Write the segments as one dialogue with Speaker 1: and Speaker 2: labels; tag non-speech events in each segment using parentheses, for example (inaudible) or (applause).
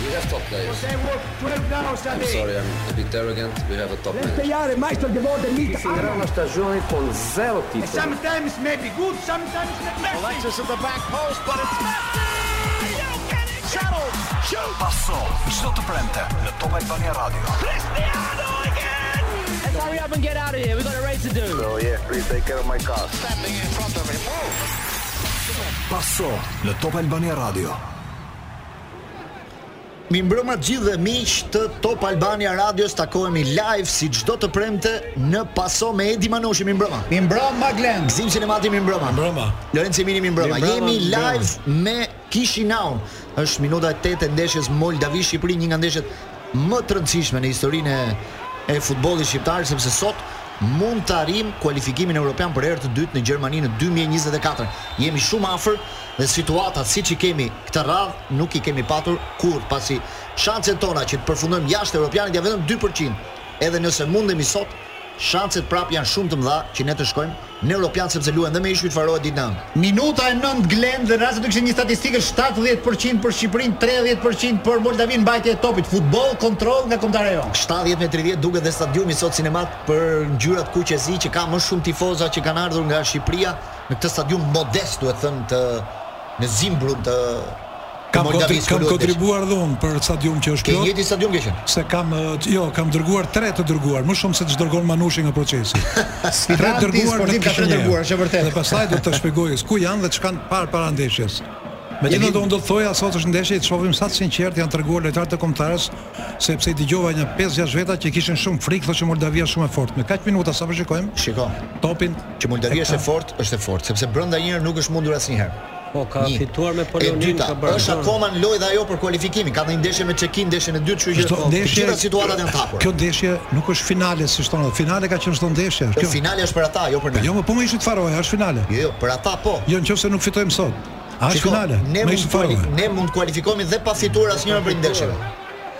Speaker 1: We have top players.
Speaker 2: They work 12 hours a
Speaker 1: I'm
Speaker 2: day.
Speaker 1: sorry, I'm a bit arrogant. We have a top
Speaker 2: Let's
Speaker 1: manager.
Speaker 2: they are a master geworden mit
Speaker 3: Finirà una stagione con zero
Speaker 2: And
Speaker 3: titoli.
Speaker 2: Sometimes maybe good, sometimes not messy.
Speaker 4: Alexis at the back post, but it's Messi! You get it! Shuttle! Shoot!
Speaker 5: Passo çdo të premte në Top Albania Radio.
Speaker 4: Cristiano again!
Speaker 6: Let's hurry up and get out of here. We've got a race to do.
Speaker 5: So yeah, please take care of my car.
Speaker 4: Standing in front of him. Move!
Speaker 5: Passo në Top Albania Radio.
Speaker 7: Mi mbrëma të gjithë dhe miq të Top Albania Radios takohemi live si çdo të premte në Paso me Edi Manoshi mi mbrëma.
Speaker 8: Mi mbra Maglen.
Speaker 7: Gzim Sinemati mi mbrëma.
Speaker 8: Mbrëma.
Speaker 7: Lorenzo Emini mi mbrëma.
Speaker 8: Mi mbrëma,
Speaker 7: Jemi
Speaker 8: mi mbrëma.
Speaker 7: live me Kishinaun. Është minuta e 8 e ndeshjes Moldavi Shqipëri, një nga ndeshjet më të rëndësishme në historinë e e futbollit shqiptar sepse sot mund të arrim kualifikimin evropian për herë të dytë në Gjermani në 2024. Jemi shumë afër dhe situatat siç i kemi këtë radhë nuk i kemi patur kurrë, pasi shanset tona që të përfundojmë jashtë evropianit janë vetëm 2%. Edhe nëse mundemi sot, shanset prap janë shumë të mëdha që ne të shkojmë në europian sepse luajnë dhe me ishujt farohet ditën e ëndë.
Speaker 8: Minuta e 9 Glen dhe në rast se do kishte një statistikë 70% për Shqipërinë, 30% për Moldavin mbajtje e topit. Futboll kontroll nga kombëtare jon.
Speaker 7: 70 me 30 duket dhe stadiumi sot sinemat për ngjyrat kuqezi që ka më shumë tifoza që kanë ardhur nga Shqipëria në këtë stadium modest duhet thënë të në Zimbrun të
Speaker 9: Kam, kontri,
Speaker 7: Moldavisë,
Speaker 9: kam
Speaker 7: ku luhet
Speaker 9: kontribuar dhe unë për stadium që
Speaker 7: veç.
Speaker 9: është
Speaker 7: Ke
Speaker 9: plot
Speaker 7: jeti stadium ke qenë.
Speaker 9: se kam eh, jo, kam dërguar 3 të dërguar, më shumë se ç'dërgon Manushi nga procesi. Tre të
Speaker 8: Ranti
Speaker 9: në
Speaker 8: sportiv ka tre
Speaker 9: Kishinjë.
Speaker 8: dërguar, është e vërtetë.
Speaker 9: Dhe pastaj do të shpjegoj ku janë dhe ç'kan par para ndeshjes. Megjithatë unë do të thoja sot është ndeshje të shohim sa të sinqertë janë treguar lojtarët e kombëtarës, sepse i dëgjova një 5-6 veta që kishin shumë frikë, thoshë Moldavia është shumë e fortë. Me kaq minuta sa po shikojmë
Speaker 7: Shiko,
Speaker 9: topin
Speaker 7: që Moldavia është e fortë, është e fortë, sepse brenda një herë nuk është mundur asnjëherë.
Speaker 6: Po, ka
Speaker 7: Një.
Speaker 6: fituar me Polonin,
Speaker 7: E dyta,
Speaker 6: ka bërë
Speaker 7: është
Speaker 6: gol.
Speaker 7: akoma në lojë dhe ajo për kualifikimin. Ka dhënë ndeshje me Çekin, ndeshjen e dytë, kështu që
Speaker 9: Çdo
Speaker 7: po, të gjitha situatat janë hapur.
Speaker 9: Kjo ndeshje nuk është finale si thonë, finale ka qenë çdo ndeshje.
Speaker 7: Po
Speaker 9: Kjo
Speaker 7: finale është për ata, jo për ne.
Speaker 9: Jo, më po më ishit faroja, është finale.
Speaker 7: Jo, jo, për ata po.
Speaker 9: Jo, nëse nuk fitojmë sot. A është
Speaker 7: Shiko,
Speaker 9: finale?
Speaker 7: Ne
Speaker 9: Më
Speaker 7: mund
Speaker 9: ishit
Speaker 7: të kuali-
Speaker 9: faroja.
Speaker 7: ne mund të kualifikohemi dhe pa fituar asnjërin prej ndeshjeve.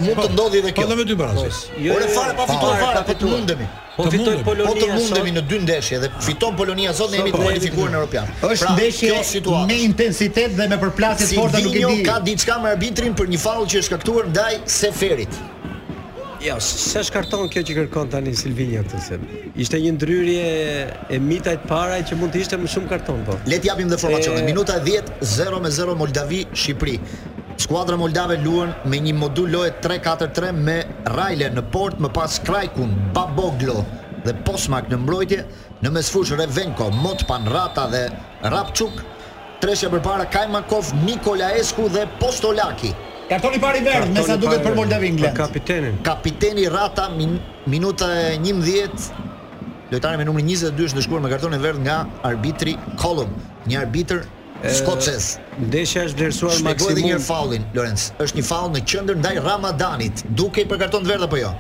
Speaker 7: Mund të ndodhi edhe kjo.
Speaker 9: Po dhe me dy barazi.
Speaker 6: Jo,
Speaker 7: Ore
Speaker 6: jo,
Speaker 7: fare pa
Speaker 6: jo,
Speaker 7: fituar
Speaker 6: pa,
Speaker 7: fare,
Speaker 6: pa
Speaker 7: po të
Speaker 6: fituar.
Speaker 7: mundemi.
Speaker 6: Po
Speaker 9: Të
Speaker 6: fitoj
Speaker 9: mundemi.
Speaker 7: Po të
Speaker 6: Polonia
Speaker 7: mundemi
Speaker 6: sot.
Speaker 7: në dy ndeshje dhe fiton Polonia sot ne jemi të
Speaker 6: po,
Speaker 7: kualifikuar në Europian.
Speaker 8: Është ndeshje
Speaker 7: pra, kjo situatë.
Speaker 8: me intensitet dhe me përplasje të forta nuk e
Speaker 7: Silvinho
Speaker 8: di.
Speaker 7: ka diçka me arbitrin për një faull që është shkaktuar ndaj Seferit.
Speaker 6: Jo, se shkarton kjo që kërkon tani Silvinja këtë se. Ishte një ndryrje e mitajt paraj që mund të ishte më shumë karton po.
Speaker 7: Le t'japim dhe formacionet.
Speaker 6: E-
Speaker 7: Minuta e 10, 0 me 0 Moldavi, Shqipëri. Skuadra Moldave luan me një modul loje 3-4-3 me Rajle në port, më pas Krajkun, Baboglo dhe Posmak në mbrojtje, në mesfush Revenko, Motpan, Rata dhe Rapçuk, treshja përpara Kajmakov, Nikolaesku dhe Postolaki.
Speaker 8: Kartoni i parë i verdh, me sa
Speaker 6: Kartoni
Speaker 8: duket
Speaker 6: parë,
Speaker 8: për Moldavin
Speaker 6: Për
Speaker 8: Glen.
Speaker 6: kapitenin.
Speaker 7: Kapiteni Rata min, minuta e 11 lojtari me numrin 22 është dëshkuar me karton e verdh nga arbitri Colum, një arbitër skocez.
Speaker 6: Ndeshja është vlerësuar
Speaker 7: Shpjegoj edhe një herë
Speaker 6: maksimum.
Speaker 7: faullin, Lorenz. Është një faull në qendër ndaj Ramadanit. Duke i për karton të verdh apo jo?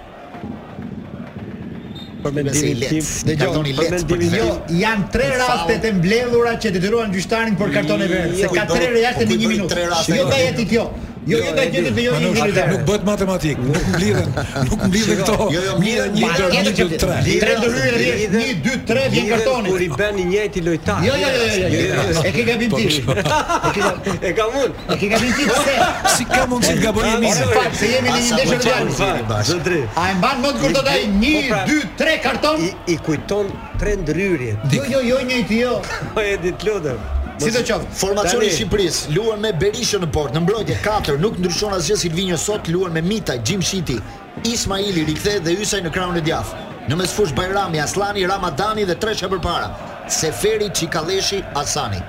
Speaker 6: Për
Speaker 7: Nëse i
Speaker 6: mendimin
Speaker 7: let.
Speaker 6: tim,
Speaker 7: Kartoni
Speaker 6: për
Speaker 7: let.
Speaker 6: mendimin
Speaker 7: për të
Speaker 6: jo,
Speaker 7: verdhë.
Speaker 8: Janë tre
Speaker 7: Foul.
Speaker 8: rastet e mbledhura që detyruan gjyqtarin për karton e verdh, se
Speaker 6: Jo,
Speaker 8: ka
Speaker 7: i bëri-
Speaker 8: tre raste
Speaker 7: po
Speaker 8: në
Speaker 7: i
Speaker 8: një
Speaker 7: bëri
Speaker 8: minutë.
Speaker 7: tre raste.
Speaker 8: Jo nga jeti kjo. Jo,
Speaker 6: Jo,
Speaker 8: jo nga
Speaker 6: e
Speaker 8: jeti
Speaker 6: di.
Speaker 8: dhe jo një
Speaker 9: Manush,
Speaker 8: minutë.
Speaker 9: nuk bëhet matematik, nuk mblidhen, nuk mblidhen këto.
Speaker 7: jo, jo,
Speaker 9: mblidhen një
Speaker 7: mblidhen
Speaker 9: dër,
Speaker 8: një
Speaker 9: një
Speaker 8: që
Speaker 9: dër, tre.
Speaker 7: mblidhen.
Speaker 8: Tre ndërhyrje
Speaker 6: Lidhen-
Speaker 8: rreth 1 2 3 vjen
Speaker 6: Lidhen
Speaker 8: kartoni.
Speaker 6: Kur i bën i njëjti lojtar.
Speaker 8: Jo, jo, jo, jo, jo, jo. E ke gabim ti.
Speaker 6: E kam unë. Ah,
Speaker 8: E ke gabim ti pse?
Speaker 9: Si ka mundësi të gabojë
Speaker 8: Ore,
Speaker 9: Miza?
Speaker 8: fal, se po jemi në një
Speaker 7: Asa
Speaker 8: ndeshje
Speaker 7: po qanë,
Speaker 8: radiale.
Speaker 7: jeni bashkë.
Speaker 6: Zotri.
Speaker 8: A e mban mend kur do të ai
Speaker 6: Po
Speaker 8: 1
Speaker 6: pra,
Speaker 8: 2 3 karton?
Speaker 6: I, i kujton tre ndryrje.
Speaker 8: Jo, jo, jo, njëjti jo.
Speaker 6: Po e dit lutem.
Speaker 8: Si do qoftë.
Speaker 7: Formacioni i
Speaker 6: Tani.
Speaker 7: Shqipërisë luan me Berishën në port, në mbrojtje 4, nuk ndryshon asgjë Silvinho sot luan me Mita, Gjim Shiti, Ismaili rikthehet dhe Ysaj në krahun e djathtë. Në mesfush Bajrami, Aslani, Ramadani dhe tresha përpara. Seferi, Çikalleshi, Asani.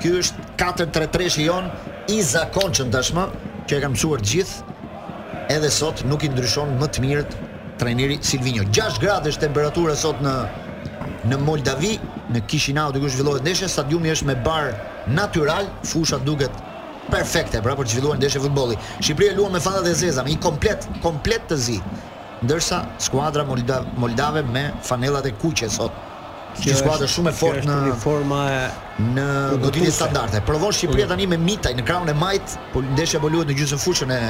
Speaker 7: Ky është 4-3-3-shi jon i zakonshëm tashmë që e ka mësuar të gjithë. Edhe sot nuk i ndryshon më të mirët trajneri Silvinho. 6 gradë është temperatura sot në në Moldavi, në Kishinau diku zhvillohet ndeshja, stadiumi është me bar natyral, fusha duket perfekte pra për të zhvilluar ndeshje futbolli. Shqipëria luan me fanat e zeza, me një komplet, komplet të zi. Ndërsa skuadra Molda Moldave me fanellat e kuqe sot. Që skuadra shumë e fortë në
Speaker 6: uniforma e
Speaker 7: në goditje standarde. Provon Shqipëria tani me Mitaj në krahun e majt, po ndeshja po luhet në gjysmë fushën e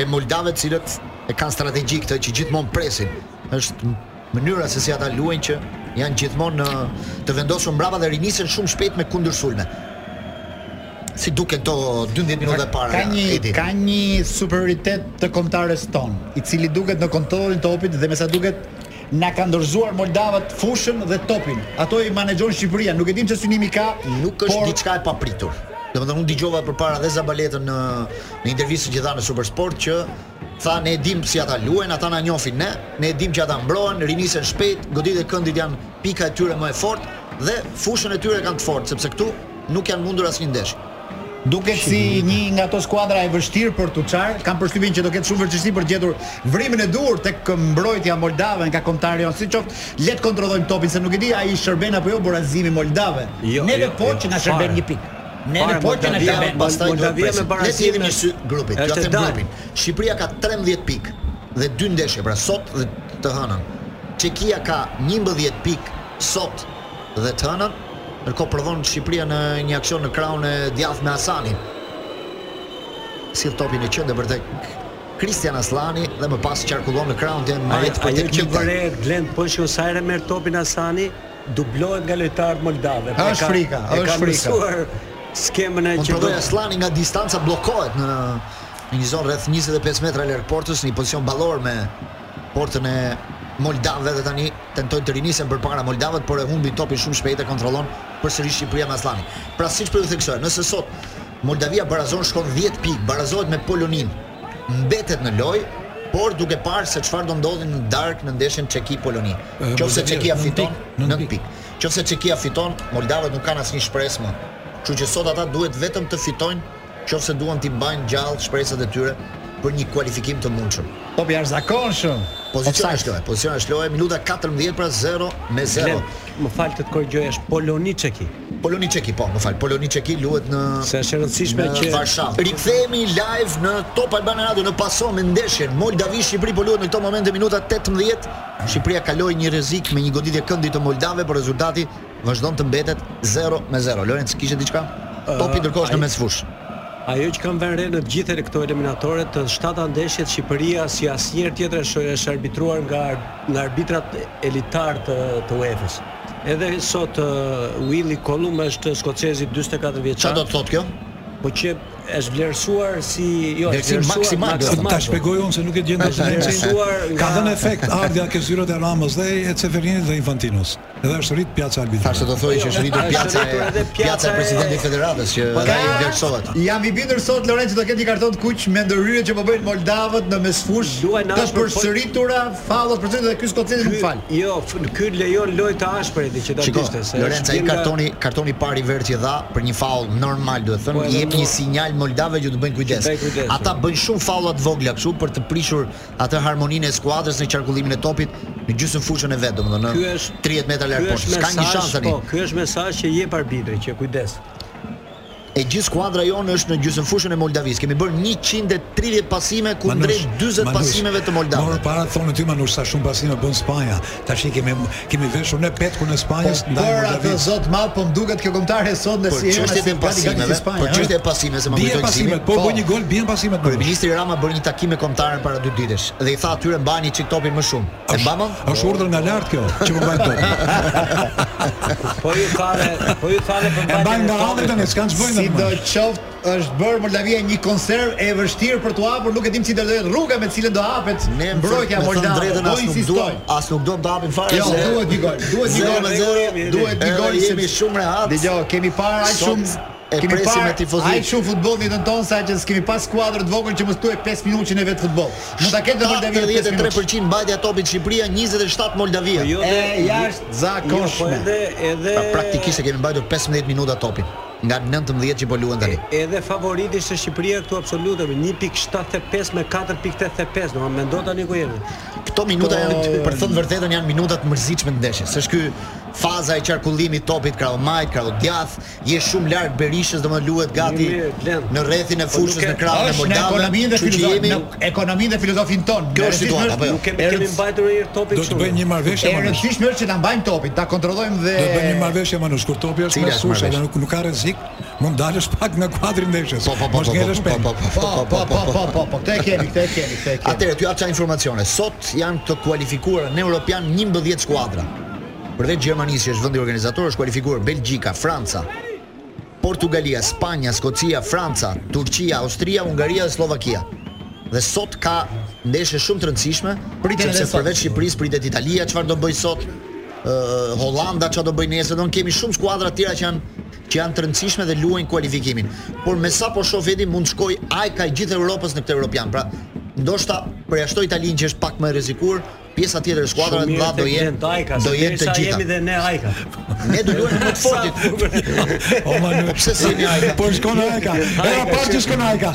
Speaker 7: e Moldave, të cilët e kanë strategji këtë që gjithmonë presin. Është m- mënyra se si ata luajnë që janë gjithmonë në të vendosur mbrapa dhe rinisen shumë shpejt me kundërsulme. Si duken këto 12 minuta
Speaker 8: Ka
Speaker 7: para?
Speaker 8: një
Speaker 7: Edi?
Speaker 8: ka një superioritet të kontarës ton, i cili duket në kontrollin të topit dhe me sa duket na ka ndorzuar Moldavat fushën dhe topin. Ato i menaxhon Shqipëria, nuk e dim çfarë synimi ka.
Speaker 7: nuk është diçka e papritur. Domethënë unë dëgjova përpara dhe Zabaletën në në intervistën që dha në Supersport që tha ne e dim si ata luajnë, ata na njohin ne, ne e dim që ata mbrohen, rinisen shpejt, goditë e këndit janë pika e tyre më e fortë dhe fushën e tyre kanë të fortë sepse këtu nuk janë mundur asnjë ndeshje.
Speaker 8: Duket si një nga ato skuadra e vështirë për Tuçar, kam përshtypjen që do ketë shumë vështirësi për të gjetur vrimin e dur tek mbrojtja moldave nga kombëtari jon. Siqoftë, le të kontrollojmë topin se nuk e di ai i shërben apo jo burazimi moldave.
Speaker 6: Jo,
Speaker 8: Neve
Speaker 6: jo,
Speaker 8: po
Speaker 6: jo,
Speaker 8: që na shërben
Speaker 6: fare.
Speaker 8: një pikë. Neve
Speaker 6: Fare,
Speaker 8: po që na
Speaker 6: Moldavia-
Speaker 8: shërben.
Speaker 7: Pastaj do të
Speaker 6: Moldavia me
Speaker 7: presim. Le të jemi
Speaker 6: barazime-
Speaker 7: në sy grupit,
Speaker 6: Është
Speaker 7: do të them
Speaker 6: dalë.
Speaker 7: grupin. Shqipëria ka 13 pikë dhe 2 ndeshje pra sot dhe të hënën. Çekia ka 11 pikë sot dhe të hënën, ndërkohë prodhon Shqipëria në një aksion në krahun e djathtë me Hasanin. Sill topin në qendër për tek Kristian Aslani dhe më pas qarkullon në krahun të
Speaker 6: Ajo
Speaker 7: Maret për
Speaker 6: ajo
Speaker 7: tek
Speaker 6: që
Speaker 7: Mita.
Speaker 6: bëre Glen po që Osajra merr topin Asani, dublohet nga lojtarët moldave.
Speaker 8: Është frika, është frika.
Speaker 6: frika. Skemën e
Speaker 7: Mund
Speaker 6: që
Speaker 7: prodhoi Aslani nga distanca blokohet në në një zonë rreth 25 metra larg portës, në një pozicion ballor me portën e Moldavëve dhe tani tentojnë të rinisen përpara Moldavët, por e humbi topin shumë shpejt e kontrollon përsëri Shqipëria me Aslanin. Pra siç po ju theksoj, nëse sot Moldavia barazon shkon 10 pikë, barazohet me Polonin, mbetet në lojë, por duke parë se çfarë do ndodhi në darkë në ndeshjen Çeki-Poloni.
Speaker 9: E,
Speaker 7: Qofse
Speaker 9: Moldavia,
Speaker 7: Çekia
Speaker 9: nën
Speaker 7: fiton
Speaker 9: pikë, nën
Speaker 7: 9
Speaker 9: pikë.
Speaker 7: pikë. Qofse Çekia fiton, Moldavët nuk kanë asnjë shpresë më. Kështu që sot ata duhet vetëm të fitojnë qofse duan t'i bajnë gjallë shpresat e tyre për një kualifikim të mundshëm.
Speaker 8: Topi është zakonshëm.
Speaker 7: Pozicion është lojë, pozicion është lojë, minuta 14 pra 0 me 0.
Speaker 6: Glen, më fal të të korrigjoj, është Poloni Çeki.
Speaker 7: Poloni Çeki, po, më fal, Poloni Çeki luhet në
Speaker 6: Se është e rëndësishme
Speaker 7: në
Speaker 6: që
Speaker 7: Varshavë. Rikthehemi live në Top Albana Radio në paso me ndeshjen Moldavi Shqipëri po luhet në këto momente minuta 18. Shqipëria kaloi një rrezik me një goditje këndi të Moldave, por rezultati vazhdon të mbetet 0 me 0. Lorenz kishte diçka? Topi ndërkohë është
Speaker 6: ai-
Speaker 7: në mesfush.
Speaker 6: Ajo që kanë vënë re në të gjithë këto eliminatore të shtatë ndeshjet Shqipëria si asnjëherë tjetër është është arbitruar nga nga arbitrat elitar të, të UEFA-s. Edhe sot uh, Willy Colum është skocezi 44
Speaker 7: Çfarë
Speaker 6: vjeçar,
Speaker 7: do të thotë kjo?
Speaker 6: po që është vlerësuar si jo,
Speaker 7: Vlerësim
Speaker 6: është
Speaker 7: maksimal, do të
Speaker 9: Po, Ta shpjegoj unë se nuk e gjendë
Speaker 6: Është vlerësuar nga-
Speaker 9: Ka dhënë efekt ardhja ke zyrat e Ramës dhe e Ceferinit dhe Infantinos. Edhe është rrit pjaca e
Speaker 7: Thashë
Speaker 9: arbitrit.
Speaker 7: do thojë që është rritur
Speaker 6: Është
Speaker 7: pjaca
Speaker 6: rritur
Speaker 7: e
Speaker 6: edhe
Speaker 7: pjaca e
Speaker 6: pjaca e- Po,
Speaker 7: presidentit të federatës që ai vlerësohet.
Speaker 8: Jam i bindur sot Lorenzo do ketë një karton të kuq me ndërhyrje që po bëjnë moldavët në mesfush.
Speaker 6: Luajnë
Speaker 8: Të
Speaker 6: ashpër, po-
Speaker 8: përsëritura, fallat përsëritur dhe ky skocezi nuk fal.
Speaker 6: Jo, f- ky lejon lojë të ashpër edhe që do të
Speaker 7: Shiko,
Speaker 6: ishte se
Speaker 7: Lorenza,
Speaker 6: është
Speaker 7: ai
Speaker 6: bjen nga-
Speaker 7: kartoni kartoni i parë i verë që dha për një faull normal duhet thënë,
Speaker 6: Po,
Speaker 7: i
Speaker 6: edhe
Speaker 7: jep
Speaker 6: po.
Speaker 7: një sinjal Moldave që të bëjnë kujdes.
Speaker 6: Që të bëjnë kujdes, po.
Speaker 7: Ata bëjnë shumë faulla të vogla kështu për të prishur atë harmoninë e skuadrës në qarkullimin e topit në gjysmë fushën e vet, domethënë
Speaker 6: Ky
Speaker 7: në
Speaker 6: është-
Speaker 7: 30 metra
Speaker 6: Ky
Speaker 7: larg
Speaker 6: është
Speaker 7: portës. Ka një
Speaker 6: mesazh,
Speaker 7: shans tani.
Speaker 6: Po, ky është mesazh që jep arbitri që kujdes.
Speaker 7: E gjithë skuadra jonë është në gjysmë fushën e Moldavis. Kemi bërë 130 pasime kundrejt 40 pasimeve të
Speaker 9: Morë
Speaker 7: Moldavëve.
Speaker 9: para thonë ty Manush sa shumë pasime bën Spanja. Tash i kemi kemi veshur ne petkun e Spanjës ndaj
Speaker 8: Por atë
Speaker 9: Moldavisë.
Speaker 8: zot madh po më duket kjo kombëtare sot në
Speaker 7: Për
Speaker 8: si herë
Speaker 7: çështjet e pasimeve, për
Speaker 8: po,
Speaker 7: çështjet e eh? pasimeve se më
Speaker 9: Bie
Speaker 7: kujtoj
Speaker 9: pasimet,
Speaker 7: gëzimin.
Speaker 9: po bën një gol, bien pasimet. po. Manush.
Speaker 7: Kryeministri Rama bëri një takim me kombëtarën para dy ditësh dhe i tha atyre mbani çik topin më shumë. E mbamën?
Speaker 9: Është urdhër nga lart kjo, që po bën topin.
Speaker 6: Po ju thave, po ju thave për
Speaker 9: E
Speaker 6: mbajtjen
Speaker 9: mbajnë nga
Speaker 6: topit.
Speaker 9: radhë tani, s'kan ç'bëjnë.
Speaker 8: Si do qoftë është bërë Moldavia një konserv e vështirë për t'u hapur, nuk e dim si do të jetë rruga me të cilën do hapet
Speaker 7: Ne më
Speaker 8: mbrojtja
Speaker 7: thënë- me thënë
Speaker 8: moldave.
Speaker 7: drejtën
Speaker 8: Do
Speaker 7: as nuk
Speaker 8: insistoj.
Speaker 7: duam, as nuk duam të hapim fare.
Speaker 8: Jo,
Speaker 7: se-
Speaker 8: duhet një gol, duhet një
Speaker 7: Zero
Speaker 8: gol,
Speaker 7: me zero,
Speaker 8: duhet një
Speaker 7: edhe
Speaker 8: gol.
Speaker 7: Jemi
Speaker 8: sepse-
Speaker 7: shumë rehat.
Speaker 8: Dgjoj, kemi parë aq
Speaker 7: Sot
Speaker 8: shumë
Speaker 7: e
Speaker 8: kemi
Speaker 7: presim me tifozit.
Speaker 8: Aq shumë futboll në jetën tonë sa që s'kemi pas skuadrë të vogël që mos tuaj 5 minutë që ne vet futboll. Mund ta ketë Moldavia 5 minutë.
Speaker 7: 83% mbajtja topit Shqipëria, 27 Moldavia.
Speaker 6: Jo,
Speaker 8: E
Speaker 6: dhe-
Speaker 8: jashtë
Speaker 6: Jo, po
Speaker 8: zakonshme.
Speaker 6: edhe edhe
Speaker 7: Pra praktikisht e kemi mbajtur 15 minuta topin nga 19 që po luan tani.
Speaker 6: edhe favoriti është Shqipëria këtu absolute me 1.75 me 4.85, domethënë mendo tani ku jemi.
Speaker 7: Këto minuta
Speaker 8: Po,
Speaker 7: janë për thënë vërtetën janë minutat mërzitshme të ndeshjes. S'është ky faza e qarkullimit të topit krahu majt, krahu djath, je shumë larg Berishës, domethënë luhet gati
Speaker 6: Mirë, mirë, Glen.
Speaker 7: në rrethin e
Speaker 6: Po
Speaker 7: fushës
Speaker 6: nuk e-
Speaker 7: në krahun e
Speaker 8: Është në
Speaker 7: Moldavës.
Speaker 8: ekonominë dhe
Speaker 7: kështu që
Speaker 8: filozofin,
Speaker 7: jemi
Speaker 8: në ekonominë dhe filozofin ton.
Speaker 7: Kjo është situata, po jo.
Speaker 6: Nuk kemi kemi mbajtur një topik
Speaker 9: Do të bëjnë një
Speaker 8: E
Speaker 9: marrëveshje Manush.
Speaker 8: rëndësishme është që ta mbajmë topin, ta kontrollojmë dhe
Speaker 9: Do të bëjnë një marrëveshje Manush. Kur topi është
Speaker 7: Cila
Speaker 9: me
Speaker 7: është
Speaker 9: sushë,
Speaker 7: marrëveshje?
Speaker 9: dhe nuk nuk ka rrezik, mund dalësh pak nga kuadri ndeshjes.
Speaker 7: Po po po
Speaker 9: Mos
Speaker 7: po.
Speaker 9: ngelesh
Speaker 7: Po
Speaker 9: pen.
Speaker 7: po
Speaker 8: Po,
Speaker 7: po.
Speaker 8: po, po, po, po, po, këtë e kemi, këtë e kemi, këtë e kemi.
Speaker 7: Atëherë ty jap ça informacione. Sot janë të kualifikuara në Europian 11 skuadra. Përveç Gjermanisë që është vendi organizator, është kualifikuar Belgjika, Franca, Portugalia, Spanja, Skocia, Franca, Turqia, Austria, Hungaria dhe Slovakia. Dhe sot ka ndeshje shumë të rëndësishme,
Speaker 8: Pritet edhe
Speaker 7: sepse
Speaker 8: sot.
Speaker 7: përveç Shqipërisë pritet Italia, çfarë do bëj sot? ë Holanda çfarë do bëj nesër? Do kemi shumë skuadra të tjera që janë që janë të rëndësishme dhe luajnë kualifikimin. Por me sa po shoh veti mund të shkoj ajka e gjithë Europës në këtë Europian. Pra, ndoshta përjashtoj Italinë që është pak më e rrezikuar, pjesa tjetër e skuadrave të
Speaker 6: Shumë mirë
Speaker 7: mëdha do
Speaker 6: tek
Speaker 7: jenë
Speaker 6: Brent Ajka, se
Speaker 7: do jenë të
Speaker 6: derisa
Speaker 7: gjitha.
Speaker 6: Jemi dhe ne Po, Ajka.
Speaker 7: Ne do luajmë më të
Speaker 6: (laughs)
Speaker 7: fortit.
Speaker 9: O Manuel.
Speaker 7: Po, Pse si një ajka?
Speaker 9: Por shkon Ajka. Era parë që shkon Ajka.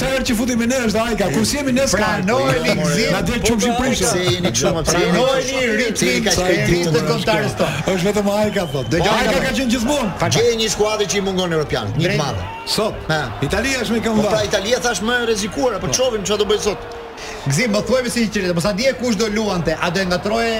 Speaker 9: Sa herë që futemi ne është Ajka. Kur si jemi ne ska.
Speaker 8: Pranoj
Speaker 7: Po,
Speaker 8: ligzim.
Speaker 9: Na del çum
Speaker 8: po,
Speaker 9: Shqipërisë.
Speaker 7: Pse jeni kështu më pse jeni?
Speaker 8: Pranojni ritmin
Speaker 7: ka
Speaker 8: e ritmit të kombëtarës tonë.
Speaker 9: Është vetëm Ajka thot.
Speaker 7: Po,
Speaker 8: Dëgjoj,
Speaker 9: Ajka
Speaker 8: Ajka.
Speaker 9: ka qenë gjithmonë.
Speaker 7: Gjej një skuadër që i mungon europian, një të
Speaker 8: Drejt.
Speaker 7: madhe.
Speaker 9: Sot.
Speaker 7: Ha.
Speaker 9: Italia është me
Speaker 7: Po pra
Speaker 9: këmbë.
Speaker 7: Italia thash më e rrezikuar, po çovim çfarë do bëj sot.
Speaker 8: Gzim, më thuaj me sinqeritet, mos a dije kush do luante, a do e ngatroje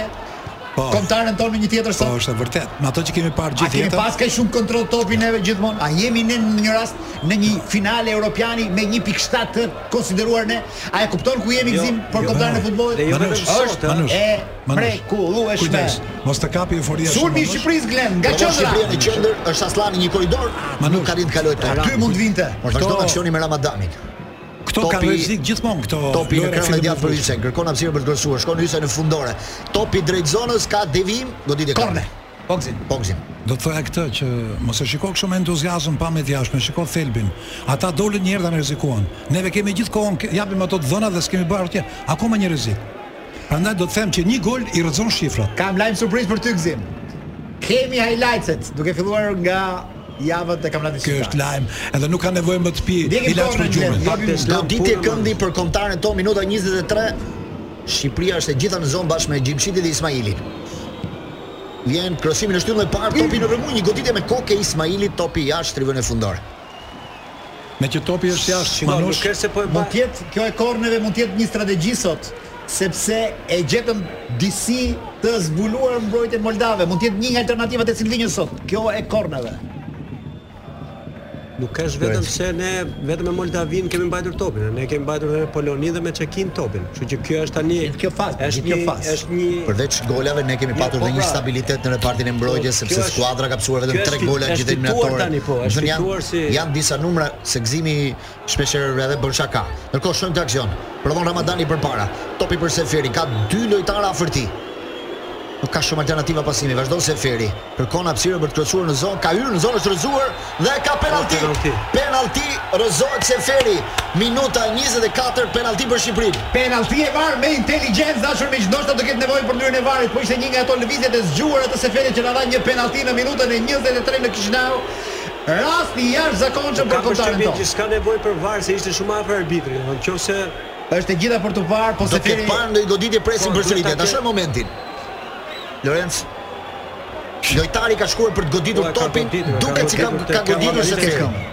Speaker 9: Po.
Speaker 8: kombëtaren tonë me një tjetër
Speaker 9: Po
Speaker 8: sot?
Speaker 9: është e vërtet. Me ato që kemi parë
Speaker 8: A
Speaker 9: gjithë
Speaker 8: kemi
Speaker 9: jetën.
Speaker 8: pas kaq shumë kontroll topi neve gjithmonë? A jemi ne në një rast në një finale europiani me 1.7 të konsideruar ne? A e kupton ku jemi
Speaker 6: Jo,
Speaker 8: gzim për
Speaker 6: jo,
Speaker 8: kombëtaren e futbollit?
Speaker 6: Dhe jo
Speaker 9: Manush,
Speaker 6: vetëm sot, ë.
Speaker 9: Manush,
Speaker 8: e
Speaker 9: Manush.
Speaker 8: mrekullueshme.
Speaker 9: Kujdes, mos të kapi
Speaker 7: jo,
Speaker 9: euforia.
Speaker 8: Sulmi i
Speaker 9: shumë,
Speaker 8: Shqipërisë Glen, nga
Speaker 7: Po
Speaker 8: qendra.
Speaker 7: Shqipëria në qendër është Aslani një korridor, nuk ka rit kaloj tokë.
Speaker 8: Aty mund vinte.
Speaker 7: Vazhdon aksioni me Ramadamin.
Speaker 9: Manush. Këto kanë
Speaker 7: topi-
Speaker 9: rrezik gjithmonë këto.
Speaker 8: Po,
Speaker 7: Topi në
Speaker 9: lojra
Speaker 7: krahun e
Speaker 9: fillim
Speaker 7: djathtë për
Speaker 9: futbollit.
Speaker 7: Hysen, kërkon hapësirë për të gërsuar, shkon Hysen në fundore. Topi drejt zonës ka devim, goditje
Speaker 8: Korne.
Speaker 7: korne.
Speaker 8: Po gzim.
Speaker 7: Po gzim.
Speaker 9: Do të thoya këtë që mos e shiko kështu me entuziazëm pa me djashme, shiko thelbin. Ata dolën një herë dhe ne rrezikuan. Neve kemi gjithkohon ke- japim ato të dhëna dhe s'kemi bërë atje akoma një rrezik. Prandaj do të them që një gol i rrezon shifrat.
Speaker 8: Kam lajm surprizë për ty gzim. Kemi highlightset duke filluar nga javët e kampionatit
Speaker 9: Ky është lajm, edhe nuk ka nevojë më të pi
Speaker 8: Ndjekim
Speaker 9: ilaç për
Speaker 8: tonën,
Speaker 9: gjumin.
Speaker 8: Glen, japim-
Speaker 7: Goditje këndi për kombëtaren tonë minuta 23. Shqipëria është e gjitha në zonë bashkë me Gjimshitin dhe Ismailin. Vjen krosimin e shtyllën e parë, topi në rëmuj, një goditje me kokë e Ismailit, topi jashtë rivën e fundore.
Speaker 9: Me që topi është jashtë,
Speaker 6: Shikon, nuk
Speaker 9: manush.
Speaker 6: është se po e bën.
Speaker 8: Mund të jetë kjo e korneve mund të jetë një strategji sot, sepse e gjetëm disi të zbuluar mbrojtjen moldave, mund të jetë një nga alternativat e Silvinjës sot. Kjo e korneve.
Speaker 6: Nuk është vetëm se ne vetëm me Moldavin kemi mbajtur topin, ne kemi mbajtur edhe me Poloninë dhe me Çekin topin. Kështu që kjo është tani
Speaker 8: Gjithë kjo fazë,
Speaker 6: është
Speaker 8: gjithë kjo
Speaker 6: një-
Speaker 8: fazë.
Speaker 6: Është një
Speaker 7: Përveç golave ne kemi patur
Speaker 6: po,
Speaker 7: dhe një
Speaker 6: pra.
Speaker 7: stabilitet në repartin e mbrojtjes
Speaker 6: Po,
Speaker 7: sepse
Speaker 6: kjo është-
Speaker 7: skuadra ka psuar vetëm
Speaker 6: kjo
Speaker 7: 3
Speaker 6: është-
Speaker 7: gola
Speaker 6: është
Speaker 7: gjithë
Speaker 6: fituar
Speaker 7: eliminatorën.
Speaker 6: tani, po, është
Speaker 7: Domethënë
Speaker 6: fituar
Speaker 7: janë,
Speaker 6: si-
Speaker 7: janë disa numra se gëzimi shpesh herë edhe bën shaka. Ndërkohë shojmë të aksion. Provon Ramadani përpara. Topi për Seferi ka dy lojtarë afër tij. Nuk ka shumë alternativa pasimi. Vazhdon Seferi. Kërkon hapësirë për të kryesuar në zonë. Ka hyrë në zonë është rrëzuar dhe ka penalti.
Speaker 6: penalti.
Speaker 7: Penalti rrëzohet Seferi. Minuta 24 penalti për Shqipërinë.
Speaker 8: Penalti e var me inteligjencë dashur miq, ndoshta do ketë nevojë për lyrën e varit, po ishte një nga ato lëvizjet e zgjuara të Seferit që na dha një penalti në minutën e 23 në Kishinau. Rasti i jashtëzakonshëm
Speaker 6: ka
Speaker 8: për kontaren
Speaker 6: përshtypjen që
Speaker 8: tonë.
Speaker 6: s'ka nevojë për VAR se ishte shumë afër arbitrit. Në qoftë se
Speaker 8: Është e gjitha për të parë, po
Speaker 7: Do të ketë
Speaker 8: Seferi
Speaker 7: parë ndonjë goditje presin
Speaker 6: Po,
Speaker 7: përsëritje.
Speaker 6: duhet
Speaker 7: Ta
Speaker 6: ta ketë.
Speaker 7: shohim momentin. Lorenz Lojtari ka shkuar për të goditur
Speaker 6: Po, e ka
Speaker 7: topin,
Speaker 6: goditur, e ka
Speaker 7: duket si ka
Speaker 6: goditur,
Speaker 7: ka
Speaker 6: ka
Speaker 7: goditur
Speaker 6: marrë
Speaker 7: se
Speaker 8: Tek
Speaker 7: tërë.
Speaker 8: këmbë.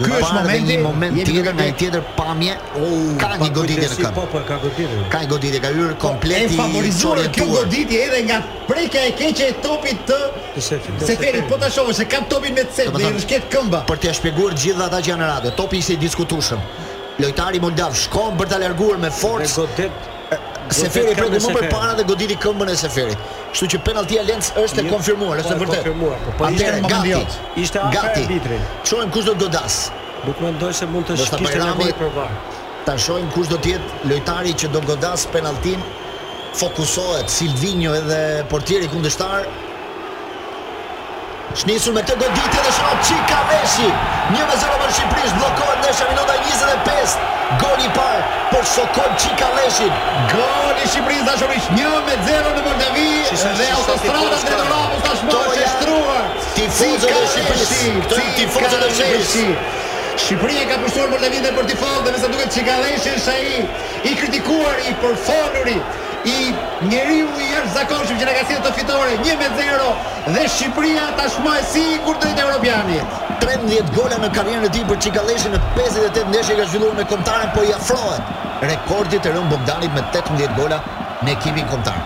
Speaker 8: Ky është momenti,
Speaker 7: një moment
Speaker 8: jemi
Speaker 7: tjetër
Speaker 8: duke
Speaker 7: nga
Speaker 8: ne-
Speaker 7: një tjetër pamje, ka një goditje në
Speaker 6: Po
Speaker 7: këmbë.
Speaker 6: po, e ka goditje.
Speaker 7: Ka një goditje, ka hyrë
Speaker 8: e
Speaker 7: komplet i
Speaker 8: favorizuar kjo
Speaker 7: çorientuar.
Speaker 8: goditje edhe nga prekja e keqe e topit të
Speaker 6: Të Seferit,
Speaker 8: Seferit,
Speaker 6: të Seferit.
Speaker 8: po ta shohësh se ka topin me cep dhe i
Speaker 7: Domethënë-
Speaker 8: rëshket këmba.
Speaker 7: Për t'ia shpjeguar gjithë ata që janë në radio, topi ishte i diskutueshëm. Lojtari moldav shkon për ta larguar me
Speaker 6: Dhe
Speaker 7: forcë.
Speaker 6: godet
Speaker 7: Seferi
Speaker 6: godet këmbën
Speaker 7: preku më
Speaker 6: Seferit.
Speaker 7: përpara dhe goditi këmbën e Seferit. Kështu që penaltia Lenz është e
Speaker 6: Jo,
Speaker 7: konfirmuar, është e
Speaker 6: po, e
Speaker 7: vërtetë.
Speaker 6: konfirmuar, po, po, ishte
Speaker 7: Atëherë,
Speaker 8: në moment
Speaker 7: gati.
Speaker 8: jot.
Speaker 6: Ishte afër
Speaker 7: Gati.
Speaker 6: arbitrit.
Speaker 7: Shohim kush do të godas.
Speaker 6: Nuk mendoj se mund të
Speaker 7: Ndoshta
Speaker 6: kishte
Speaker 7: Bajrami-
Speaker 6: nevojë për VAR.
Speaker 7: Ta shohim kush do të jetë lojtari që do godas penaltin. Fokusohet Silvinho edhe portieri kundështar. Shnisur me këtë goditje dhe shkon Çika Veshi. 1-0 për Shqipërinë, bllokohet ndeshja minuta 25. Goli i parë për Sokol Çika Veshin.
Speaker 8: Gol i Shqipërisë dashurish 1-0 në Moldavi
Speaker 6: Shisa-
Speaker 8: dhe
Speaker 6: shisa
Speaker 8: autostrada
Speaker 6: tifozë
Speaker 8: drejt
Speaker 6: kanë.
Speaker 8: Europës tashmë është e
Speaker 7: janë
Speaker 8: shtruar.
Speaker 7: tifozët e Shqipërisë. Këto janë tifozët e Shqipërisë.
Speaker 8: Shqipëria ka përshtuar Moldavin dhe për tifozë dhe me sa duket Çikalleshin është ai i kritikuar, i përfoluri, i njeriu i jashtëzakonshëm që na ka sjellë të fitore 1-0 dhe Shqipëria tashmë e sigurt drejt Europianit.
Speaker 7: 13 gola në karrierën e tij për Çikalleshin në 58 ndeshje ka zhvilluar me kombëtaren, po i afrohet rekordit të Rën Bogdanit me 18 gola në ekipin kombëtar.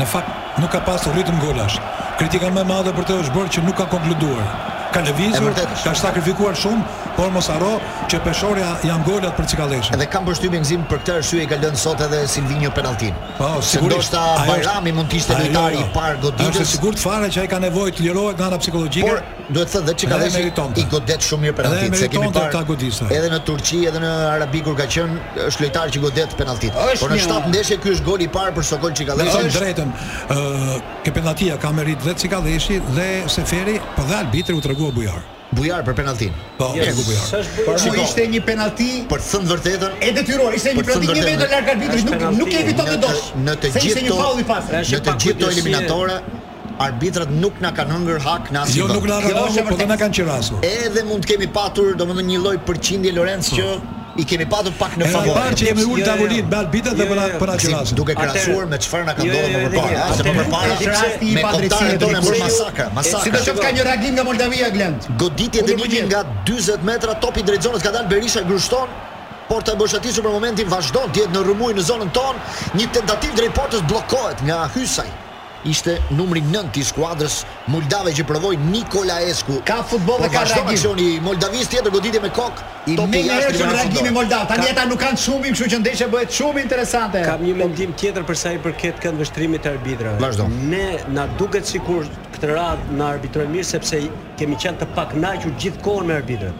Speaker 9: Në fakt nuk ka pasur ritëm golash. Kritika më e madhe për të është bërë që nuk ka konkluduar. Ka
Speaker 7: E
Speaker 9: lëvizur,
Speaker 7: vërtetë është.
Speaker 9: ka sakrifikuar shumë, por mos haro që Peshorja janë golat për Cikalleshin.
Speaker 7: Edhe kam përshtypjen gzim për këtë arsye e ka lënë sot edhe Silvinho penalltin.
Speaker 9: Po,
Speaker 7: Se
Speaker 9: sigurisht.
Speaker 7: ndoshta
Speaker 9: ajo është-
Speaker 7: Bajrami mund të ishte
Speaker 9: ajo-
Speaker 7: lojtari i parë goditës.
Speaker 9: Është sigurt fare që ai ka nevojë të lirohet nga ana psikologjike.
Speaker 7: Por duhet të thënë dhe
Speaker 9: Edhe
Speaker 7: Çikaleshi
Speaker 9: meritonte.
Speaker 7: i godet shumë mirë penalltin,
Speaker 9: Edhe
Speaker 7: se kemi
Speaker 9: meritonte ta
Speaker 7: parë.
Speaker 9: godiste.
Speaker 7: Edhe në Turqi, edhe në Arabi kur ka qenë, është lojtar që godet penalltit.
Speaker 8: Është
Speaker 7: Por në
Speaker 8: një-
Speaker 7: 7 ndeshje ky është goli i parë për Sokol
Speaker 9: Dhe
Speaker 7: Çikaleshi.
Speaker 9: të drejtën, ë ke penaltia ka merit dhe Cikalleshi dhe Seferi, po dhe arbitri u tregua bujar.
Speaker 7: Bujar për penalltin.
Speaker 9: Po, u tregu bujar.
Speaker 8: Por mu
Speaker 7: Shiko.
Speaker 8: ishte një penalti
Speaker 7: Për të thënë të vërtetën,
Speaker 8: e detyruar, ishte një
Speaker 7: Për të
Speaker 8: penalti një
Speaker 7: ndërtemë,
Speaker 8: vetë larg arbitrit, nuk
Speaker 6: penalti.
Speaker 8: nuk e eviton
Speaker 7: Në
Speaker 8: të
Speaker 7: të-
Speaker 8: dosh.
Speaker 7: në të
Speaker 8: Se
Speaker 7: gjithë
Speaker 8: ishte një
Speaker 7: to-
Speaker 8: faul i pastër.
Speaker 6: Është
Speaker 7: në të
Speaker 6: pak
Speaker 7: gjithë këto
Speaker 6: kujdesie.
Speaker 7: eliminatore arbitrat nuk na kanë hëngër hak në asnjë
Speaker 9: Jo
Speaker 7: vend.
Speaker 9: nuk na
Speaker 8: Kjo është
Speaker 9: rënë,
Speaker 8: e
Speaker 9: po do na
Speaker 8: vërtetë.
Speaker 9: kanë qirasur.
Speaker 7: Edhe mund të kemi patur, domethënë një lloj përqindje Lorenz që i kemi patur pak në
Speaker 9: Në
Speaker 7: favor.
Speaker 9: Hmm. parë që jemi
Speaker 6: Jo,
Speaker 9: ul
Speaker 6: jo,
Speaker 9: tavolin
Speaker 6: jo.
Speaker 9: me arbitrat dhe po
Speaker 6: Jo,
Speaker 9: për
Speaker 6: jo,
Speaker 9: për
Speaker 7: Si,
Speaker 9: aqirasur.
Speaker 7: duke
Speaker 6: Atëherë-
Speaker 7: krahasuar me çfarë na ka
Speaker 6: Jo,
Speaker 7: ndodhur
Speaker 6: jo,
Speaker 7: më
Speaker 6: edhe
Speaker 7: përpara,
Speaker 6: një.
Speaker 7: a, se më
Speaker 6: Atëherë-
Speaker 7: përpara
Speaker 8: Është Pra, rasti i
Speaker 7: me
Speaker 8: padrejtësisë
Speaker 7: kontarën tonë
Speaker 8: drejt
Speaker 7: bërë
Speaker 8: Shqipërisë.
Speaker 7: masakra,
Speaker 8: Si do
Speaker 7: masakra.
Speaker 8: të thotë ka një reagim nga Moldavia Glend.
Speaker 7: Goditje dhe
Speaker 8: Unë nuk
Speaker 7: lini
Speaker 8: e di.
Speaker 7: nga 40 metra, topi drejt zonës ka dalë Berisha grushton, por të bëshatisur për momentin vazhdon të jetë në rrëmuj në zonën tonë, një tentativ drejt portës bllokohet nga Hysaj. Ishte numri 9 i skuadrës Moldave që provoi Nikola Esku.
Speaker 8: Ka futboll dhe
Speaker 7: Por
Speaker 8: ka
Speaker 7: vazhdon
Speaker 8: reagim.
Speaker 7: aksioni i Moldavis tjetër goditje me kokë,
Speaker 8: I më
Speaker 7: topi jashtë
Speaker 8: njerëzën
Speaker 7: libera
Speaker 8: reagimi
Speaker 7: futbollit.
Speaker 8: Moldav. Tani ata nuk kanë shumim, kështu që ndeshja bëhet shumë interesante.
Speaker 6: Kam një mendim tjetër për sa i përket kënd vështrimit të arbitrave.
Speaker 7: Vazhdo.
Speaker 6: Ne na duket sikur këtë radhë na arbitrojnë mirë sepse kemi qenë të pakënaqur gjithkohon me arbitrat.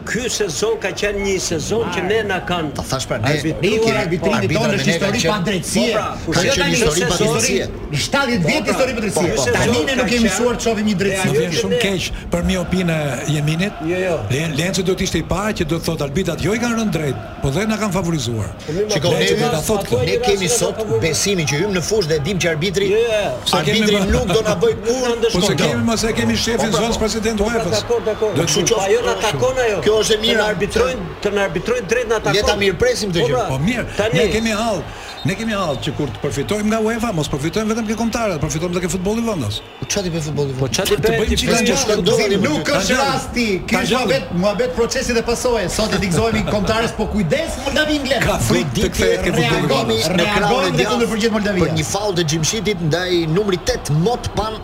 Speaker 6: Ky sezon ka qenë një sezon që ne na kanë
Speaker 7: Ta thash pra, ne-
Speaker 8: Riki arbitrini
Speaker 7: arbitrat
Speaker 8: tonë
Speaker 7: me
Speaker 8: është
Speaker 7: ne kanë
Speaker 8: histori
Speaker 7: qenë-
Speaker 8: pa drejtësie.
Speaker 6: Po pra,
Speaker 7: kur
Speaker 8: Jo,
Speaker 7: kanë qenë
Speaker 8: tani
Speaker 7: histori
Speaker 8: është
Speaker 7: pa
Speaker 8: histori-
Speaker 7: drejtësie.
Speaker 8: 70
Speaker 6: Po,
Speaker 8: vjet
Speaker 6: pra.
Speaker 8: histori pa drejtësie.
Speaker 6: Po, po, po.
Speaker 8: Tani ne nuk
Speaker 6: Ka
Speaker 8: kemi
Speaker 6: qenë-
Speaker 8: mësuar të shohim një
Speaker 9: Më
Speaker 8: drejtësi.
Speaker 6: Ajo
Speaker 9: vjen
Speaker 6: që
Speaker 9: shumë
Speaker 6: ne-
Speaker 9: keq për miopin e Jeminit.
Speaker 6: Jo, jo.
Speaker 9: Le- Lenci do të ishte i parë që do të thotë arbitrat jo i kanë rënë drejt, po dhe na kanë favorizuar.
Speaker 7: Shikoj,
Speaker 9: Lenci do ta
Speaker 7: ne,
Speaker 9: thotë këtë.
Speaker 7: ne kemi sot besimin që hym në fushë dhe dim që arbitri
Speaker 6: Jo, jo.
Speaker 9: Se kemi
Speaker 7: arbitri
Speaker 9: bërë-
Speaker 7: nuk do na bëj
Speaker 6: Na
Speaker 7: kurrë.
Speaker 9: Po
Speaker 6: ndeshkon.
Speaker 9: se
Speaker 6: shkon.
Speaker 9: kemi mos e kemi shefin
Speaker 7: Po, pra,
Speaker 9: zonës
Speaker 7: po.
Speaker 9: president të
Speaker 6: Po,
Speaker 9: UEFA-s.
Speaker 6: Dakor, dakor.
Speaker 9: Do të
Speaker 7: kështu qoftë.
Speaker 6: Po, ajo na takon ajo.
Speaker 7: Kjo është e mira.
Speaker 6: Na arbitrojnë, të na arbitrojnë drejt na takon.
Speaker 7: Le ta mirpresim këtë
Speaker 6: Po,
Speaker 7: gjë.
Speaker 6: pra,
Speaker 9: Po mirë,
Speaker 6: Tani
Speaker 9: ne kemi hall. Ne kemi hall që kur të përfitojmë nga UEFA, mos përfitojmë vetëm ke kombëtarët, përfitojmë edhe ke futbollin vendas.
Speaker 7: Çfarë ti bëj futbolli?
Speaker 6: Po çfarë
Speaker 9: Të bëjmë
Speaker 6: bëjmë
Speaker 9: çfarë
Speaker 6: ti-
Speaker 9: që
Speaker 7: s'ka ndodhur.
Speaker 8: Zim, Nuk
Speaker 9: Ka
Speaker 8: është
Speaker 9: gjallë.
Speaker 8: rasti. Ky
Speaker 9: Ka
Speaker 8: është
Speaker 9: gjallë.
Speaker 8: muhabet, muhabet procesi dhe pasoje. Sot i dikzohemi kombëtarës, po kujdes Moldavi Inglet.
Speaker 9: Ka frikë të kthehej ke futbolli
Speaker 8: reagimi,
Speaker 9: vendas.
Speaker 7: Në krahun
Speaker 8: reagojnë dhe
Speaker 7: djathtë
Speaker 8: kundërpërgjigjet Moldavia.
Speaker 7: Për një faull të Gjimshitit ndaj numri 8 Mot Pan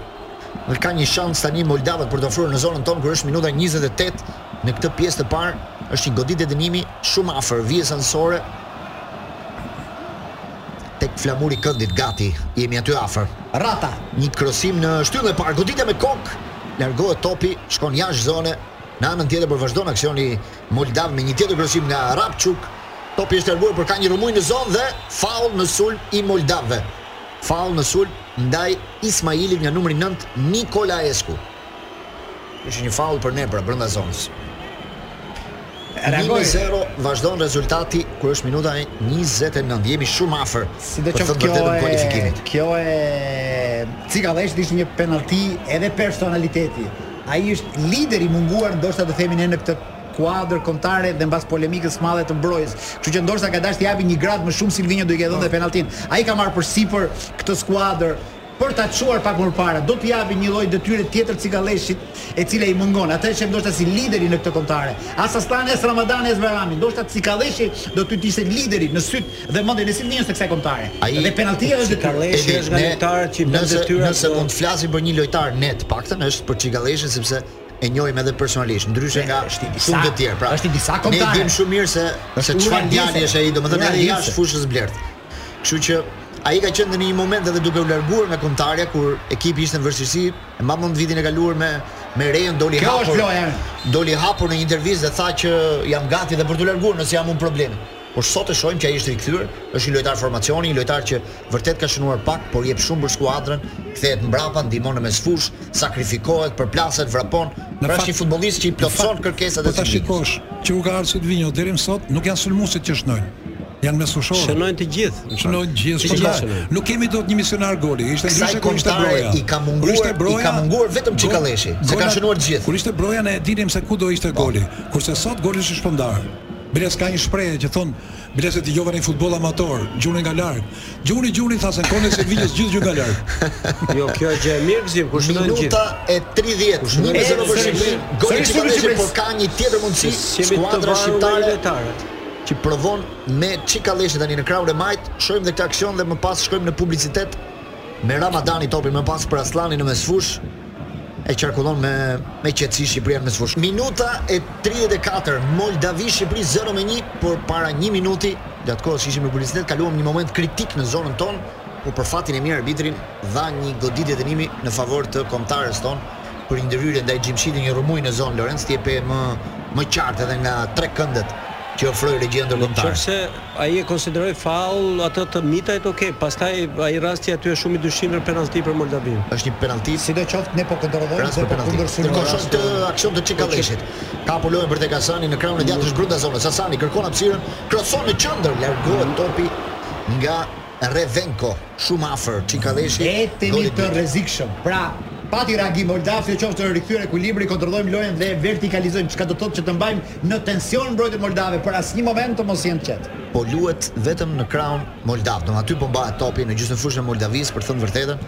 Speaker 7: dhe ka një shans tani Moldavët për të ofruar në zonën tonë kur është minuta 28 në këtë pjesë të parë është një goditje dënimi shumë afër vijës anësore tek flamuri i këndit gati jemi aty afër
Speaker 8: Rata.
Speaker 7: një krosim në shtyllë e parë goditje me kokë largohet topi shkon jashtë zone në anën tjetër për vazhdon aksioni Moldav me një tjetër krosim nga Rapçuk topi është larguar por ka një rëmuj në zonë dhe faull në sulm i Moldavëve faull në sulm ndaj Ismailit nga numri 9 Nikola Esku është një faull për ne pra brenda zonës
Speaker 8: Reagoj.
Speaker 7: 1-0 vazhdon rezultati kur është minuta e 29 jemi shumë afër
Speaker 8: Si do
Speaker 7: për
Speaker 8: qoftë
Speaker 7: thënë
Speaker 8: kjo
Speaker 7: vërtetën,
Speaker 8: e
Speaker 7: kualifikimit
Speaker 8: kjo e Cikallesht ishte një penalti edhe personaliteti. Ai është lider i munguar ndoshta të themi ne në këtë kuadër kombëtare dhe mbas polemikës së madhe të mbrojtës. Kështu që ndoshta ka dashur të japi një grad më shumë Silvinho do i ke dhënë dhe penaltin. Ai ka marrë përsipër këtë skuadër për ta çuar pak më parë. Do të japi një lloj detyre tjetër Cikalleshit, e cila i mungon. Atë që ndoshta si lideri në këtë kombëtare. As Astana, as Ramadani, as Verami. Ndoshta Cikalleshi do të ishte lideri në syt dhe mendjen e Silvinhos të kësaj kombëtare.
Speaker 7: Ai-
Speaker 8: Dhe penaltia është detyre.
Speaker 6: Cikalleshi
Speaker 7: Edi,
Speaker 6: është nga
Speaker 7: ne-
Speaker 6: lojtarët që i bën
Speaker 7: nëse-
Speaker 6: detyra
Speaker 7: Nëse
Speaker 6: të-
Speaker 7: mund të flasim për një lojtar ne të paktën është për Çikalleshin sepse e njohim edhe personalisht, ndryshe nga
Speaker 8: është i disa-
Speaker 7: shumë të tjerë. Pra,
Speaker 8: është i disa kombëtare.
Speaker 7: Ne dim shumë mirë se se
Speaker 8: ura
Speaker 7: çfarë djali
Speaker 8: dise.
Speaker 7: është ai, domethënë
Speaker 8: Ura
Speaker 7: edhe
Speaker 8: dise.
Speaker 7: jashtë fushës blert. Kështu që ai ka qenë në një moment edhe duke u larguar nga kombëtarja kur ekipi ishte në vështirësi, e mbam mund vitin e kaluar me me Rejon doli
Speaker 8: Kjo
Speaker 7: hapur.
Speaker 8: është loja ime.
Speaker 7: Doli hapur në një intervistë dhe tha që jam gati dhe për të larguar nëse jam unë problem. Por sot e shohim që ai është rikthyer, është një lojtar formacioni, një lojtar që vërtet ka shënuar pak, por jep shumë për skuadrën, kthehet mbrapa, ndihmon në mesfush, sakrifikohet, përplaset, vrapon. Pra
Speaker 9: fakt-
Speaker 7: është një futbollist që i plotson kërkesat
Speaker 9: Po
Speaker 7: e
Speaker 9: ta
Speaker 7: tij.
Speaker 9: shikosh që u ka ardhur Silvinho deri më sot nuk janë sulmuesit që shënojnë. Janë mesushorë.
Speaker 6: Shënojnë të gjithë.
Speaker 9: Shënojnë gjithë.
Speaker 6: Të
Speaker 9: po
Speaker 6: gjithë
Speaker 9: ta-
Speaker 6: shënojnë.
Speaker 9: Nuk kemi dot një misionar goli. Ishte
Speaker 7: Kësaj
Speaker 9: ndryshe kur ishte
Speaker 7: kombëtare
Speaker 9: broja.
Speaker 7: i ka munguar-
Speaker 9: Kur ishte
Speaker 7: i ka munguar vetëm
Speaker 9: gol-
Speaker 7: Çikalleshi, se kanë
Speaker 9: golat-
Speaker 7: shënuar të gjithë.
Speaker 9: Kur ishte broja ne e dinim se ku do ishte goli. Kurse sot goli është i shpëndar. Biles ka një shprehje që thon Biles e dëgjova në një futboll amator, gjuni nga larg. Gjuni gjuni thasën kone se Viljes gjithë gjuni nga larg.
Speaker 6: Jo, kjo është gjë e mirë gzim, kur shënojnë gjithë.
Speaker 7: Minuta e 30, 1-0
Speaker 6: shënojnë
Speaker 7: për
Speaker 6: gjithë.
Speaker 7: Shqipërinë.
Speaker 8: Sërish
Speaker 7: Goli i
Speaker 8: shënojnë
Speaker 7: Çikalleshit por
Speaker 8: Shqipërisë.
Speaker 7: ka një tjetër mundësi skuadra shqiptare
Speaker 6: lojtarët.
Speaker 7: që provon me Çikalleshin tani në krahun e majt, shohim dhe këtë aksion dhe më pas shkojmë në publicitet me Ramadani topin më pas për Aslani në mesfush. e qarkullon me me qetësi Shqipërian me sfush. Minuta e 34, Moldavi Shqipëri 0-1, por para 1 minuti, gjatë kohës që ishim në publicitet, kaluam një moment kritik në zonën tonë, por për fatin e mirë arbitrin dha një goditje dënimi në favor të kombëtarës tonë për një ndërhyrje ndaj Gjimshit një rrëmuj në zonë Lorenz ti e pe më më qartë edhe nga tre këndet që ofroi regjia ndërkombëtare.
Speaker 6: Qërse ai e konsideroi faul atë të mitajt, okay, pastaj ai rasti aty është shumë i dyshimër penallti për Moldavin.
Speaker 7: Është një penallti
Speaker 8: Sidoqoftë ne po kontrollojmë
Speaker 7: Rast
Speaker 8: dhe
Speaker 7: Pra, për
Speaker 8: po
Speaker 7: penalti.
Speaker 8: kundërshtojmë.
Speaker 7: Ndërkohë shohim të aksion të Çikalleshit. Ka po lojën për tek Hasani në krahun e djathtë është brenda zonës. Hasani kërkon hapësirën, kroson në qendër, largohet topi nga Revenko, shumë afër Çikalleshi.
Speaker 8: E temi të rrezikshëm. Pra, pati reagim Moldav, në qoftë të rikthyer ekuilibri, kontrollojmë lojën dhe e vertikalizojmë, çka do të thotë që të mbajmë në tension mbrojtën moldave për asnjë moment të mos jenë qetë.
Speaker 7: po luhet vetëm në krahun Moldav. Domethënë aty po mbahet topi në gjysmën fushën e Moldavisë, për të thënë vërtetën.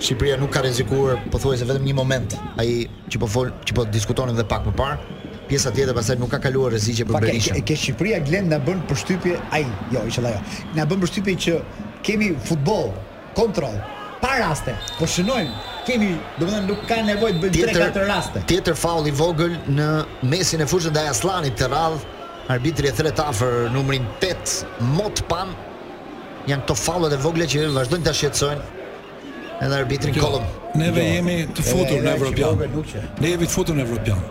Speaker 7: Shqipëria nuk ka rrezikuar pothuajse vetëm një moment, ai që po fol, që po diskutonin edhe pak më parë. Pjesa tjetër pastaj nuk ka kaluar rreziqe për
Speaker 8: Pak e
Speaker 7: Berishën.
Speaker 8: ke, ke Shqipëria Glen na bën përshtypje ai, jo, inshallah jo. Na bën përshtypje që kemi futboll, kontroll, pa raste. Po shënojmë, kemi, domethënë nuk ka nevojë të bëjmë 3-4 raste.
Speaker 7: Tjetër faul i vogël në mesin e fushës ndaj Aslanit të radh. Arbitri e thret afër numrin 8 Mot Pan. Janë këto faullet e vogla që vazhdojnë ta shqetësojnë edhe arbitrin Kollum.
Speaker 9: Neve
Speaker 7: Jo.
Speaker 9: jemi të futur në
Speaker 8: edhe
Speaker 9: Evropian.
Speaker 8: Shqipëria nuk që.
Speaker 9: Ne jemi të futur në Evropian.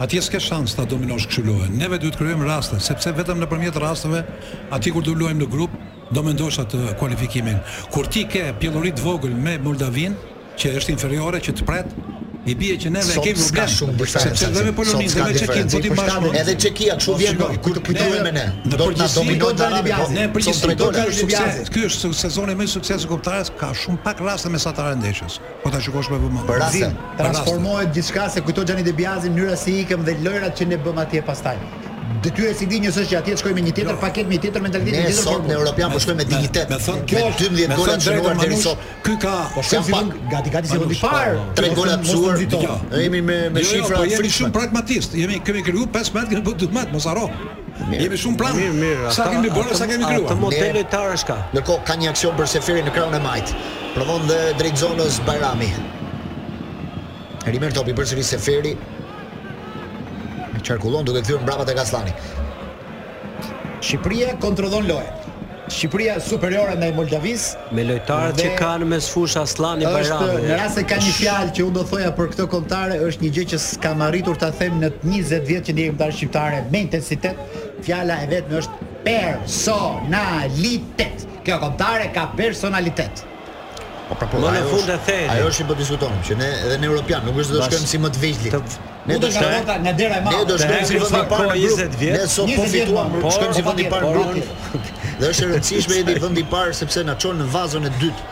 Speaker 9: Atje s'ke shans ta dominosh kështu lojën. Neve duhet kryejmë raste, sepse vetëm nëpërmjet rasteve, aty kur do luajmë në grup, do mendosh atë kualifikimin. Kur ti ke pjellori të vogël me Moldavin, që është inferiore, që të pret, i bie që neve e
Speaker 7: Sot
Speaker 9: kemi
Speaker 7: s'ka
Speaker 9: problem.
Speaker 7: shumë diferencë,
Speaker 9: Sepse dhe me
Speaker 7: Altin.
Speaker 9: Polonin
Speaker 7: Sot
Speaker 9: dhe
Speaker 7: s'ka
Speaker 9: me Çekin,
Speaker 7: diferencë.
Speaker 9: po ti bashkë.
Speaker 7: Edhe Çekia kështu vjen
Speaker 9: Shikoj,
Speaker 7: kur të kujtohet me ne.
Speaker 9: Në
Speaker 7: Do të na
Speaker 9: përgjithësi,
Speaker 7: dominojë
Speaker 8: do të na
Speaker 7: Arabi, po,
Speaker 8: libjazin.
Speaker 9: Ne
Speaker 7: son
Speaker 9: përgjithësi
Speaker 7: drejt
Speaker 9: do
Speaker 7: dole.
Speaker 9: ka
Speaker 8: Dole,
Speaker 9: sukses.
Speaker 8: Ljubljana.
Speaker 9: Ky është sezoni më i sukses i kombëtarës, ka shumë pak raste me satare ndeshjes. Po ta shikosh me vëmendje.
Speaker 7: Për raste.
Speaker 8: Zin, transformohet gjithçka se kujto Xhani Debiazi mënyra si ikëm dhe lojrat që ne bëm atje pastaj. Detyra si dinjës është që atje të shkojmë me një tjetër paketë, me një tjetër mentalitet,
Speaker 7: Jo. Ne
Speaker 8: me një tjetër
Speaker 7: sot në
Speaker 8: formë.
Speaker 7: Europian po shkojmë me dignitet.
Speaker 9: Me thon
Speaker 7: Kjo është 12 gola të shënuar deri sot.
Speaker 9: Ky ka
Speaker 8: Po shkojmë
Speaker 7: Janë
Speaker 8: fillon
Speaker 7: pak.
Speaker 8: gati gati sekundi
Speaker 9: Manush,
Speaker 8: parë.
Speaker 9: po,
Speaker 7: Tre
Speaker 8: Mos-
Speaker 7: gola
Speaker 8: mos
Speaker 7: të psuar.
Speaker 8: nxito.
Speaker 9: Dëgjoj.
Speaker 7: Jo, Jemi me me shifra
Speaker 9: po jemi
Speaker 7: frikshme.
Speaker 9: shumë pragmatist. Jemi kemi kriju 15, kemi bërë 12, mos harro. Jemi shumë plan.
Speaker 6: Mirë, mirë.
Speaker 9: Sa
Speaker 6: ata-
Speaker 9: kemi bërë,
Speaker 6: atë-
Speaker 9: sa kemi
Speaker 6: Atë
Speaker 9: krijuar.
Speaker 6: model
Speaker 7: Ne-
Speaker 6: lojtarësh ka.
Speaker 7: Ndërkohë ka një aksion për Seferin në krahun e majt. Provon dhe drejt zonës Bajrami. Rimer topi përsëri Seferi. E qarkullon duke kthyer mbrapa tek Aslani.
Speaker 8: Shqipëria kontrollon lojën. Shqipëria superiore ndaj Moldavisë
Speaker 6: Me lojtarët që
Speaker 8: Dhe-
Speaker 6: kanë mes fush Aslani
Speaker 8: është
Speaker 6: Bajrami.
Speaker 8: në rast se ka një fjalë që unë do thoja për këtë kontare është një gjë që s'kam arritur ta them në 20 vjet që ndjekim kontare shqiptare me intensitet. Fjala e vetme është personalitet. Kjo kontare ka personalitet.
Speaker 7: Po pra po.
Speaker 6: Më në
Speaker 7: ajo
Speaker 6: fund
Speaker 7: është-
Speaker 6: e thejë.
Speaker 7: Ajo është që po diskutonim, që ne edhe në Europian nuk është se do
Speaker 6: Bas-
Speaker 7: shkojmë si më të vegjli.
Speaker 6: të-
Speaker 7: Ne
Speaker 8: Unë
Speaker 7: do
Speaker 8: do të
Speaker 7: shkojmë
Speaker 8: nga nga dera e
Speaker 7: Ne
Speaker 8: madhe.
Speaker 7: do shkojmë si
Speaker 6: Ne
Speaker 7: vendi i
Speaker 6: kemi
Speaker 7: parë
Speaker 6: kohë
Speaker 7: në grup.
Speaker 6: 20 vjet.
Speaker 7: Ne sot po
Speaker 8: 20 vjet
Speaker 7: fituam,
Speaker 8: më, por-
Speaker 7: shkojmë si vendi i parë në
Speaker 6: por-
Speaker 7: grup. Dhe është e rëndësishme edhe
Speaker 6: (laughs)
Speaker 7: vendi i parë sepse na çon në vazon e dytë.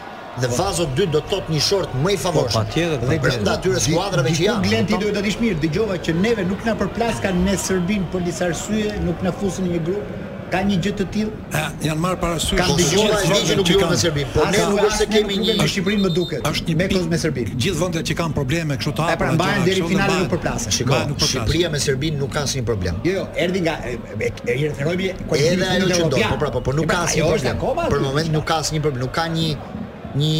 Speaker 7: Dhe vazo 2 do të thot një short më i
Speaker 6: Po,
Speaker 7: favorshëm.
Speaker 6: patjetër,
Speaker 7: Dhe
Speaker 6: patjetër.
Speaker 7: brenda atyre skuadrave që janë.
Speaker 8: Diku Glen ti duhet të dish mirë, dëgjova që neve nuk na përplaskan me Serbin për disa arsye, nuk na fusin në një grup. Ka një gjë të tillë?
Speaker 9: E, Janë marrë parasysh.
Speaker 8: Kam
Speaker 9: Po,
Speaker 8: dëgjuar
Speaker 9: gjithë
Speaker 8: ai
Speaker 7: ligji
Speaker 9: vendet
Speaker 7: nuk
Speaker 9: që
Speaker 7: luan me
Speaker 9: kanë-
Speaker 7: Serbinë, po ne
Speaker 8: As-
Speaker 7: nuk është se
Speaker 8: as ne
Speaker 7: kemi
Speaker 8: nuk luajmë
Speaker 7: një
Speaker 8: me Shqipërinë më duket.
Speaker 9: Është një
Speaker 8: me
Speaker 9: pikë
Speaker 8: koz me Serbinë.
Speaker 9: Gjithë vendet që kanë probleme kështu ta.
Speaker 8: E pra mbahen deri finale nuk përplasen.
Speaker 7: Shiko,
Speaker 9: Shikoj, nuk po përplasen.
Speaker 7: Shqipëria me Serbinë nuk ka asnjë problem.
Speaker 8: Jo, jo, erdhi nga e- e e- i rrethëroi
Speaker 7: Edhe ajo që do, po pra, po, po nuk ka asnjë
Speaker 8: ajo është
Speaker 7: problem.
Speaker 8: akoma.
Speaker 7: Për
Speaker 8: aty.
Speaker 7: moment nuk ka asnjë problem, nuk ka një një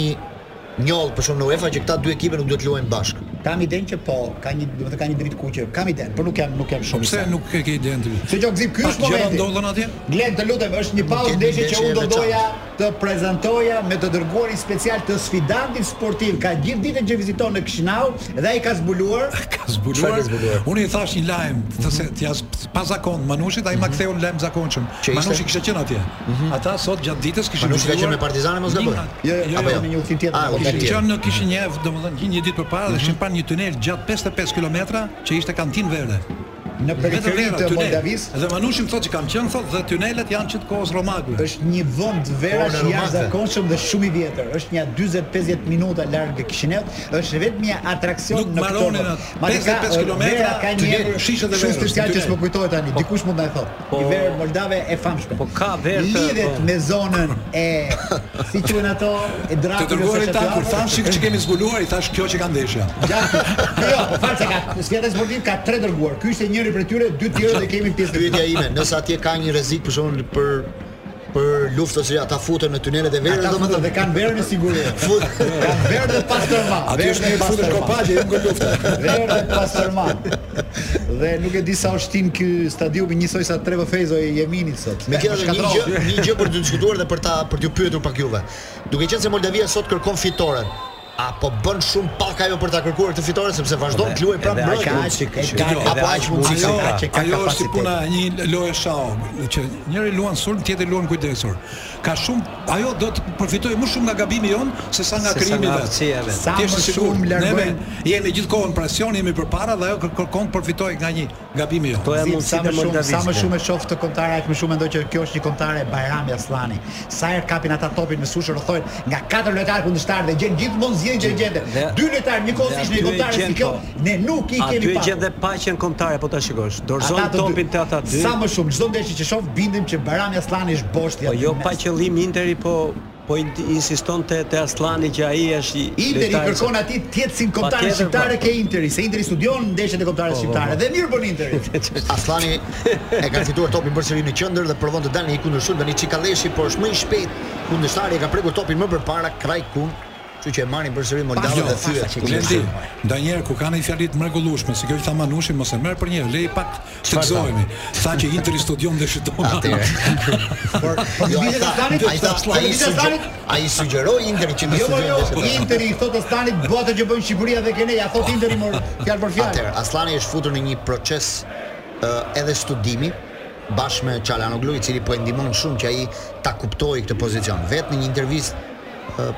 Speaker 7: njollë për shkak në UEFA që këta dy ekipe nuk duhet të luajnë bashkë.
Speaker 8: kam idenë që po, ka një, do të thotë ka një dritë kuqe. Kam idenë, por nuk jam nuk jam shumë. i
Speaker 9: Po Pse
Speaker 8: saktë.
Speaker 9: nuk e ke idenë ti?
Speaker 8: Se që gzip, ky
Speaker 9: Pak
Speaker 8: është
Speaker 9: gjëra
Speaker 8: momenti.
Speaker 9: ndodhen atje?
Speaker 8: Glen, të lutem, është një pauzë
Speaker 7: kemi
Speaker 8: ndeshje që
Speaker 7: ndeshje
Speaker 8: unë do
Speaker 7: e
Speaker 8: doja të prezantoja me të dërguarin special të sfidantit sportiv. Ka gjithë ditën që viziton në Kishinau dhe ai ka zbuluar
Speaker 9: Ka zbuluar. Unë i thash një lajm, të se ti as pa zakon Manushit, ai ma ktheu në lajm zakonshëm.
Speaker 7: Mhm. Që ishte- Mhm.
Speaker 9: Manushi kishte qenë atje. Ata sot gjatë ditës kishin
Speaker 7: Manushi ka
Speaker 9: zhvilluar-
Speaker 7: qenë me Partizani, mos gaboj.
Speaker 9: Një-
Speaker 8: Jo, jo,
Speaker 9: Jo,
Speaker 7: Apo
Speaker 9: jo.
Speaker 7: jo?
Speaker 8: me një udhtim tjetër.
Speaker 7: Ah,
Speaker 8: Po,
Speaker 7: udhtim
Speaker 9: Kishin
Speaker 7: tjetër.
Speaker 9: qenë në Kishinjev, domethënë një- një ditë përpara
Speaker 7: Mhm.
Speaker 9: dhe kishin parë një tunel gjatë 55 kilometra që ishte kantinë verde.
Speaker 8: në
Speaker 9: Vetëm
Speaker 8: periferi
Speaker 9: vera
Speaker 8: të
Speaker 9: tunel.
Speaker 8: Moldavisë.
Speaker 9: Dhe Manushi më thotë që kam qenë thotë dhe tunelet janë që të kohës romakëve.
Speaker 8: është një vend
Speaker 7: Po, në
Speaker 8: verash i
Speaker 7: Romakë.
Speaker 8: jashtëzakonshëm dhe shumë i vjetër. Është një 40-50 minuta larg e Kishineut, është vetëm një atraksion
Speaker 9: Nuk
Speaker 8: në këtë
Speaker 9: mbaronin
Speaker 8: vend.
Speaker 9: atë
Speaker 8: Madje ka uh,
Speaker 9: 55 kilometra,
Speaker 8: vera ka një
Speaker 9: tunel,
Speaker 8: emër shumë
Speaker 9: shishën e verës,
Speaker 8: special që
Speaker 9: tunel.
Speaker 8: s'po kujtohet po tani. Dikush mund ta e thotë.
Speaker 6: Po-
Speaker 8: Një verë moldave e famshme.
Speaker 6: Po ka verë të-
Speaker 8: lidhet
Speaker 6: po.
Speaker 8: me zonën e si quhen ato e
Speaker 9: Të
Speaker 8: Drakulës
Speaker 9: dërgojë
Speaker 8: së
Speaker 9: ta kur
Speaker 8: Shqipërisë.
Speaker 9: thash që kemi zbuluar, i thash kjo që kanë ndeshja.
Speaker 8: Gjatë. Jo, po falë se ka sfida sportiv ka tre dërguar. Ky ishte njëri prej tyre, dy tjerë dhe kemi pjesë.
Speaker 7: Pyetja ime, nëse atje ka një rrezik për shkakun për për luftën që ata futen në tunelet e verës,
Speaker 8: Ata
Speaker 7: domethënë
Speaker 8: futën dhe kanë verën e sigurisë.
Speaker 7: (laughs) Fut-
Speaker 8: Kanë verën dhe pas tërma.
Speaker 7: Aty është një futesh kopaqe, jo nga lufta.
Speaker 8: Verën dhe pas tërma. Dhe nuk e di sa është tim ky stadiumi njësoj sa Trevo Fezo i Jeminit sot.
Speaker 7: Me
Speaker 8: Më
Speaker 7: kja dhe një
Speaker 8: shkatroi.
Speaker 7: gjë, një gjë për të diskutuar dhe për ta për t'ju pyetur pak juve. Duke qenë se Moldavia sot kërkon fitoren, a po bën shumë pak ajo për ta kërkuar këtë fitore sepse vazhdon të luajë prapë
Speaker 6: edhe aq
Speaker 7: mbrojtje.
Speaker 6: mundësi ka që-
Speaker 7: Apo
Speaker 6: edhe
Speaker 7: aq
Speaker 6: aq
Speaker 7: mundësi
Speaker 9: Ajo,
Speaker 7: ka.
Speaker 8: ka që ka
Speaker 9: ajo është si
Speaker 8: kapacitet.
Speaker 9: puna e një lojë shau, që njëri luan sulm, tjetri luan kujdesur. Ka shumë, ajo do të përfitojë më shumë nga gabimi jon se sa nga
Speaker 6: Se sa
Speaker 9: krijimi
Speaker 6: nga
Speaker 9: vet.
Speaker 6: aftësia e vet.
Speaker 8: Sa
Speaker 9: Ti je
Speaker 8: më
Speaker 9: sigurt,
Speaker 8: shumë largojnë-
Speaker 9: neve jemi gjithkohon presion, jemi përpara dhe ajo kër- kërkon të përfitojë nga një gabimi jon.
Speaker 6: Po e
Speaker 8: Zim, sa
Speaker 6: mundësitë
Speaker 8: më
Speaker 6: e
Speaker 8: shumë sa më
Speaker 6: Moldavisë.
Speaker 8: shumë e shoh të kontare, aq më shumë mendoj që kjo është një kontare e Bajrami Aslani. Sa herë kapin ata topin me sushë rrethojnë nga katër lojtarë kundështar dhe gjen gjithmonë zgjedhin që gjete.
Speaker 6: Dhe-
Speaker 8: Dy lojtarë njëkohësisht në një
Speaker 6: Dhe aty e
Speaker 8: kontare si
Speaker 6: gjen,
Speaker 8: kjo,
Speaker 6: po.
Speaker 8: ne nuk i
Speaker 6: Aty
Speaker 8: kemi
Speaker 6: e
Speaker 8: pa.
Speaker 6: gjen dhe paqen kombëtare, po ta shikosh. Dorëzon
Speaker 8: të dy-
Speaker 6: topin te ata dy.
Speaker 8: Sa më shumë çdo ndeshje që shoh bindim që Bajrami Aslani është boshti
Speaker 6: Po
Speaker 8: aty
Speaker 6: jo
Speaker 8: në
Speaker 6: pa
Speaker 8: mes.
Speaker 6: qëllim Interi, po po in- insiston te te Aslani që ai është i
Speaker 8: Interi
Speaker 6: lojtari-
Speaker 8: kërkon aty të jetë sin kontare
Speaker 6: Patjetër,
Speaker 8: shqiptare
Speaker 6: po.
Speaker 8: ke Interi, se Interi studion ndeshjet e kontare shqiptare dhe mirë bën Interi.
Speaker 7: Aslani e ka fituar topin përsëri në qendër dhe provon të dalë në një kundërshtim tani Çikalleshi, por është më i shpejt. Kundërshtari e ka prekur topin më përpara Krajkun, kështu që e marrin përsëri Moldavët
Speaker 8: Pasha,
Speaker 7: dhe thyet.
Speaker 8: pasha që
Speaker 9: Jo, Blendi,
Speaker 7: kundërshtim.
Speaker 9: ndonjëherë ku kanë një fjalit mrekullueshme, si kjo që tha Manushi, mos e merr për një, lej pak të gëzohemi. Tha që Interi studion dhe shitona.
Speaker 7: Atëre.
Speaker 8: (laughs) Por por
Speaker 7: Jo, ai
Speaker 8: vitet
Speaker 7: tha-
Speaker 8: Aslanit,
Speaker 7: ai tha-
Speaker 8: por
Speaker 7: ai
Speaker 8: vitet
Speaker 7: sugge-
Speaker 8: Aslanit
Speaker 7: ai sugjeroi Interi që të
Speaker 8: Jo, po jo,
Speaker 7: studion dhe se-
Speaker 8: Interi i thot Aslanit bua atë që bën Shqipëria dhe kene, ja thot Interi mor fjalë për
Speaker 7: Atëherë,
Speaker 8: fjalë.
Speaker 7: Aslani është futur në një proces ë, edhe studimi bashkë me Çalanoglu, i cili po e ndihmon shumë që ai ta kuptojë këtë pozicion. Vetë në një intervistë ë,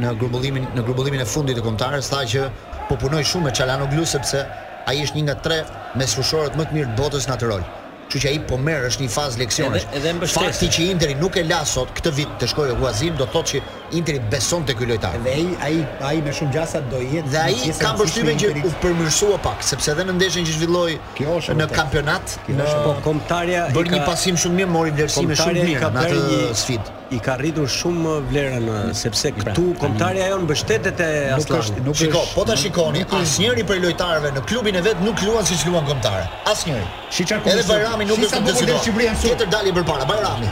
Speaker 7: në grumbullimin në grumbullimin e fundit të kombëtarës tha që po punoj shumë me Çalanoglu sepse ai është një nga tre mesfushorët më të mirë të botës në atë rol. Kështu që ai po merr është një fazë leksionesh.
Speaker 6: Edhe- edhe mbështesë.
Speaker 7: Fakti që Interi nuk e la sot këtë vit të shkojë Huazin do të thotë që Interi beson te ky lojtar.
Speaker 8: Dhe ai ai ai me shumë gjasa do jetë
Speaker 7: Dhe ai
Speaker 8: një pjesë e
Speaker 7: ka
Speaker 8: rëndësishme
Speaker 7: përshtypjen
Speaker 8: e
Speaker 7: që u
Speaker 8: Interit.
Speaker 7: përmirësua pak, sepse edhe në ndeshjen që
Speaker 8: Kjo është e
Speaker 7: zhvilloi në
Speaker 8: vërtetë.
Speaker 7: kampionat, në
Speaker 6: Po kombëtarja i
Speaker 7: bërë
Speaker 6: ka
Speaker 7: një pasim shumë mirë, mori vlerësime shumë
Speaker 6: kombëtarja
Speaker 7: të
Speaker 6: i
Speaker 7: mira
Speaker 6: ka
Speaker 7: në
Speaker 6: bërë
Speaker 7: atë
Speaker 6: një
Speaker 7: sfidë.
Speaker 6: I ka rritur shumë vlerën sepse këtu kombëtarja jon mbështetet e
Speaker 8: nuk është
Speaker 6: Aslanit.
Speaker 8: nuk
Speaker 7: Shiko,
Speaker 8: është-
Speaker 7: po ta shikoni, asnjëri prej lojtarëve në klubin e vet nuk luan siç luan kombëtare. Asnjëri.
Speaker 8: Si çfarë
Speaker 7: Edhe
Speaker 8: kundërshtim.
Speaker 7: Bajrami nuk
Speaker 8: Si
Speaker 7: është
Speaker 8: sa
Speaker 7: të
Speaker 8: bukur del Shqipëria në
Speaker 7: dëshiruar.
Speaker 8: sur.
Speaker 7: Tjetër dali përpara, Bajrami.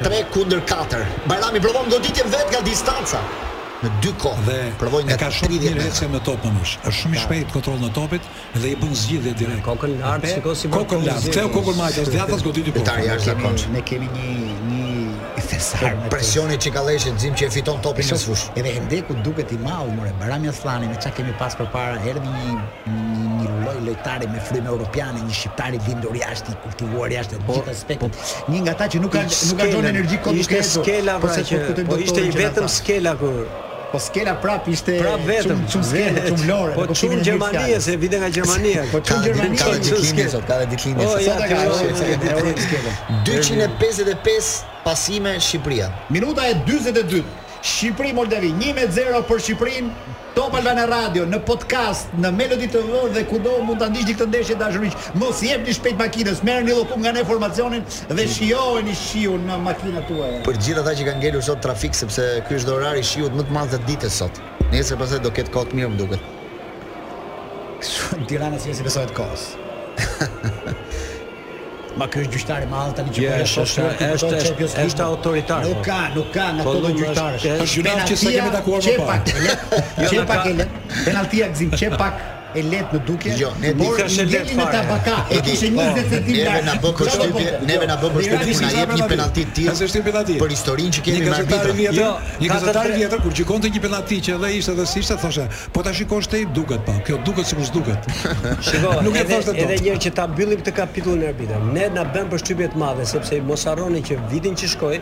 Speaker 7: 3 kundër 4. Bajrami provon goditjen vet nga distanca. Në dy kohë
Speaker 9: Dhe
Speaker 7: provoi
Speaker 9: e
Speaker 7: nga
Speaker 9: ka shumë
Speaker 7: 30
Speaker 9: mirë
Speaker 7: metra.
Speaker 9: ecje me top manush. Është shumë i shpejt kontrollin e topit dhe i bën zgjidhje direkt.
Speaker 6: Kokën lart, shiko si bën
Speaker 9: kokën lart. Ktheu kokën majtas, dhe atas goditi po.
Speaker 7: Lojtari
Speaker 8: Ne
Speaker 7: jashtë
Speaker 8: kemi
Speaker 7: zakonshëm.
Speaker 8: ne kemi një një fesar me
Speaker 7: Presioni i Çikalleshit Zim që e fiton
Speaker 8: E
Speaker 7: topin në
Speaker 8: shoh,
Speaker 7: fushë.
Speaker 8: Edhe Hendeku duket i madh, more. Barami Aslani me çka kemi pas përpara, erdhi një një, një lloj lojtari me frymë europiane, një shqiptar i lindur jashtë, i kultivuar jashtë
Speaker 6: Po,
Speaker 8: të gjithë aspektet. Një nga ata që nuk ka nuk ka dhënë energji kot
Speaker 6: Ishte skela
Speaker 8: po
Speaker 6: pra
Speaker 8: se
Speaker 6: që
Speaker 8: po kujtojmë
Speaker 6: po
Speaker 8: doktorin
Speaker 6: ishte i
Speaker 8: që na
Speaker 6: vetëm
Speaker 8: tha.
Speaker 6: skela kur
Speaker 8: Po skela prap ishte
Speaker 6: prap vetëm
Speaker 8: çum skela, çum lore.
Speaker 6: Po çum Gjermania se vite nga Gjermania.
Speaker 8: Po çum Gjermania.
Speaker 7: Ka dhe
Speaker 6: çum
Speaker 7: ditëlindje
Speaker 6: skela.
Speaker 7: sot, ka dhe ditëlindje
Speaker 6: O,
Speaker 7: sot.
Speaker 6: ja,
Speaker 8: Sot e ka
Speaker 6: kjo-
Speaker 8: është euro skela.
Speaker 7: 255 pasime Shqipëria.
Speaker 8: Minuta e 42. Shqipëri Moldavi 1-0 për Shqipërinë. Top Albana Radio në podcast, në Melody TV dhe kudo mund ta ndiqni këtë ndeshje dashuriq. Mos i jepni shpejt makinës, merrni llokum nga ne formacionin dhe shijojeni shiu në makinat tuaja.
Speaker 7: Për gjithë ata që kanë ngelur sot trafik sepse ky është orari i shiut më të madh të ditës sot. Nesër pastaj do ketë kohë të mirë më duket.
Speaker 8: Tirana si si besohet kohës. Ma ky është gjyqtar i madh tani që
Speaker 6: Ja,
Speaker 8: po e
Speaker 6: është-
Speaker 8: shoh
Speaker 6: është-
Speaker 8: shkruar,
Speaker 6: është-
Speaker 8: kupton Champions League.
Speaker 6: është autoritar,
Speaker 8: Nuk
Speaker 6: po.
Speaker 8: ka, nuk ka nga
Speaker 6: Po,
Speaker 8: këto lloj
Speaker 6: nuk është-
Speaker 8: gjyqtarësh.
Speaker 6: është
Speaker 9: gjunaf që s'e kemi takuar më
Speaker 8: Qe
Speaker 9: parë.
Speaker 8: pak e lehtë, qe
Speaker 6: (laughs) Jo,
Speaker 8: pak
Speaker 6: ka-
Speaker 8: e lehtë. Penaltia gzim qe pak e lehtë në dukje.
Speaker 7: Jo, ne
Speaker 8: por
Speaker 6: nuk është e
Speaker 8: i
Speaker 6: lehtë
Speaker 8: ngeli me
Speaker 6: fare.
Speaker 8: tabaka. E
Speaker 7: E di,
Speaker 8: kishte
Speaker 7: po,
Speaker 8: 20 centimetra.
Speaker 7: Neve na bë përshtypje, neve na bë përshtypje kur na jep një penallti të
Speaker 9: Ka se shtim
Speaker 7: tillë.
Speaker 9: penallti.
Speaker 7: Për historinë që kemi
Speaker 9: Një
Speaker 7: me
Speaker 9: gazetari
Speaker 7: arbitrin.
Speaker 9: vjetër,
Speaker 6: Jo,
Speaker 9: një
Speaker 6: ka të
Speaker 9: gazetari
Speaker 6: tre-
Speaker 9: vjetër kur gjikonte një penallti që edhe ishte dhe s'ishte thoshe, po ta shikosh te duket pa. Kjo duket sikur s'duket.
Speaker 7: (laughs)
Speaker 6: Shiko,
Speaker 9: Nuk e
Speaker 6: edhe,
Speaker 9: thoshte dot.
Speaker 6: edhe një herë që ta mbyllim këtë kapitullin e arbitrave. Ne na bën përshtypje të madhe sepse mos harroni që vitin që shkoi,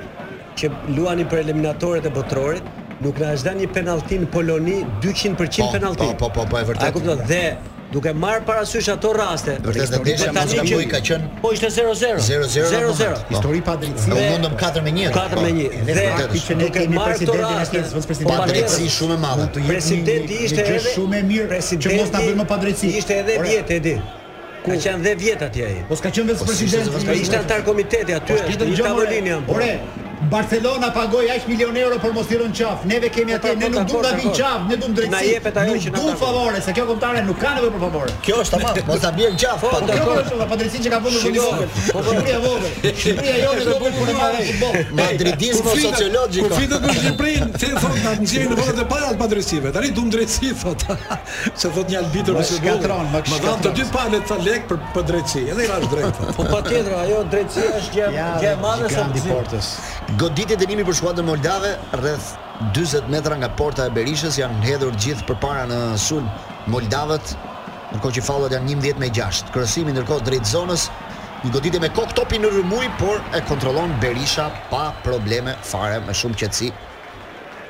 Speaker 6: që luani për eliminatorët e botrorit, nuk na është dhënë një penallti në Poloni 200%
Speaker 7: Po,
Speaker 6: penallti.
Speaker 7: po, po, po, po, e vërtetë.
Speaker 6: A kupton? Dhe duke marr parasysh ato raste.
Speaker 7: Vërtet, dhe desha mos
Speaker 6: tani
Speaker 7: gaboj,
Speaker 6: që-
Speaker 7: ka qenë
Speaker 6: Po ishte 0-0.
Speaker 7: 0-0 në moment.
Speaker 6: 0-0.
Speaker 7: Po.
Speaker 8: Histori pa
Speaker 7: Ne
Speaker 8: drejtësi.
Speaker 6: Dhe-
Speaker 7: mundëm 4 me Po. 1.
Speaker 6: 4 me 1.
Speaker 8: Edhe
Speaker 6: Dhe
Speaker 8: fakti që ne
Speaker 6: duke
Speaker 8: kemi
Speaker 6: marrë këto
Speaker 8: presidentin e
Speaker 6: raste,
Speaker 8: shtetit, vicepresidentin.
Speaker 6: po,
Speaker 7: Padrejtësi shumë e madhe.
Speaker 8: Do jemi
Speaker 6: Presidenti
Speaker 8: një- një
Speaker 6: ishte
Speaker 8: gjë
Speaker 6: edhe
Speaker 8: shumë e mirë që mos na bëjnë më padrejtësi.
Speaker 6: Ishte edhe
Speaker 8: Ore,
Speaker 6: 10 edi. Ku ka qenë 10 vjet atje ai.
Speaker 8: Po s'ka qenë vetë
Speaker 7: s'ishte
Speaker 8: presidenti.
Speaker 7: se s'ka
Speaker 6: Ka ishte antar komiteti aty,
Speaker 8: Po s'ka
Speaker 6: është
Speaker 8: tjetër
Speaker 6: një
Speaker 8: gjë, more.
Speaker 6: tavolinë janë.
Speaker 8: Ore, Barcelona pagoi aq milionë euro për mos tiron qaf. Neve kemi
Speaker 6: Po,
Speaker 8: atje,
Speaker 6: po,
Speaker 8: ne nuk
Speaker 6: dakor,
Speaker 8: duam ta vinë
Speaker 6: dakor.
Speaker 8: qaf, ne duam drejtësi.
Speaker 6: Na jepet ajo që na
Speaker 8: duam
Speaker 6: takon.
Speaker 8: favore, se kjo kombëtare nuk ka nevojë për favore.
Speaker 7: Kjo është tamam, mos ta bjerë
Speaker 6: Po,
Speaker 7: gjafë. pa-
Speaker 8: Kjo
Speaker 6: Dakor.
Speaker 8: po është pa drejtësinë që ka vënë në
Speaker 6: Shiko,
Speaker 8: vogël.
Speaker 6: po, po.
Speaker 8: Shqipëria e vogël. Shqipëria jonë e vogël punë marrë futboll.
Speaker 7: Madridizmi
Speaker 9: Kur flitet-
Speaker 7: sociologjik.
Speaker 9: Kur fitet për Shqipërinë, the thonë na nxjerrin në vendet e para të padrejtësive. Tani duam drejtësi thotë. (laughs) Se thotë një arbitër
Speaker 8: Më
Speaker 9: ose futbolli.
Speaker 8: shkatron, më
Speaker 9: Më dhanë të
Speaker 8: shkatron.
Speaker 9: dy palët ta lek për për drejtësi. Edhe i rash drejt. thotë.
Speaker 6: Po patjetër, ajo drejtësia është gjë gjë e madhe se
Speaker 8: Grandi Portës.
Speaker 7: Goditje dënimi për skuadrën moldave rreth 40 metra nga porta e Berishës janë hedhur gjithë përpara në sulm moldavët, ndërkohë që fallat janë 11 me 6. Krosimi ndërkohë drejt zonës Një goditje me kokë topi në rëmuj, por e kontrollon Berisha pa probleme fare, me shumë qetësi.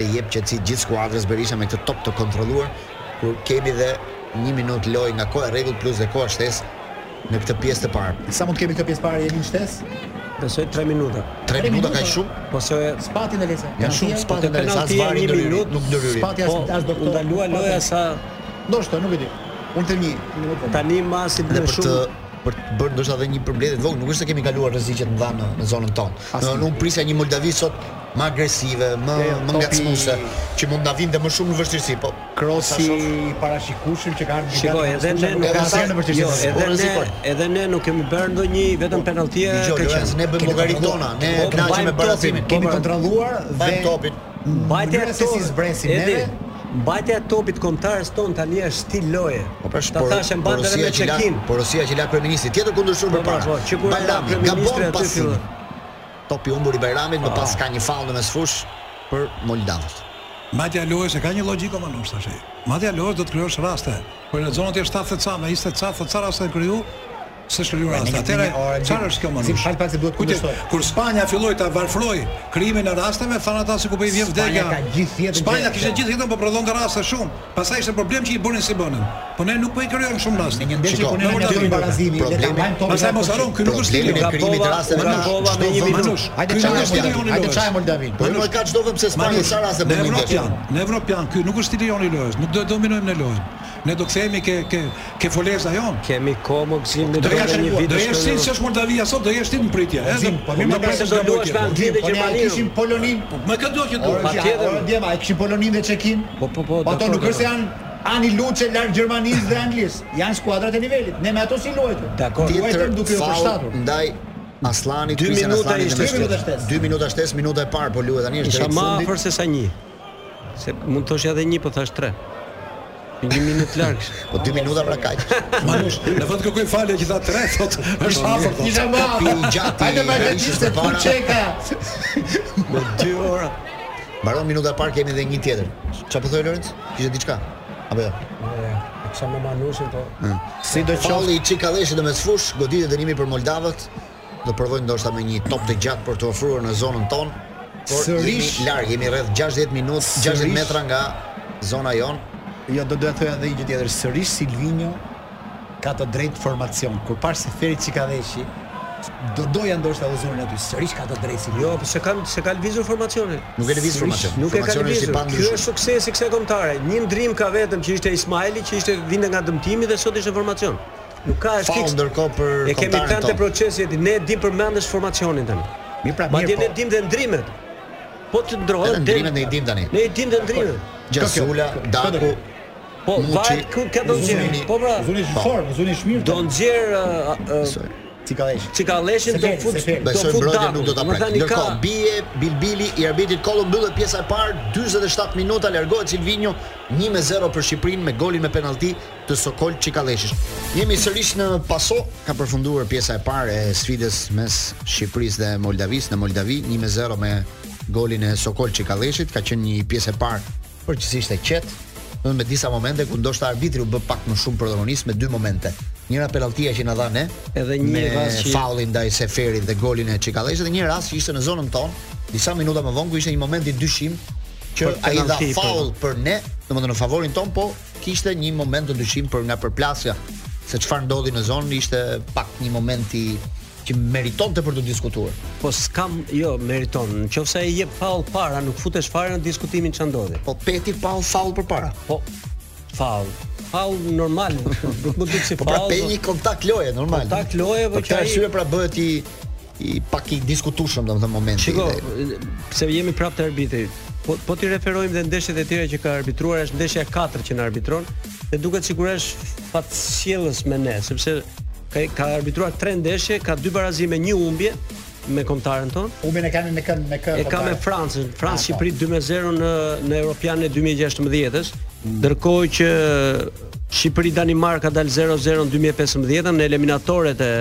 Speaker 7: E jep qetësi gjithë skuadrës Berisha me këtë top të kontrolluar, kur kemi dhe një minutë lojë nga koha e rregull plus dhe koha shtesë në këtë pjesë të parë.
Speaker 8: Sa mund të kemi këtë pjesë parë jemi në shtesë?
Speaker 6: Besoj 3 minuta.
Speaker 7: 3 minuta ka
Speaker 8: minuta.
Speaker 7: shumë,
Speaker 6: Po se
Speaker 8: Spati në lese.
Speaker 7: janë shumë
Speaker 6: të
Speaker 7: spatë në
Speaker 6: penaltia
Speaker 7: as vari
Speaker 6: një
Speaker 7: në
Speaker 6: minutë,
Speaker 7: nuk ndërhyri.
Speaker 8: Spati
Speaker 6: po
Speaker 8: as as doktor. po,
Speaker 6: u ndalua loja sa
Speaker 8: Ndoshta, nuk e di. Unë të një, një minutë.
Speaker 6: tani masi
Speaker 7: dhe
Speaker 6: më
Speaker 7: për të
Speaker 6: shumë
Speaker 7: për të bërë ndoshta edhe një përmbledhje të vogël, nuk është se kemi kaluar rreziqe të mëdha në, në zonën tonë. Do të unë prisja një Moldavi sot më agresive, më
Speaker 8: Jo, jo,
Speaker 7: më
Speaker 8: topi-
Speaker 7: ngacmuese, që mund ta vinë dhe më shumë në vështirësi, po
Speaker 8: Krosi
Speaker 7: Sa shoh-
Speaker 8: parashikueshëm që ka ardhur
Speaker 6: Shikoj, edhe ne nuk
Speaker 8: ka asnjë në
Speaker 6: jo,
Speaker 8: vështirësi.
Speaker 6: edhe
Speaker 7: Orën
Speaker 6: ne,
Speaker 7: sikoj.
Speaker 6: edhe ne nuk kemi bërë ndonjë vetëm penaltia
Speaker 7: dëgjoj,
Speaker 6: ka
Speaker 7: Lorenz,
Speaker 6: qenë.
Speaker 7: ne bëjmë
Speaker 8: Kemi
Speaker 7: llogarit tona, ne
Speaker 6: kontrolluar. Po,
Speaker 7: kënaqemi me
Speaker 6: bajmë
Speaker 7: barazimin.
Speaker 6: topin,
Speaker 8: Kemi
Speaker 6: po,
Speaker 8: kontrolluar dhe
Speaker 7: Bajmë topin.
Speaker 6: Mbajtja
Speaker 8: Mënyra se
Speaker 6: e
Speaker 8: si
Speaker 6: topit-
Speaker 8: zbresim
Speaker 6: Edi,
Speaker 8: neve.
Speaker 6: Mbajtja e topit kombëtarës ton tani është stil loje.
Speaker 7: Po
Speaker 8: pra,
Speaker 7: për
Speaker 6: Ta thashë mbajnë edhe me çekim.
Speaker 7: Po Rusia që la kryeministri tjetër kundërshtim
Speaker 6: Po,
Speaker 7: për
Speaker 8: pra,
Speaker 7: para.
Speaker 6: po, që kur e la kryeministri aty fillon.
Speaker 7: Topi humbur i Bajramit, më pas ka një faull në mesfush për Moldavët.
Speaker 9: Madje Aloes e ka një logjikë manush tash. Madje Aloes do të krijosh raste. Po në zonat e 70 ca, me 20 ca, thotë ca raste kriju se shkriju
Speaker 8: Pra,
Speaker 9: raste. Atëre çfarë është kjo
Speaker 8: Si
Speaker 9: manush?
Speaker 8: fal pak se duhet
Speaker 9: Kujtë,
Speaker 8: kundërshtoj.
Speaker 9: kur Spanja filloi ta varfroi krimin e rasteve, thanë ata se ku po i vjen
Speaker 8: Spanja
Speaker 9: vdekja.
Speaker 8: ka gjithë jetën
Speaker 9: Spanja
Speaker 8: që-
Speaker 9: kishte gjithë jetën po prodhonte raste shumë. Pastaj ishte problem që i bënin si bënin. Po ne nuk po i krijojmë shumë raste.
Speaker 8: Një ndeshje
Speaker 7: Shiko,
Speaker 8: ku ne
Speaker 9: në
Speaker 8: na
Speaker 9: Moldavi.
Speaker 8: bëjmë barazimi, le ta
Speaker 7: Problemi-
Speaker 8: mbajmë topin.
Speaker 9: Pastaj mos haron, ky nuk është
Speaker 7: Problemi
Speaker 9: stili.
Speaker 7: i krimit të
Speaker 6: Gapova,
Speaker 7: rasteve ka
Speaker 6: Gapova me një
Speaker 7: çdo vend.
Speaker 6: minutë.
Speaker 9: Manush,
Speaker 8: Hajde
Speaker 9: ky
Speaker 8: çaj
Speaker 9: nuk
Speaker 8: me
Speaker 9: është stili
Speaker 8: Moldavin.
Speaker 9: jonë i
Speaker 8: Hajde
Speaker 9: Loes.
Speaker 8: çaj Moldavin.
Speaker 7: Po nuk ka çdo vend se Spanja
Speaker 9: Manush,
Speaker 7: sa raste
Speaker 9: Në
Speaker 7: bën një
Speaker 9: Evropë
Speaker 7: ndeshje.
Speaker 9: janë, në Evropë janë, ky nuk është stili jonë i Loes. Nuk do të dominojmë në Loes. Ne do kthehemi ke ke ke foleza jon.
Speaker 6: Kemi komo gzim në
Speaker 9: Do
Speaker 6: dorë
Speaker 9: jesh
Speaker 6: një
Speaker 8: po,
Speaker 6: vit.
Speaker 9: do
Speaker 6: të
Speaker 9: jesh
Speaker 6: shkëllqyer.
Speaker 9: si është Moldavia sot, do jesh ti në pritje. Edhe
Speaker 8: Gzim, po mirë,
Speaker 9: do
Speaker 8: më
Speaker 9: presim
Speaker 6: do
Speaker 9: do
Speaker 6: luash me
Speaker 9: luash.
Speaker 6: Angli dhe
Speaker 8: Po ne
Speaker 6: Gjermaninë.
Speaker 8: kishim Polonin,
Speaker 9: Më këtë do që
Speaker 8: Po (laughs)
Speaker 9: duhet.
Speaker 6: pa tjetër.
Speaker 8: patjetër. Djema, e kishin Polonin dhe Çekin.
Speaker 6: Po, po, po,
Speaker 8: Ato
Speaker 6: dakor,
Speaker 8: nuk është se
Speaker 6: dakor.
Speaker 8: janë ani luçe larg Gjermanisë dhe Anglisë. Janë skuadrat e nivelit. Ne me ato si luajtëm.
Speaker 6: Dakor.
Speaker 8: Luajtëm duke u
Speaker 7: faul
Speaker 8: përshtatur.
Speaker 7: ndaj Aslanit,
Speaker 6: Dy
Speaker 7: Krysen
Speaker 6: minuta
Speaker 7: Aslanit
Speaker 6: ishte,
Speaker 7: në
Speaker 8: dy minuta
Speaker 7: mes.
Speaker 8: shtesë.
Speaker 7: 2 minuta 6 minuta e parë, po luhet tani është
Speaker 6: Isha
Speaker 7: drejt
Speaker 6: ma
Speaker 7: fundit.
Speaker 6: afër se sa një. Se mund të thosh edhe një, po thash tre. Një minutë larg.
Speaker 7: Po 2 minuta pra kaq.
Speaker 9: Manush, në fund kërkoj falje që tha tre,
Speaker 8: (laughs)
Speaker 9: thotë, është afër. thotë.
Speaker 8: Isha ma.
Speaker 7: Pi u gjati,
Speaker 8: Hajde ma
Speaker 7: ishte
Speaker 8: gatiste
Speaker 7: para.
Speaker 8: Çeka.
Speaker 6: Po 2 ora.
Speaker 7: Mbaron minuta e parë kemi edhe një tjetër. Çfarë po thoi Lorenz? Kishte diçka. Apo jo.
Speaker 6: Sa më manushin po.
Speaker 8: Si do
Speaker 7: Falli i Çikadheshit në mesfush, goditë dënimi për moldavët. Do provojnë ndoshta me një top të gjatë për të ofruar në zonën tonë. Por
Speaker 8: Sërish-
Speaker 7: jemi larg, jemi rreth 60 minutë, 60
Speaker 8: Sërish-
Speaker 7: metra nga zona jonë.
Speaker 8: Jo, do doja të thoja edhe një gjë tjetër. Sërish Silvinho ka të drejtë formacion. Kur parë se Feri Çikadheshi, do doja ndoshta edhe zonin aty. Sërish ka të drejtë Silvinho.
Speaker 6: Jo, po se kanë se kanë lëvizur formacionin.
Speaker 7: Nuk e lëviz formacion.
Speaker 6: Nuk e ka
Speaker 7: Formacioni është i
Speaker 6: lëvizur. Ky
Speaker 7: pandryshëm.
Speaker 6: është suksesi i kësaj kombëtare. Një ndrim ka vetëm që ishte Ismaili, që ishte vinte nga dëmtimi dhe sot ishte formacion. Nuk ka është
Speaker 7: Faull
Speaker 6: fiks.
Speaker 7: ndërkohë për
Speaker 6: E kemi
Speaker 7: kombëtarin
Speaker 6: tante
Speaker 7: tonë.
Speaker 6: procesi jeti, ne e dim përmendesh formacionin tani.
Speaker 8: Mirë pra,
Speaker 6: Madje ne
Speaker 8: mirë po.
Speaker 6: dim dhe ndrimet. Po të ndrohet
Speaker 7: Edhe ndrimet ne i dim tani.
Speaker 6: Ne i dim dhe ndrimet.
Speaker 7: Gjasula, Daku,
Speaker 6: Po
Speaker 7: Muçi,
Speaker 6: varet ku ka do
Speaker 7: Zunini.
Speaker 6: nxjerr. Po pra,
Speaker 8: Zoni është në formë, zoni është mirë. po.
Speaker 6: do nxjerr uh, ë, ë,
Speaker 8: Çikadheshi.
Speaker 6: Çikalleshin do
Speaker 8: Seferi,
Speaker 6: fut
Speaker 8: Seferi.
Speaker 6: do
Speaker 7: Besoj
Speaker 6: fut
Speaker 7: mbrojtja
Speaker 6: dakun.
Speaker 7: nuk do ta prek.
Speaker 6: Domethënë, ka-
Speaker 7: Ndërkohë bie Bilbili i arbitrit Kollo mbyllë pjesa e parë 47 minuta largohet Silvinho 1-0 për Shqipërinë me golin me penallti të Sokol Çikalleshit. Jemi sërish në paso, ka përfunduar pjesa e parë e sfidës mes Shqipërisë dhe Moldavisë në Moldavi 1-0 me golin e Sokol Çikalleshit. Ka qenë një pjesë e parë përgjithsisht e qetë, do me disa momente ku ndoshta arbitri u bë pak më shumë protagonist me dy momente. Njëra penaltia që na dha ne,
Speaker 6: Edhe një
Speaker 7: me
Speaker 6: rast që-
Speaker 7: faullin ndaj Seferit dhe golin e Çikalleshit dhe një rast që ishte në zonën tonë, disa minuta më vonë ku ishte një moment i dyshim që
Speaker 6: Për
Speaker 7: ai dha
Speaker 6: penalti, po.
Speaker 7: faull për ne, domethënë në favorin ton, po kishte një moment të dyshim për nga përplasja se çfarë ndodhi në zonë ishte pak një moment i që meritonte për të diskutuar.
Speaker 6: Po s'kam, jo, meriton. Në qoftë se ai jep paull para, nuk futesh fare në diskutimin që ndodhi.
Speaker 7: Po Peti pa faull përpara.
Speaker 6: Po faull. Faull normal,
Speaker 7: (laughs)
Speaker 6: nuk më duket si
Speaker 7: Po pra
Speaker 6: faull.
Speaker 7: pe një kontakt loje normal.
Speaker 6: Kontakt loje,
Speaker 7: Po
Speaker 6: po që
Speaker 7: këtë
Speaker 6: ai-
Speaker 7: arsye pra bëhet i i pak i diskutueshëm domethënë momenti.
Speaker 6: Shiko,
Speaker 7: dhe-
Speaker 6: pse jemi prapë te arbitri. Po po ti referojmë dhe ndeshjet e tjera që ka arbitruar, është ndeshja e katërt që na arbitron dhe duket sigurisht fatshjellës me ne, sepse ka ka arbitruar tre ndeshje, ka dy barazime, një humbje me kombëtarën tonë
Speaker 8: Umen e kanë po. me kënd me kënd.
Speaker 6: E ka me Francën,
Speaker 8: Ah,
Speaker 6: Francë Shqipëri 2-0 në në Europianën e 2016-s, ndërkohë që Shqipëri Danimarka dal 0-0 në 2015 në eliminatoret e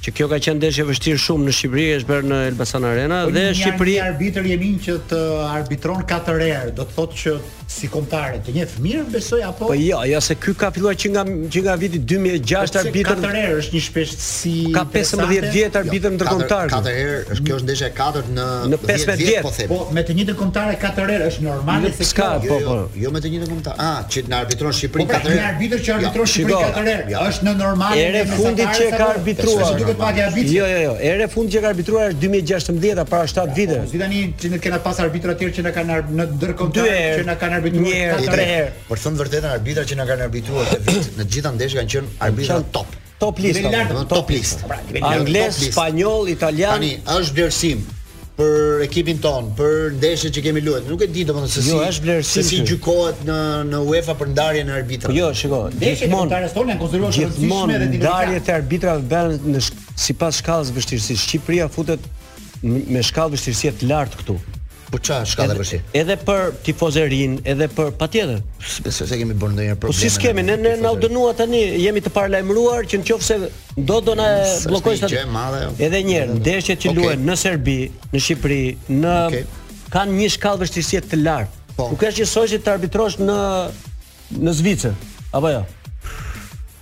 Speaker 6: që kjo ka qenë ndeshje e vështirë shumë në Shqipëri, është bërë në Elbasan Arena
Speaker 8: Po
Speaker 6: dhe
Speaker 8: një
Speaker 6: Shqipëri
Speaker 8: një arbitër jemin që të arbitron katër herë, do të thotë që si kombëtare të njeh mirë besoj apo
Speaker 6: Po jo, jo se ky ka filluar që nga që nga viti 2006 arbitër
Speaker 8: Po, katër herë është një shpeshtësi
Speaker 6: ka 15
Speaker 8: interesante.
Speaker 6: vjet
Speaker 7: Jo,
Speaker 6: arbitër ndërkombëtar.
Speaker 7: Katër herë, është kjo është ndeshja e katërt në
Speaker 6: Në
Speaker 7: 10
Speaker 6: 15 vjet.
Speaker 7: po them.
Speaker 8: Po me të njëjtën kombëtare katër herë është normale
Speaker 6: Nuk
Speaker 8: se
Speaker 6: s'ka,
Speaker 8: kjo-
Speaker 7: Jo,
Speaker 6: po,
Speaker 7: jo,
Speaker 6: po.
Speaker 7: jo me të njëjtën kombëtar. Ah, që na arbitron
Speaker 8: Po
Speaker 7: Shqipëri
Speaker 8: pra,
Speaker 7: katër
Speaker 8: një arbitër që arbitron
Speaker 7: Jo,
Speaker 8: Shqipërinë
Speaker 6: shiko,
Speaker 8: katër herë, është në normal.
Speaker 6: Ere fundit që ka arbitruar.
Speaker 8: Është duket pak e arbitrit.
Speaker 6: Jo, jo, jo. Ere fundi që ka arbitruar është 2016 para 7
Speaker 8: Po,
Speaker 6: viteve.
Speaker 8: si tani që ne kena pas arbitra të tjerë që na kanë ar- në
Speaker 6: Dy
Speaker 8: ndërkombëtar
Speaker 6: herë,
Speaker 8: që na kanë arbitruar
Speaker 6: një herë,
Speaker 8: katër
Speaker 6: tre
Speaker 8: herë.
Speaker 6: herë.
Speaker 7: Por thënë vërtetën arbitrat që na kanë arbitruar këtë vit, në të gjitha ndeshjet kanë qenë arbitra
Speaker 6: Qan-
Speaker 7: top.
Speaker 6: Top list.
Speaker 8: Nivel lart,
Speaker 7: Domethënë top list.
Speaker 6: Pra, Angles,
Speaker 7: Top list.
Speaker 6: spanjoll, italian.
Speaker 7: Tani është vlerësim për ekipin ton, për ndeshjet që kemi luajtur. Nuk e di domethënë se si
Speaker 6: Jo, është vlerësim
Speaker 7: se si
Speaker 6: ky.
Speaker 7: gjykohet në në UEFA për ndarjen e
Speaker 6: Po
Speaker 7: arbitrave.
Speaker 6: jo, shiko,
Speaker 8: Ndeshjet e
Speaker 6: gjithmonë
Speaker 8: kombëtares tonë janë konsideruar të rëndësishme
Speaker 6: gjithmonë
Speaker 8: dhe dinamike.
Speaker 6: ndarjet e arbitrave bëhen në sh- sipas shkallës vështirësisë. Shqipëria futet m- me shkallë vështirësie të lartë këtu.
Speaker 7: Po ç'a shkallë vështirë?
Speaker 6: Edhe për tifozerin, edhe për patjetër.
Speaker 7: Besoj se kemi bërë ndonjë
Speaker 6: Po
Speaker 7: problem.
Speaker 6: si skemi, ne ne na u dënua tani, jemi të paralajmëruar që nëse do do na
Speaker 7: S'është
Speaker 6: bllokoj
Speaker 7: një gjë e madhe, jo.
Speaker 6: Edhe një herë, ndeshjet që
Speaker 7: Okej.
Speaker 6: luhen në Serbi, në Shqipëri, në
Speaker 7: Okej.
Speaker 6: kanë një shkallë vështirësie të lartë.
Speaker 7: Po.
Speaker 6: Nuk është njësoj që të arbitrosh në në Zvicër, apo jo?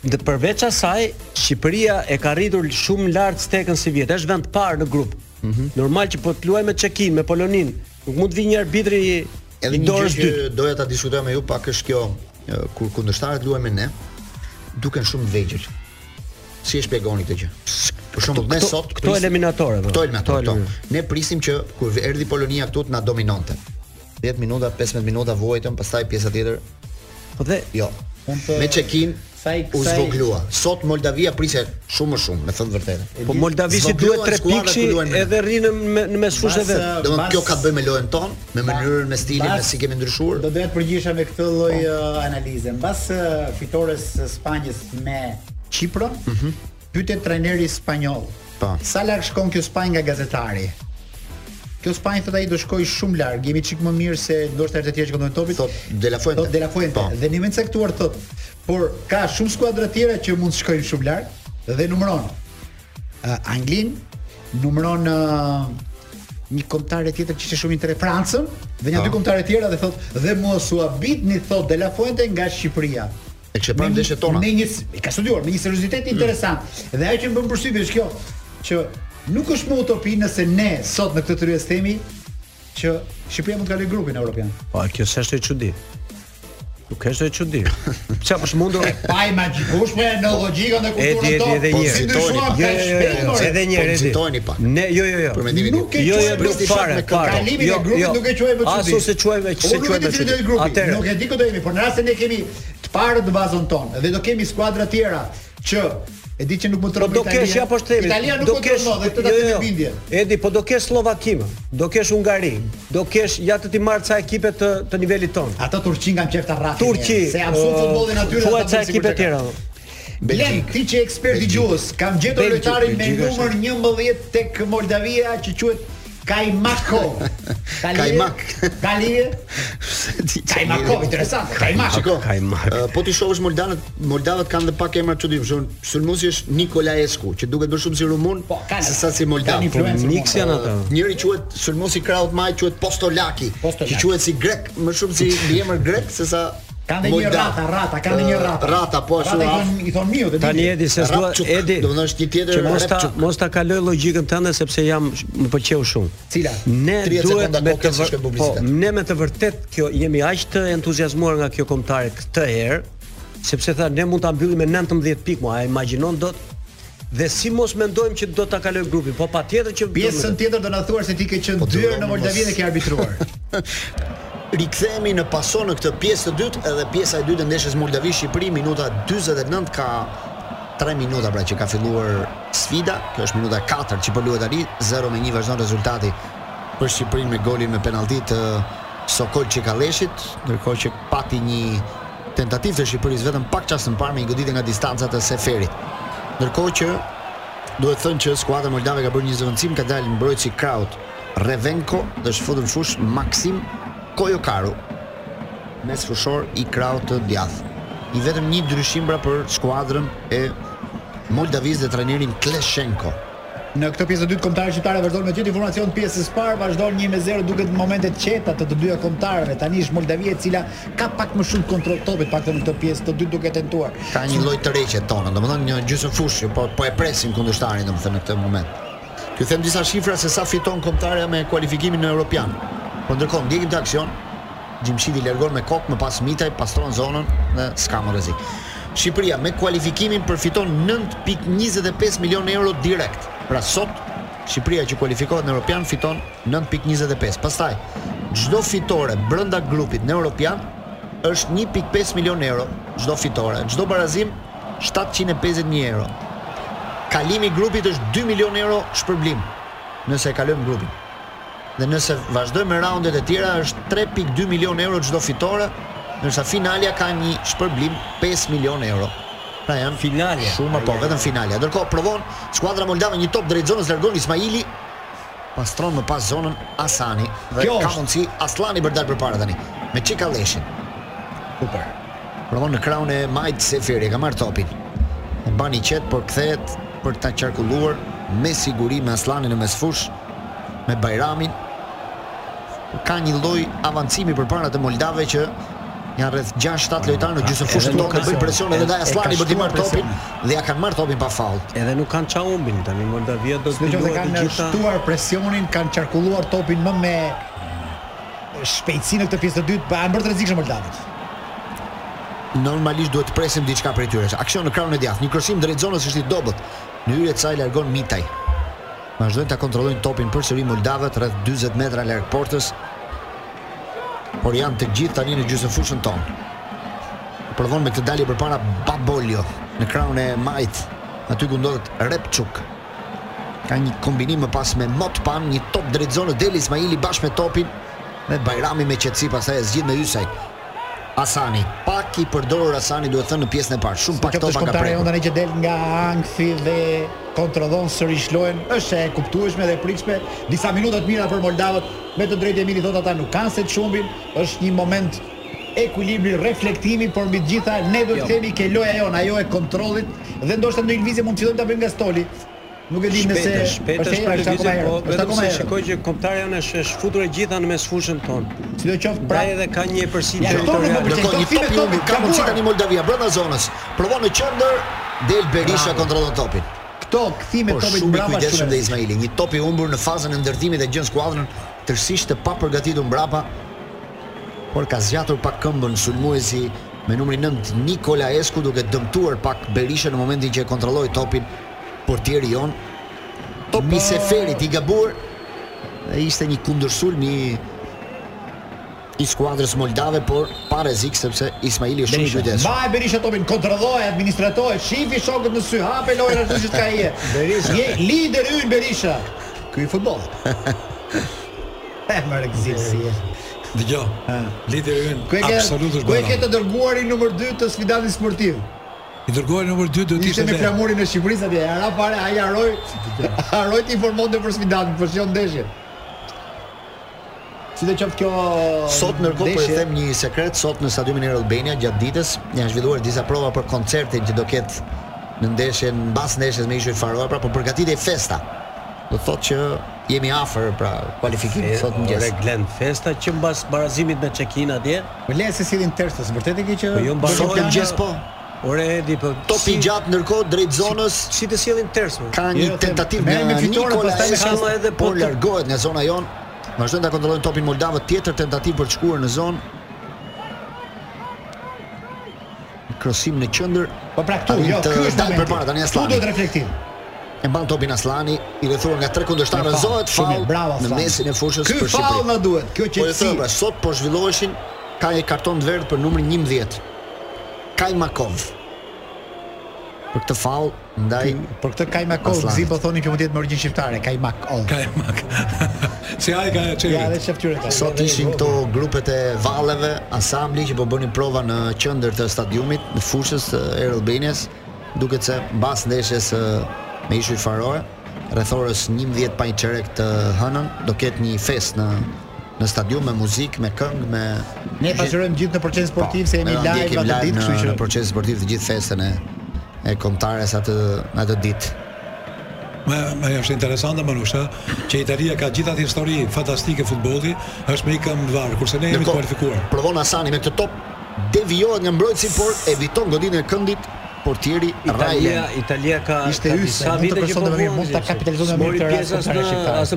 Speaker 6: Dhe përveç asaj, Shqipëria e ka rritur shumë lart stekën si vjet. Është vend parë në grup.
Speaker 7: Mhm.
Speaker 6: Normal që po të luaj me Çekin, me Poloninë, nuk mund të vi një arbitri
Speaker 7: Edhe
Speaker 6: i
Speaker 7: një gjë
Speaker 6: dorës
Speaker 7: që
Speaker 6: dytë.
Speaker 7: doja ta diskutoj me ju pak është kjo, e, kur kundërshtarët luajnë me ne, duken shumë të vegjël. Si e shpjegoni këtë gjë? Për shembull, ne
Speaker 6: këto-
Speaker 7: sot
Speaker 6: këto eliminatore, po.
Speaker 7: Këto eliminatore.
Speaker 6: Këto
Speaker 7: Këto.
Speaker 6: eliminatore.
Speaker 7: Ne prisim që kur erdhi Polonia këtu të na dominonte. 10 minuta, 15 minuta vojtëm, pastaj pjesa tjetër
Speaker 6: Po dhe
Speaker 7: jo.
Speaker 8: Unë të-
Speaker 7: Me Çekin
Speaker 8: Sa i-
Speaker 7: u
Speaker 8: sa i-
Speaker 7: zvoglua. Sot Moldavia priset shumë më shumë, me thënë të vërtetë.
Speaker 6: Po Moldavisi
Speaker 7: Zvogluan
Speaker 6: duhet tre
Speaker 7: skuadrat
Speaker 6: pikshi
Speaker 7: ku luajnë me ne.
Speaker 6: edhe rrinë me- në mes
Speaker 8: Pas,
Speaker 6: fushëve vet.
Speaker 8: uh,
Speaker 7: Domethënë
Speaker 8: pas-
Speaker 7: kjo ka të bëjë me lojën tonë, me mënyrën, me stilin, me
Speaker 8: Pas-
Speaker 7: si kemi ndryshuar.
Speaker 8: Do doja të përgjigjesha me këtë lloj uh, analize. Mbas uh, fitores së Spanjës me Kipron,
Speaker 6: Mhm.
Speaker 8: pyetet trajneri spanjoll.
Speaker 7: Po.
Speaker 8: Sa larg shkon kjo Spanjë nga gazetari? Kjo Spanjë thotë ai do shkoj shumë larg, jemi çik më mirë se ndoshta të tjerë që këndojnë topin.
Speaker 7: Thot De La Fuente.
Speaker 8: Thot De La Fuente.
Speaker 7: Po.
Speaker 8: Dhe në moment caktuar thot, por ka shumë skuadra tjera që mund të shkojnë shumë larg dhe numëron. Uh, Anglin numëron uh, një kombëtare tjetër që ishte shumë inter Francën dhe
Speaker 7: Po.
Speaker 8: një dy kombëtare tjera dhe thot dhe mos u habitni thot De La Fuente nga Shqipëria.
Speaker 7: E kështë parë
Speaker 8: Me një-
Speaker 7: ndeshjet tona.
Speaker 8: Me një s- e ka studiuar me një seriozitet
Speaker 6: Mm.
Speaker 8: interesant. Dhe ajo që më bën përshtypje është kjo që nuk është më utopi nëse ne sot në këtë tryezë themi që Shqipëria mund të kalojë grupin
Speaker 6: (laughs)
Speaker 8: evropian.
Speaker 6: Po kjo s'është e çudi. Nuk është e
Speaker 7: (laughs)
Speaker 6: çudi. Pse po apo shmundur?
Speaker 7: Jo,
Speaker 8: Pa imagjikueshme po në logjikën dhe
Speaker 6: Edi,
Speaker 8: kulturën
Speaker 6: edi,
Speaker 8: tonë.
Speaker 6: edhe
Speaker 8: po
Speaker 6: një.
Speaker 8: si
Speaker 7: Fitoni,
Speaker 8: ndryshuam
Speaker 7: pa.
Speaker 8: ka
Speaker 6: Jo, jo,
Speaker 8: shpejt. more.
Speaker 7: Po, nxitojni pak.
Speaker 6: jo, edhe një herë. edi. Ne jo jo jo.
Speaker 7: Për mendimin
Speaker 8: Nuk e
Speaker 7: tim.
Speaker 6: Jo,
Speaker 8: quaj
Speaker 6: jo,
Speaker 8: brez
Speaker 6: nuk
Speaker 8: di
Speaker 6: fare,
Speaker 8: shok me këngë.
Speaker 6: fare.
Speaker 8: Kalimin e
Speaker 6: Jo,
Speaker 8: grupit
Speaker 6: jo.
Speaker 8: nuk e quaj me
Speaker 6: Asu
Speaker 8: çudi.
Speaker 6: se quaj me- se
Speaker 8: Unë
Speaker 6: quaj
Speaker 8: Nuk
Speaker 6: me
Speaker 8: e di
Speaker 6: çudi.
Speaker 8: çudi grupi.
Speaker 6: Atëherë.
Speaker 8: Nuk e di ku do jemi, por në rast se ne kemi të parët në bazën tonë dhe do kemi skuadra tjera që e di që nuk mund të
Speaker 6: Po
Speaker 8: rrobi
Speaker 6: do kesh ja po shtemi.
Speaker 8: Italia nuk
Speaker 6: do jo,
Speaker 8: mund të rrobi dhe këtë ta kemi bindje.
Speaker 6: Edi, po do kesh Slovaki, më, do kesh Hungari, do kesh ja të ti marr ca ekipe të të nivelit ton.
Speaker 8: Ata Turqin kanë qefta rrafi.
Speaker 6: Turqi.
Speaker 8: se jam shumë
Speaker 6: ë,
Speaker 8: futbollin aty.
Speaker 6: thuaj ca ekipe tjera. më.
Speaker 8: Blen, ti që ekspert i gjuhës, kam gjetur
Speaker 6: Belgjik,
Speaker 8: lojtarin me
Speaker 6: Belgjik
Speaker 8: numër 11 tek Moldavia që quhet Kajmako.
Speaker 6: (laughs)
Speaker 7: Kajmak.
Speaker 8: Kalije.
Speaker 7: Ti që
Speaker 8: Kajmako,
Speaker 7: mirë.
Speaker 8: interesant. Kajmako.
Speaker 7: Shiko,
Speaker 6: Kajmak.
Speaker 7: ë, po ti shohësh Moldanët, Moldanët kanë dhe pak emra të çuditshëm. Sulmuesi është Nikolaescu, që duket më shumë si rumun
Speaker 8: Po, kanë-
Speaker 7: se sa si moldan.
Speaker 8: kanë influencë
Speaker 7: Po,
Speaker 6: Miks janë ata.
Speaker 7: ë, Njëri quhet Sulmuesi Krautmaj, quhet Postolaki,
Speaker 8: Postolaki.
Speaker 7: që quhet si grek, më shumë si mbiemër grek se sa
Speaker 8: Kanë dhe një
Speaker 7: moldan.
Speaker 8: rata, rata, kanë dhe një
Speaker 7: Ë,
Speaker 8: rata.
Speaker 7: Rata, po ashtu.
Speaker 8: Rata i
Speaker 7: a-
Speaker 8: thon- i thon miu, dhe
Speaker 6: Tani
Speaker 8: dini.
Speaker 6: Edi se s'dua
Speaker 7: Rapçuk.
Speaker 6: Edi.
Speaker 7: Do thonë është një tjetër
Speaker 6: që mos ta
Speaker 7: Rapçuk.
Speaker 6: mos ta kaloj logjikën tënde sepse jam më pëlqeu shumë.
Speaker 8: Cila?
Speaker 6: Ne
Speaker 7: 30
Speaker 6: duhet
Speaker 7: sekonda
Speaker 6: me
Speaker 7: kohë
Speaker 6: të
Speaker 7: kështë
Speaker 6: vër...
Speaker 7: shkë
Speaker 6: po,
Speaker 7: publicitet.
Speaker 6: ne me të vërtet kjo jemi aq të entuziazmuar nga kjo kombëtare këtë herë, sepse tha ne mund ta mbyllim me 19 pikë, mua, a imagjinon dot? Dhe si mos mendojmë që do ta kaloj grupin, po patjetër që
Speaker 8: Pjesën tjetër do na thuar se ti ke qenë
Speaker 7: Po,
Speaker 8: dy herë në
Speaker 7: duron,
Speaker 8: Moldavi
Speaker 7: mos-
Speaker 8: dhe ke arbitruar.
Speaker 7: Rikthehemi në paso në këtë pjesë të dytë edhe pjesa e dytë e ndeshjes Moldavi Shqipëri minuta 49 ka 3 minuta pra që ka filluar sfida, kjo është minuta 4 që po luhet tani, 0 me 1 vazhdon rezultati për Shqipërinë me golin me penallti të Sokol Çekaleshit, ndërkohë që pati një tentativë të Shqipërisë vetëm pak çast më parë me një goditje nga distanca të Seferit. Ndërkohë që duhet thënë që skuadra moldave ka bërë një zëvendësim, ka dalë mbrojtësi Kraut, Revenko dhe është futur në fush Maksim Kojokaru, mes fushor i kraut të djath. I vetëm një ndryshim pra për skuadrën e Moldavis dhe trajnerin Kleshenko.
Speaker 8: (laughs) Në këtë pjesë të dytë kombëtare shqiptare vazhdon me gjithë informacion pjesës së parë, vazhdon 1-0 duket në momente të qeta të të dyja kombëtarëve. Tani është Moldavia e cila ka pak më shumë kontroll topit, paktën në këtë pjesë të dytë duke tentuar.
Speaker 7: Ka një lloj tërheqje tonë, domethënë një gjysmë fushë, po po e presin kundërshtarin domethënë në këtë moment. Ky them disa shifra se sa fiton kombëtarja me kualifikimin në Europian. Po ndërkohë ndjekim të aksion, Gjimshiti largon me kokë, më pas mitaj, pastron zonën dhe s'ka më rrezik. Shqipëria me kualifikimin përfiton 9.25 milion euro direkt. Pra sot Shqipëria që kualifikohet në Europian fiton 9.25. Pastaj çdo fitore brenda grupit në Europian është 1.5 milion euro çdo fitore. Çdo barazim 750.000 euro. Kalimi i grupit është 2 milion euro shpërblim nëse e kalojmë grupin dhe nëse vazhdojmë me raundet e tjera është 3.2 milion euro çdo fitore, ndërsa finalja ka një shpërblim 5 milion euro. Pra janë
Speaker 6: Finalja.
Speaker 7: Shumë po, vetëm finalja. Ndërkohë provon skuadra moldave një top drejt zonës largon Ismaili, pastron më pas zonën Asani dhe
Speaker 8: Kjo
Speaker 7: ka
Speaker 8: është.
Speaker 7: mundësi Aslani për dalë përpara tani me Çikalleshin.
Speaker 8: Super.
Speaker 7: Provon në kraun e Majt Seferi, e ka marrë topin. E bani qet, por kthehet për ta qarkulluar me siguri me Aslanin në mesfush, me Bajramin. Ka një lloj avancimi përpara të Moldave që janë rreth 6-7 lojtarë në gjysmë fushën
Speaker 6: Pra,
Speaker 7: tonë,
Speaker 6: edhe nuk ka
Speaker 7: bëjnë
Speaker 6: se-
Speaker 7: presion edhe
Speaker 6: e-
Speaker 7: ndaj
Speaker 6: e ka
Speaker 7: Aslani për të
Speaker 6: shtuar
Speaker 7: marrë topin dhe ja kanë marrë topin pa faull.
Speaker 6: Edhe nuk kanë ça humbin tani Moldavia do
Speaker 8: Në
Speaker 6: të
Speaker 8: qoftë se
Speaker 6: luajë të
Speaker 8: kanë
Speaker 6: gjitha.
Speaker 8: shtuar presionin, kanë qarkulluar topin më me shpejtësi në këtë pjesë të dytë, pa e bërë të rrezikshëm Moldavët.
Speaker 7: normalisht duhet të presim diçka prej tyre. Aksion në krahun e djathtë, një krosim drejt zonës është i dobët. Në hyrje të saj largon Mitaj. Vazhdojnë ta kontrollojnë topin përsëri moldavët rreth 40 metra larg portës. Por janë të gjithë tani në gjysmë fushën tonë. Provon me këtë dalje përpara Babolio në krahun e Majt. Aty ku ndodhet Repçuk. Ka një kombinim më pas me Motpan, një top drejt zonës del Ismaili bashkë me topin dhe Bajrami me qetësi pastaj e zgjidh me Ysaj. Asani, pak i përdorur Asani duhet thënë në pjesën e parë, shumë
Speaker 8: Në
Speaker 7: pak
Speaker 8: qoftë
Speaker 7: topa ka
Speaker 8: shkomtarja
Speaker 7: prekur.
Speaker 8: jonë tani që del nga ankthi dhe kontrollon sërish lojën, është e kuptueshme dhe e pritshme. Disa minuta të mira për moldavët, me të drejtë Emili thot ata nuk kanë se të shumbin, është një moment ekuilibri, reflektimi, por mbi të gjitha ne do të themi ke loja jon, ajo e kontrollit dhe ndoshta në një lëvizje mund të fillojmë ta bëjmë nga stoli. Nuk e di nëse
Speaker 6: Shpejtë,
Speaker 8: e
Speaker 6: shpejtë është për
Speaker 8: herë,
Speaker 6: lëvizje, po
Speaker 8: herë,
Speaker 6: vetëm
Speaker 8: akoma
Speaker 6: se
Speaker 8: herë.
Speaker 6: shikoj që kombëtarja janë është është futur e gjitha në mesfushën tonë.
Speaker 8: Sidoqoftë pra
Speaker 6: Pra edhe ka një përsi
Speaker 8: Ja, këto nuk më
Speaker 6: territorial.
Speaker 8: pëlqejnë.
Speaker 7: Ndërkohë një
Speaker 8: Topime
Speaker 7: top i
Speaker 8: topit,
Speaker 7: humbit ka
Speaker 8: gabuar.
Speaker 7: mundësi tani Moldavia brenda zonës. Provon në qendër, del Berisha kontrollon topin.
Speaker 8: këto kthime
Speaker 7: Por
Speaker 8: topit
Speaker 7: Po, shumë i
Speaker 8: mbrapa
Speaker 7: kujdesshëm dhe
Speaker 8: shumë.
Speaker 7: Ismaili, një top i humbur në fazën e ndërtimit e gjen skuadrën tërësisht të papërgatitur mbrapa, por ka zgjatur pak këmbën sulmuesi me numrin 9 Nikola Esku duke dëmtuar pak Berisha në momentin që e kontrolloi topin portieri jon. Topi i Seferit i gabuar dhe ishte një kundërsulm i i skuadrës moldave, por pa rezik sepse Ismaili është shumë i kujdesshëm.
Speaker 8: Mbaj Berisha topin, kontrolloj, administratoj, shifi shokët në sy, hape lojën ashtu që ka je. Berisha. Je lider ynë Berisha. Ky i futbollit. (laughs) E mërë gëzirë si e.
Speaker 9: Dëgjoj. Lideri ynë
Speaker 8: Ku e ke,
Speaker 9: absolut është
Speaker 8: ku e ke
Speaker 9: Bajrami.
Speaker 8: të dërguari numër 2 të Sfidatit Sportiv?
Speaker 9: I dërgoi numër 2 do të
Speaker 8: Ishte
Speaker 9: ishte
Speaker 8: me
Speaker 9: ne.
Speaker 8: flamurin e Shqipërisë atje, ara fare, ai
Speaker 7: (laughs)
Speaker 8: haroi, haroi të informonte për Sfidatin, për shion ndeshjen. Si të qoftë kjo
Speaker 7: Sot ndërkohë po e
Speaker 8: ndeshje-
Speaker 7: them një sekret, sot në stadiumin Air Albania gjatë ditës janë zhvilluar disa prova për koncertin që do ketë në ndeshjen mbas ndeshjes me ishuj Faroe, pra po përgatitej festa. Do të thotë që jemi afër pra kualifikimit sot mëngjes.
Speaker 6: Reglen festa që mbas barazimit me Çekin atje,
Speaker 8: Po le se sillin tërstës, vërtet e ke që
Speaker 6: po jo mbaron.
Speaker 7: Sot mëngjes po.
Speaker 6: Ore Edi, po
Speaker 7: Topi
Speaker 6: si-
Speaker 7: gjatë ndërkohë drejt zonës
Speaker 6: Si të sjellin tersën?
Speaker 7: ka
Speaker 8: Jo,
Speaker 7: një
Speaker 8: them,
Speaker 7: tentativë
Speaker 8: merrem me
Speaker 7: nga
Speaker 8: fitore,
Speaker 7: Nikola
Speaker 8: pastaj me
Speaker 7: Esas,
Speaker 6: hama edhe po
Speaker 7: por
Speaker 6: të-
Speaker 7: largohet nga zona jon. Vazhdojnë ta kontrollojnë topin moldavët, tjetër tentativë për të shkuar në zonë. Krosim në qendër,
Speaker 8: Po pra këtu,
Speaker 7: Arrin
Speaker 8: jo,
Speaker 7: të
Speaker 8: ky është
Speaker 7: dalë
Speaker 8: momenti.
Speaker 7: përpara tani
Speaker 8: Këtu
Speaker 7: Aslani.
Speaker 8: duhet reflektim.
Speaker 7: E mban topin Aslani, i rrethuar nga tre kundërshtar
Speaker 8: Me faul,
Speaker 7: rrezohet
Speaker 8: shumë
Speaker 7: faul
Speaker 8: mirë, bravo,
Speaker 7: në
Speaker 8: Aslani.
Speaker 7: mesin e fushës
Speaker 8: Ky
Speaker 7: për
Speaker 8: faull
Speaker 7: Shqipërinë.
Speaker 8: na duhet, kjo
Speaker 7: Po e
Speaker 8: qetësi.
Speaker 7: thënë, pra, sot po zhvilloheshin ka një karton të verdh për numrin 11. Kajmakov. për këtë fall ndaj
Speaker 8: Për këtë Kajmakov
Speaker 7: Aslanit.
Speaker 8: zi po thonin që mund të jetë me origjinë shqiptare, Kajmakov.
Speaker 9: Ka e mak. (laughs) si ai ka çeli.
Speaker 8: Ja, edhe shef tyre ka.
Speaker 7: Sot ishin këto grupet e valleve, ansambli që po bënin prova në qendër të stadiumit, në fushës e Air Albanias, duket se mbas ndeshjes e, me ishuj farore, rreth orës 11 pa një çerek të hënën, do ketë një fest në në stadium me muzikë, me këngë, me
Speaker 8: Ne pasqyrojmë gjithë në proces sportiv se jemi
Speaker 7: ne
Speaker 8: live
Speaker 7: ndjekim
Speaker 8: atë
Speaker 7: live
Speaker 8: ditë,
Speaker 7: në-
Speaker 8: kështu
Speaker 7: në
Speaker 8: që
Speaker 7: proces sportiv të gjithë festën e e kombëtares atë atë ditë.
Speaker 9: Më më është interesante më nusha që Italia ka gjithë atë histori fantastike futbolli, është me i këmbë varë, kurse ne jemi të
Speaker 7: Ndërkohë,
Speaker 9: kualifikuar.
Speaker 7: Provon Asani me këtë top, devijohet nga mbrojtësi, por eviton godinën e këndit portieri
Speaker 6: Italia,
Speaker 7: Rajlen.
Speaker 6: Italia ka
Speaker 8: Ishte
Speaker 6: ka
Speaker 8: hyse,
Speaker 6: disa
Speaker 8: mund të
Speaker 6: vite që
Speaker 8: përsonte më
Speaker 6: po
Speaker 8: mirë,
Speaker 6: vuan,
Speaker 8: mund ta
Speaker 6: që-
Speaker 8: kapitalizonte më mirë
Speaker 6: mori
Speaker 8: këtë rast
Speaker 6: pjesës
Speaker 8: kombëtare
Speaker 6: në
Speaker 8: shqiptare.
Speaker 6: asë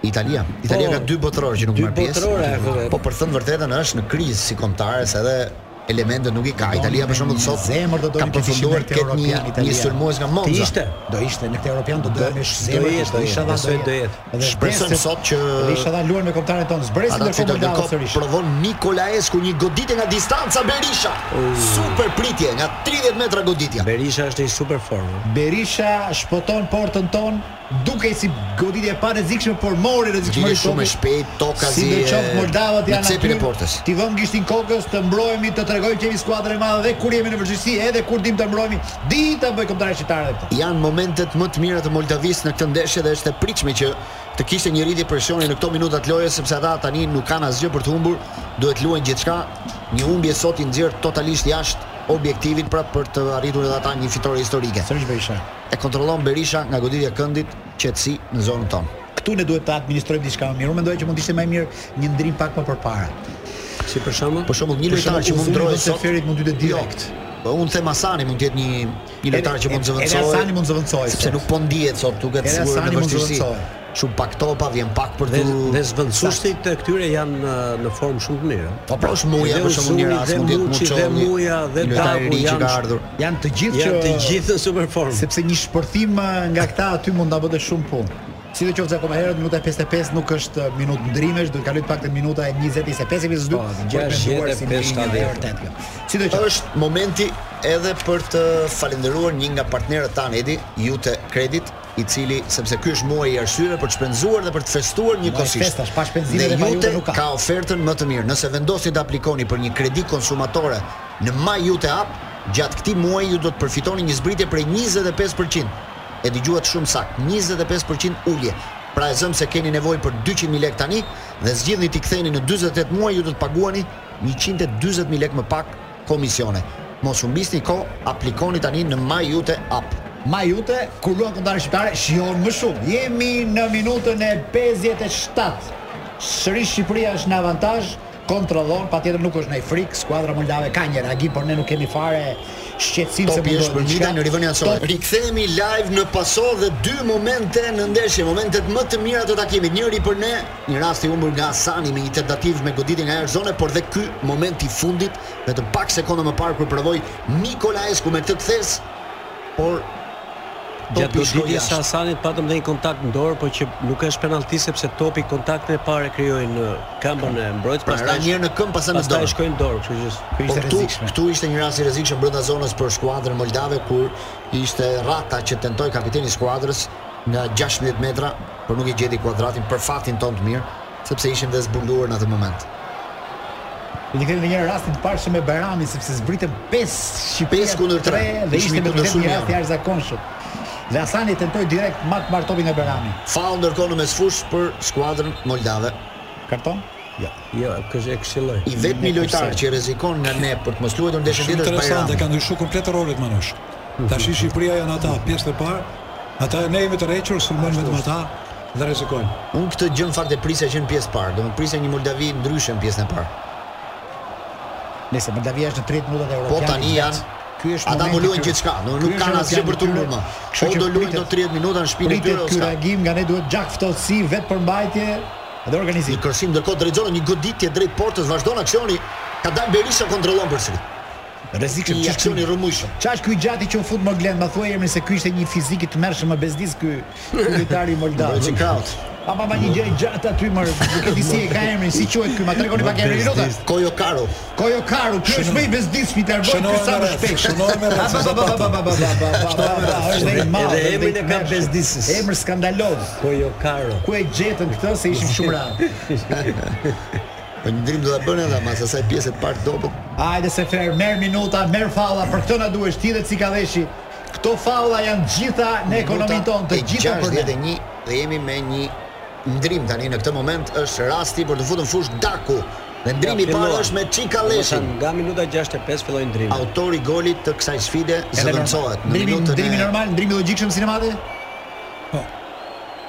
Speaker 7: Italia. Italia
Speaker 6: Po,
Speaker 7: ka dy botërorë që nuk
Speaker 6: dy
Speaker 7: marr pjesë.
Speaker 6: botërorë, e vërtet.
Speaker 7: Po për thënë vërtetën është në krizë si kombëtares edhe elemente nuk i ka. Italia për shembull sot
Speaker 8: zemër do donin
Speaker 7: ka
Speaker 8: që
Speaker 7: përfunduar
Speaker 8: kishin
Speaker 7: të ketë një
Speaker 8: European Italia.
Speaker 7: një sulmues nga
Speaker 6: Ti
Speaker 7: Monza.
Speaker 6: ishte
Speaker 8: do ishte në këtë europian do doja
Speaker 6: Do-
Speaker 8: me
Speaker 6: do
Speaker 8: zemër,
Speaker 6: jetë, do jetë,
Speaker 8: inshallah
Speaker 6: besoj do jetë.
Speaker 8: Edhe
Speaker 7: Shpresojmë
Speaker 8: vdes se-
Speaker 7: sot që
Speaker 8: edhe inshallah luajnë me kombëtarin tonë. Zbresin
Speaker 7: Ata
Speaker 8: ndërkohë
Speaker 7: fiton
Speaker 8: Moldavën
Speaker 7: ndërkohë
Speaker 8: sërish.
Speaker 7: provon Nikolaesku një goditje nga distanca Berisha. Super pritje nga 30 metra goditja.
Speaker 6: Berisha është në super formë. hm.
Speaker 8: Berisha shpoton portën ton duke si goditje e pa rrezikshme por mori rrezikshmëri
Speaker 7: Gjithë shumë e shpejt, toka
Speaker 8: Si do
Speaker 7: zi,
Speaker 8: qoftë
Speaker 7: e,
Speaker 8: Moldavët
Speaker 7: në
Speaker 8: janë
Speaker 7: cepin e portës.
Speaker 8: Ti vëm gishtin kokës të mbrojemi, të tregojmë që jemi skuadër e madhe dhe kur jemi në vërtetësi, edhe kur dim të mbrojemi, di ta bëj kombëtarë po. shqiptarë edhe këtë.
Speaker 7: janë momentet më të mira të Moldavisë në këtë ndeshje dhe është e pritshme që të kishte një rritje presioni në këto minuta të lojës sepse ata tani nuk kanë asgjë për të humbur, duhet luajnë gjithçka. Një humbje sot i nxjerr totalisht jashtë objektivit prapë për të arritur edhe ata një fitore historike.
Speaker 8: Sërish Berisha.
Speaker 7: E kontrollon Berisha nga goditja e këndit qetësi në zonën tonë.
Speaker 8: Këtu ne duhet ta administrojmë diçka më mirë. Unë mendoj që mund të ishte më mirë një ndrim pak më përpara.
Speaker 6: Si për shembull?
Speaker 7: Për shembull, një
Speaker 8: Për
Speaker 7: lojtar
Speaker 8: shembull,
Speaker 7: që mund
Speaker 8: Uzuni
Speaker 7: ndrojë
Speaker 8: vend se
Speaker 7: sot
Speaker 8: Ferit mund të direkt.
Speaker 7: Jo, po unë them Asani mund të jetë një një lojtar që mund të
Speaker 8: Edhe Hasani
Speaker 7: zëvendësojë
Speaker 8: mund zëvendësoj.
Speaker 7: sepse nuk po ndihet sot, duket
Speaker 8: Edhe
Speaker 7: sigurisht
Speaker 8: Hasani
Speaker 7: në
Speaker 8: mund
Speaker 7: vështirësi.
Speaker 8: zëvendësohet.
Speaker 7: Shumë pak topa, vjen pak për
Speaker 6: Dhe,
Speaker 7: të
Speaker 6: dhe zvendësuesit e këtyre janë në, në formë shumë të mirë.
Speaker 7: Po pra është muja
Speaker 6: Dhe
Speaker 7: për shembull një
Speaker 6: Usuni,
Speaker 7: rast
Speaker 6: dhe
Speaker 7: mund të jetë
Speaker 6: Muçi,
Speaker 7: Muçolli.
Speaker 6: dhe Muja, dhe
Speaker 7: një lojtar i
Speaker 6: Daku
Speaker 7: ri që
Speaker 6: janë
Speaker 7: ka
Speaker 6: sh-
Speaker 7: ardhur.
Speaker 8: janë të gjithë
Speaker 6: Janë
Speaker 8: që
Speaker 6: të gjithë në (laughs) super formë.
Speaker 8: sepse një shpërthim eh, nga këta aty mund ta bëte shumë punë. Si do qoftë akoma herët minuta e 55 nuk është eh, minutë ndrimesh, do të kalojë pak të minuta e 20 25 e 22.
Speaker 6: Po,
Speaker 8: për të
Speaker 6: 60
Speaker 8: menduar
Speaker 6: e
Speaker 8: si ndrimi
Speaker 6: 50.
Speaker 8: është e vërtet kjo. Si do qoftë.
Speaker 7: është momenti edhe për të falenderuar një nga partnerët tanë Edi, Jute Credit, i cili sepse ky është muaji i arsyeve për të shpenzuar dhe për të festuar
Speaker 8: e
Speaker 7: njëkohësisht.
Speaker 8: festash, pa shpenzime dhe pa Jute nuk ka.
Speaker 7: ka ofertën më të mirë. Nëse vendosni të aplikoni për një kredi konsumatore në My Jute App, gjatë këtij muaji ju do të përfitoni një zbritje prej 25%. E dëgjuat shumë sakt, 25% ulje. Pra e zëmë se keni nevojë për 200.000 lek tani dhe zgjidhni t'i ktheni në 48 muaj ju do të paguani 140.000 lek më pak komisione. Mos humbisni kohë, aplikoni tani në My Jute App.
Speaker 8: Ma jute, kur luan këngëtarë shqiptare, shion më shumë. Jemi në minutën e 57. Sërish Shqipëria është në avantazh, kontrollon, patjetër nuk është në frikë, skuadra moldave ka një reagim, por ne nuk kemi fare shqetësim se
Speaker 7: Topi
Speaker 8: mundohet
Speaker 7: është për Mida
Speaker 8: diçka.
Speaker 7: në rivën janësore.
Speaker 8: Top-
Speaker 7: Rikthehemi live në paso dhe dy momente në ndeshje, momentet më të mira të takimit. Njëri për ne, një rast i humbur nga Asani me një tentativë me goditje nga Erzone, por dhe ky moment i fundit, vetëm pak sekonda më parë kur provoi Nikolaesku me këtë thes, por
Speaker 6: Gjatë
Speaker 7: topi shkoi
Speaker 6: goditjes së
Speaker 7: jashtë.
Speaker 6: Hasanit patëm dhe një kontakt në dorë, por që nuk është penalti sepse topi kontaktin e parë e krijoi në këmbën e mbrojtës,
Speaker 7: Pra ra një herë në këmbë pastaj në
Speaker 6: pastaj
Speaker 7: dorë.
Speaker 6: shkoi në dorë, kështu që
Speaker 7: Po
Speaker 8: ishte
Speaker 7: këtu,
Speaker 8: rrezikshme.
Speaker 7: këtu ishte një rast i rrezikshëm brenda zonës për skuadrën moldave kur ishte Rata që tentoi kapiteni i skuadrës nga 16 metra, por nuk i gjeti kuadratin për fatin ton të mirë, sepse ishin dhe zbuluar në atë moment.
Speaker 8: Ne kemi një rastin të parë që me Bajramin sepse zbritën 5 Shqipëria
Speaker 7: Pesë kundër tre,
Speaker 8: dhe
Speaker 7: ishte
Speaker 8: ishte me
Speaker 7: kundër
Speaker 8: vërtet
Speaker 7: shumë
Speaker 8: një rast
Speaker 7: javë.
Speaker 8: i jashtëzakonshëm. Dhe Hasani tentoi direkt mat marr topin nga Bajrami.
Speaker 7: Faull ndërkohë në mesfush për skuadrën moldave.
Speaker 8: Karton? Jo.
Speaker 6: jo, kështu e këshilloj.
Speaker 7: I vetmi lojtar që rrezikon nga ne për të mos luajtur ndeshjen
Speaker 9: Shumë
Speaker 7: tjetër është
Speaker 9: interesante, Mhm.
Speaker 7: Bajrami.
Speaker 9: kanë ndryshuar komplet rolet manush. Tash i Shqipëria janë ata pjesë e parë, ata ne jemi të rrequr, sulmojmë vetëm ata dhe rrezikojmë.
Speaker 7: Unë këtë gjë në fakt e prisja që në pjesë parë, do të prisja një Moldavi ndryshe në pjesën e parë.
Speaker 8: Nëse Moldavia është në 30 minutat e
Speaker 7: Po
Speaker 8: Europianit.
Speaker 7: tani janë
Speaker 8: Ky është
Speaker 7: Ata
Speaker 8: momenti
Speaker 7: më luajnë
Speaker 8: tyre.
Speaker 7: gjithçka, do
Speaker 8: Ky
Speaker 7: nuk
Speaker 8: është
Speaker 7: kanë asgjë
Speaker 8: Europiani
Speaker 7: për të
Speaker 8: tyre,
Speaker 7: luajtur më.
Speaker 8: kështu
Speaker 7: O
Speaker 8: që
Speaker 7: do luajnë
Speaker 8: pritet-
Speaker 7: do 30 minuta në shtëpinë e
Speaker 8: Pritet
Speaker 7: tyre
Speaker 8: ky
Speaker 7: ose. ka.
Speaker 8: reagim nga ne duhet gjak ftohtësi, vetë përmbajtje dhe
Speaker 7: Një
Speaker 8: organizim.
Speaker 7: kërsim ndërkohë drejtzonë një goditje drejt portës, vazhdon aksioni, ka dalë Berisha kontrollon përsëri.
Speaker 8: Rrezikshëm
Speaker 7: Një
Speaker 8: çak
Speaker 7: aksioni rrëmujshëm.
Speaker 8: Qa është ky gjati që u fut më glen, ma thuaj emrin se ky ishte një fizik i tmerrshëm më bezdis ky ky lojtari i Moldavës.
Speaker 7: Rëci Kraut.
Speaker 8: Pa pa pa një gjë e gjatë aty më nuk e di si e ka emrin, si quhet ky, ma tregoni pak emrin Rinota.
Speaker 7: Kojo Karo.
Speaker 8: Kojo Karu, ky është më i bezdismi të argoj
Speaker 9: Shënohem
Speaker 8: ky sa
Speaker 9: me
Speaker 8: më
Speaker 9: rreth,
Speaker 8: shpejt.
Speaker 9: shënohem me rreth,
Speaker 8: Pa,
Speaker 9: se
Speaker 8: pa, pa, pa, pa, pa, pa, pa, pa, pa, pa, është dhe i madh. është
Speaker 6: Edhe
Speaker 8: dhe i
Speaker 6: emrin e ka
Speaker 8: tmerrshëm.
Speaker 6: bezdisës.
Speaker 8: Emër skandaloz.
Speaker 6: Kojo Karo.
Speaker 8: Ku e gjetën këtë se ishim
Speaker 6: (laughs)
Speaker 8: shumë ranë.
Speaker 7: Po një drim do ta bën edhe mas asaj pjesë të parë po dobët.
Speaker 8: Hajde se fer, merr minuta, merr falla, për këtë na duhesh ti dhe Cikaveshi. Këto falla janë gjitha në ekonominë tonë, të
Speaker 7: E
Speaker 8: gjitha për ne.
Speaker 7: 61 dhe jemi me një ndrim tani në këtë moment është rasti për të futur në fushë Daku. Dhe ndrimi i
Speaker 6: Ja,
Speaker 7: parë
Speaker 6: filluan.
Speaker 7: është me Çika Leshin.
Speaker 6: Nga minuta 65 filloi ndrimi.
Speaker 7: Autori i golit të kësaj sfide
Speaker 8: Edhe normal.
Speaker 7: zëvendësohet në
Speaker 8: Ndrimi,
Speaker 7: minutën
Speaker 8: ndrimi
Speaker 7: e
Speaker 8: normal, ndrimi logjikshëm sinemate?
Speaker 9: Po.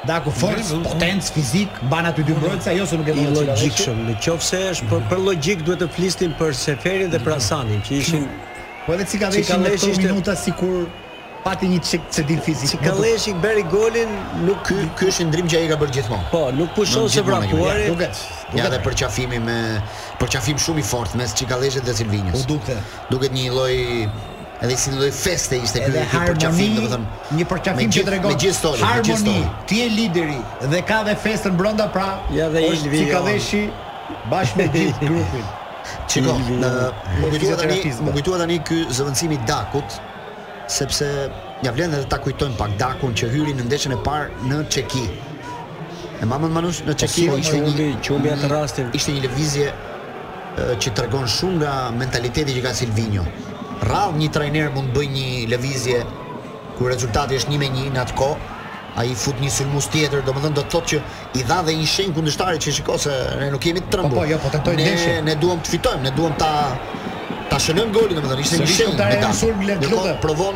Speaker 8: Daku forcë,
Speaker 9: Ndrimi, po.
Speaker 8: potencë fizik, ban aty dy mbrojtësa, jo se nuk e
Speaker 6: i
Speaker 8: bën Cikaveshi.
Speaker 6: logjikshëm. Në qoftë se është për, për logjik duhet të flisnim për Seferin dhe për Hasanin, që ishin
Speaker 8: Po edhe Cikaveshi në
Speaker 6: Cikaveshi
Speaker 8: këto
Speaker 6: ishte-
Speaker 8: minuta sikur pati një çik cedil fizik.
Speaker 6: Kalleshi bëri golin, nuk
Speaker 7: Ky ky është ndrim që ai ka bërë gjithmonë.
Speaker 6: po, nuk pushon
Speaker 7: Nuk
Speaker 6: se
Speaker 7: gjithmonë e
Speaker 8: Ja,
Speaker 6: vrapuari.
Speaker 8: duket.
Speaker 7: Ja
Speaker 8: Duket.
Speaker 7: dhe për qafimi me për qafim shumë i fortë mes Çikalleshit dhe Silvinjës.
Speaker 8: U dukte.
Speaker 7: Duket një lloj edhe si një lloj feste ishte ky
Speaker 8: Edhe
Speaker 7: ky
Speaker 8: harmoni, një
Speaker 7: me
Speaker 8: përqafim që
Speaker 7: gjithë-
Speaker 8: tregon
Speaker 7: me gjithë storin, me gjithë
Speaker 8: harmoni.
Speaker 7: storin.
Speaker 8: Ti je lideri dhe ka dhe festën brenda pra.
Speaker 6: Ja, dhe
Speaker 8: është
Speaker 6: Ilvi,
Speaker 8: Cikaveshi bashkë me gjithë grupin.
Speaker 7: Çiko,
Speaker 6: Ilvi,
Speaker 7: në- më
Speaker 8: e
Speaker 7: kujtua tani,
Speaker 8: fizioterapizma.
Speaker 7: më kujtua tani ky zëvendësimi i Dakut, sepse ja vlen edhe ta kujtojmë pak Dakun që hyri në ndeshjen e parë në Çeki. E mamën Manush në Çeki po
Speaker 6: si,
Speaker 7: ishte
Speaker 6: Po, qumbi,
Speaker 7: një Mhm.
Speaker 6: qumbi atë rastin.
Speaker 7: Ishte një lëvizje e, që tregon shumë nga mentaliteti që ka Silvinho. Rrallë një trajner mund të bëj një lëvizje kur rezultati është 1 me 1 në atë kohë, ai fut një sulmues tjetër, domethënë do të thotë që i dha dhe një shenjë kundërshtarit që shikoj se ne nuk jemi të trembur.
Speaker 8: Po, po, jo, po, tentoj
Speaker 7: ne,
Speaker 8: ndeshje.
Speaker 7: ne duam të fitojmë, ne duam ta ta shënojmë golin domethënë, ishte një
Speaker 8: Sërish
Speaker 7: shenjë
Speaker 8: lojtarë
Speaker 7: me ta.
Speaker 8: janë sulm, le të
Speaker 7: Ndërkohë,
Speaker 8: lutem.
Speaker 7: provon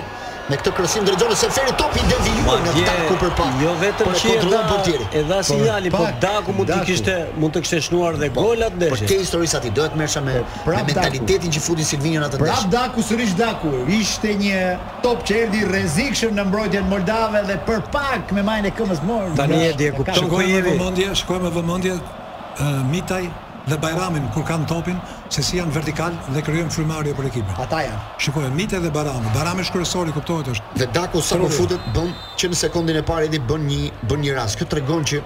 Speaker 7: me këtë krosim drejton se Feri topi devijuar nga
Speaker 6: Madje,
Speaker 7: taku Po përpara.
Speaker 6: po, Jo vetëm
Speaker 7: por e
Speaker 6: që e
Speaker 7: kontrollon
Speaker 6: dha,
Speaker 7: portieri.
Speaker 6: e dha sinjali, po
Speaker 8: pak,
Speaker 6: Daku mund të
Speaker 8: Daku.
Speaker 6: kishte mund të kishte shnuar
Speaker 7: Po,
Speaker 6: dhe golat
Speaker 7: Por ke
Speaker 6: ndeshje.
Speaker 7: historisë aty, do të merresha me, me
Speaker 8: prap
Speaker 7: mentalitetin që futi Silvinho në atë
Speaker 8: Prap
Speaker 7: ndeshje.
Speaker 8: Daku sërish Daku ishte një top që erdhi rrezikshëm në mbrojtjen moldave dhe për pak me majën e këmbës mor.
Speaker 6: Tani e di, e kuptoj.
Speaker 8: Ka-
Speaker 9: Shikojmë me
Speaker 6: jemi.
Speaker 9: vëmendje, shikojmë me vëmendje ë, Mitaj dhe Bajramin kur kanë topin se si janë vertikal dhe krijojnë frymarrje për ekipin.
Speaker 8: Ata janë.
Speaker 9: Shikojmë Mitaj dhe Bajrami. Bajrami është kryesori, kuptohet është.
Speaker 7: Dhe Daku sa po futet bën që në sekondin e parë edhe bën një bën një rast. Kjo tregon që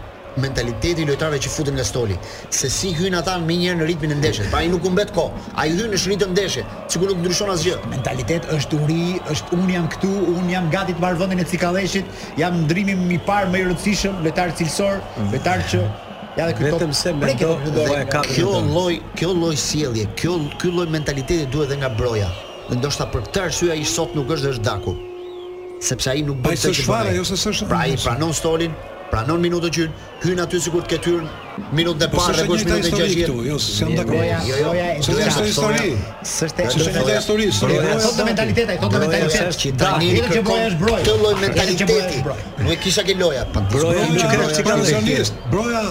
Speaker 7: mentaliteti i lojtarëve që futen nga stoli, se si hyn ata më njëherë në ritmin e ndeshjes. Pra ai nuk u mbet kohë. Ai hyn në shritën e ndeshjes, sikur nuk ndryshon asgjë.
Speaker 8: Mentalitet është uri, është un jam këtu, un jam gati të marr vendin e Cikalleshit, jam ndrimi i parë më i rëndësishëm, lojtar cilësor, lojtar që ja dhe ky top.
Speaker 6: Vetëm se
Speaker 8: preket
Speaker 6: mendo
Speaker 8: në
Speaker 6: dhe
Speaker 8: dorë.
Speaker 6: e kapi.
Speaker 7: Kjo lloj, kjo lloj sjellje, kjo ky lloj mentaliteti duhet edhe nga broja. Dhe ndoshta për këtë arsye ai sot nuk është dhe është Daku. Sepse ai nuk
Speaker 9: Ai
Speaker 7: bën këtë
Speaker 9: s'është
Speaker 7: që bën
Speaker 9: fare,
Speaker 7: ai.
Speaker 9: jo se s'është-
Speaker 7: Pra ai pranon stolin, pranon minutën që hyn, hyn aty sikur të ketë hyrë minutën e
Speaker 9: Po
Speaker 7: parë
Speaker 9: s'është
Speaker 7: dhe kush
Speaker 9: njëjta
Speaker 7: minutën e
Speaker 9: histori
Speaker 7: 60.
Speaker 9: këtu, jo, s'jam dakord.
Speaker 8: Broja,
Speaker 7: Jo, jo,
Speaker 8: broja e
Speaker 9: s'është
Speaker 8: broja.
Speaker 9: njëjta histori.
Speaker 8: S'është
Speaker 7: S'është
Speaker 8: s'është
Speaker 9: Është një
Speaker 7: Broja-
Speaker 9: histori, histori.
Speaker 7: Broja
Speaker 8: Sot të mentalitet, ai, sot të
Speaker 7: Broja
Speaker 8: mentalitet.
Speaker 7: është që
Speaker 8: Da,
Speaker 7: tani
Speaker 8: edhe që
Speaker 7: kërkon
Speaker 8: broja është broj.
Speaker 7: Këtë lloj
Speaker 8: Edhe që broja
Speaker 7: mentaliteti.
Speaker 8: është broj.
Speaker 7: Nuk e kisha ke loja, pa
Speaker 6: Broja
Speaker 7: diskutim,
Speaker 9: Broja
Speaker 6: që ka-
Speaker 7: broja
Speaker 9: është
Speaker 6: ka-
Speaker 9: profesionist. Broja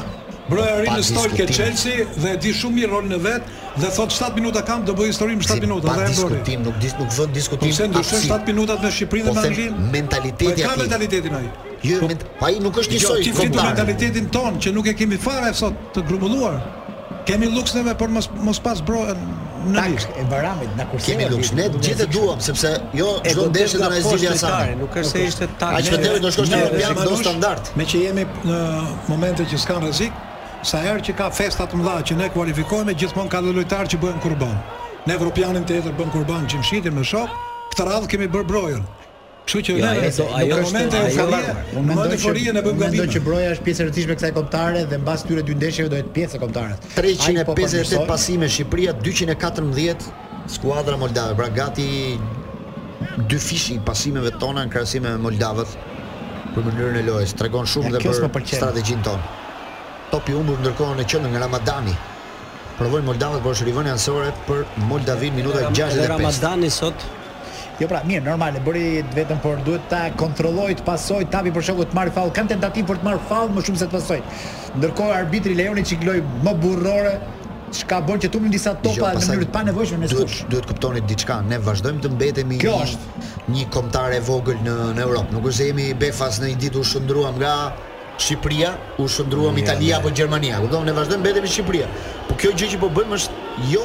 Speaker 9: Broja
Speaker 7: Pa
Speaker 9: rinë në stol ke
Speaker 7: diskutim.
Speaker 9: Chelsea dhe e di shumë mirë rolin e vet dhe thot 7 minuta kam do bëj histori në 7 minuta
Speaker 7: Pa
Speaker 9: dhe e bëri.
Speaker 7: diskutim, nuk dis nuk vën diskutim.
Speaker 9: Po pse ndryshon
Speaker 7: hapësirë.
Speaker 9: 7 minutat me Shqipërinë
Speaker 7: Po
Speaker 9: dhe me
Speaker 7: them,
Speaker 9: Anglinë?
Speaker 7: mentaliteti
Speaker 9: Po e ka
Speaker 7: ati.
Speaker 9: mentalitetin ai.
Speaker 7: Jo, ment, pa ai nuk është
Speaker 9: Jo,
Speaker 7: njësoj
Speaker 9: ti fitu
Speaker 7: kombëtar.
Speaker 9: mentalitetin ton që nuk e kemi fare sot të grumbulluar. Kemi luks neve por mos mos pas bro në listë.
Speaker 8: Tak e Baramit na kurse.
Speaker 7: Kemi luks, ne gjithë e duam sepse jo
Speaker 6: E
Speaker 7: çdo
Speaker 6: godet
Speaker 7: ndeshje do
Speaker 6: nga
Speaker 7: na
Speaker 6: poshtë
Speaker 7: zgjidhja sa.
Speaker 6: lojtari, nuk është se ishte tak.
Speaker 7: Ai që do shkosh në
Speaker 9: Ne,
Speaker 7: European
Speaker 9: Manush,
Speaker 7: do standard.
Speaker 9: Me që jemi në momente që s'kan rrezik, sa herë që ka festa të mëdha që ne kualifikohemi, gjithmonë ka dhe lojtarë që bëhen kurban. Ne evropianin tjetër bën kurban Gjimshitin me shok, këtë radhë kemi bërë brojën. Kështu që
Speaker 6: Jo,
Speaker 9: ne
Speaker 6: ajo-
Speaker 9: në
Speaker 6: ajo është-
Speaker 9: momente
Speaker 6: ajo-
Speaker 8: Unë
Speaker 9: euforie, në
Speaker 8: mendoj
Speaker 9: momente
Speaker 8: që
Speaker 9: euforie ne bëjmë
Speaker 8: unë mendoj që
Speaker 9: gabime.
Speaker 8: broja është pjesë e rëndësishme e kësaj kombëtare dhe mbas tyre dy ndeshjeve do jetë pjesë e kombëtares. Ai po
Speaker 7: 358
Speaker 8: përmirësoi.
Speaker 7: pasime Shqipëria 214 skuadra moldave. Pra gati dy fishi i pasimeve tona në krahasim me moldavët për mënyrën e lojës. Tregon shumë
Speaker 8: Ja,
Speaker 7: dhe
Speaker 8: kjo s'më
Speaker 7: për
Speaker 8: pëlqen.
Speaker 7: strategjinë tonë. Topi humbur ndërkohë në qendër nga Ramadani. Provojnë moldavët por është rivënia anësore për Moldavin minuta
Speaker 6: Dhe
Speaker 7: 65.
Speaker 6: Ramadani sot
Speaker 8: Jo pra, mirë, normal, e bëri të vetëm, por duhet ta kontrolloj, të pasoj, tapi për shokut të marrë faull. Kanë tentativë për të marrë faull më shumë se të pasoj. Ndërkohë arbitri lejoni që loj më burrore, çka bën që tumbin disa topa në mënyrë të panevojshme në
Speaker 7: Jo, duhet
Speaker 8: skush.
Speaker 7: duhet kuptoni diçka. Ne vazhdojmë të mbetemi
Speaker 8: Kjo
Speaker 7: një-
Speaker 8: është.
Speaker 7: një kombëtar e vogël në në Europë. Nuk është se jemi befas në një ditë u shndruam nga Shqipëria, u shndruam Italia apo Gjermania. Kupton, ne vazhdojmë mbetemi në Shqipëria. Po kjo gjë që po bëjmë është jo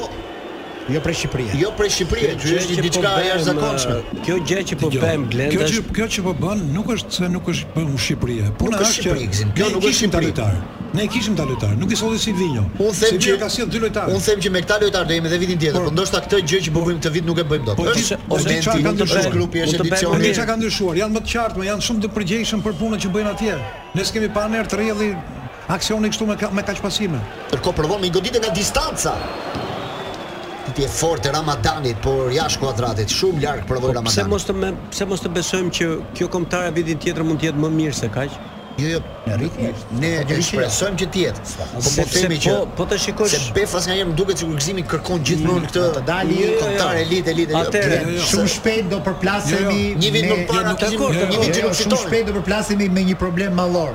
Speaker 8: jo prej Shqipërisë.
Speaker 7: Jo prej Shqipërisë, që është një
Speaker 6: po
Speaker 7: diçka e jashtëzakonshme.
Speaker 6: Kjo gjë që po bëjmë Glenda
Speaker 9: Jo, Kjo që
Speaker 6: është
Speaker 9: kjo që po bën nuk është se nuk është për Shqipëri. Puna
Speaker 7: është
Speaker 9: është
Speaker 7: Shqipëri,
Speaker 9: që
Speaker 7: gzim, kjo
Speaker 9: ne
Speaker 7: nuk është
Speaker 9: kishim ta
Speaker 7: Shqipëri.
Speaker 9: lojtar. Ne kishim ta lojtar, nuk i solli Silvinho.
Speaker 7: Unë them që
Speaker 9: Silvinho ka sjell dy lojtarë.
Speaker 7: Unë them që me këtë lojtar do jemi edhe vitin tjetër, por ndoshta këtë gjë që po bëjmë këtë vit nuk e bëjmë dot.
Speaker 9: Po,
Speaker 7: Është
Speaker 9: ose- ose
Speaker 7: momenti,
Speaker 9: çfarë ka
Speaker 7: mund të
Speaker 9: ndryshuar?
Speaker 7: bësh grupi,
Speaker 6: Mund
Speaker 7: është
Speaker 6: të bëjmë
Speaker 7: edicioni.
Speaker 9: Nuk e çka kanë ndryshuar, janë më të qartë, më janë shumë të përgjegjshëm për punën që bëjnë atje. Ne s'kemi pa nerë të rrjedhi aksioni kështu me ka, me kaq pasime.
Speaker 7: Ndërkohë provon me një goditje nga distanca. Ti je fort e Ramadanit, por jashtë kuadratit, shumë larg provoi
Speaker 6: Po Pse
Speaker 7: Ramadani.
Speaker 6: mos të me, pse mos të besojmë që kjo kombëtare vitin tjetër mund të jetë më mirë se kaq?
Speaker 7: Jo, jo, ne rritmi, ne e shpresojmë që të jetë. Po po
Speaker 6: Se- se
Speaker 7: themi që
Speaker 6: po- po të shikosh-
Speaker 7: se Befas nga herë më duket sikur gëzimi kërkon gjithmonë këtë
Speaker 8: të dalë- Jo, jo, jo.
Speaker 7: kontar elit elit.
Speaker 6: Atëre,
Speaker 8: Shumë shpejt do përplasemi
Speaker 7: Jo, Një vit
Speaker 8: me-
Speaker 7: më parë
Speaker 9: nuk
Speaker 7: kishim
Speaker 6: dakord,
Speaker 7: një
Speaker 8: Jo,
Speaker 7: vit që
Speaker 8: jo,
Speaker 7: nuk
Speaker 8: shumë
Speaker 7: fitonin.
Speaker 8: shpejt do përplasemi me një problem mallor.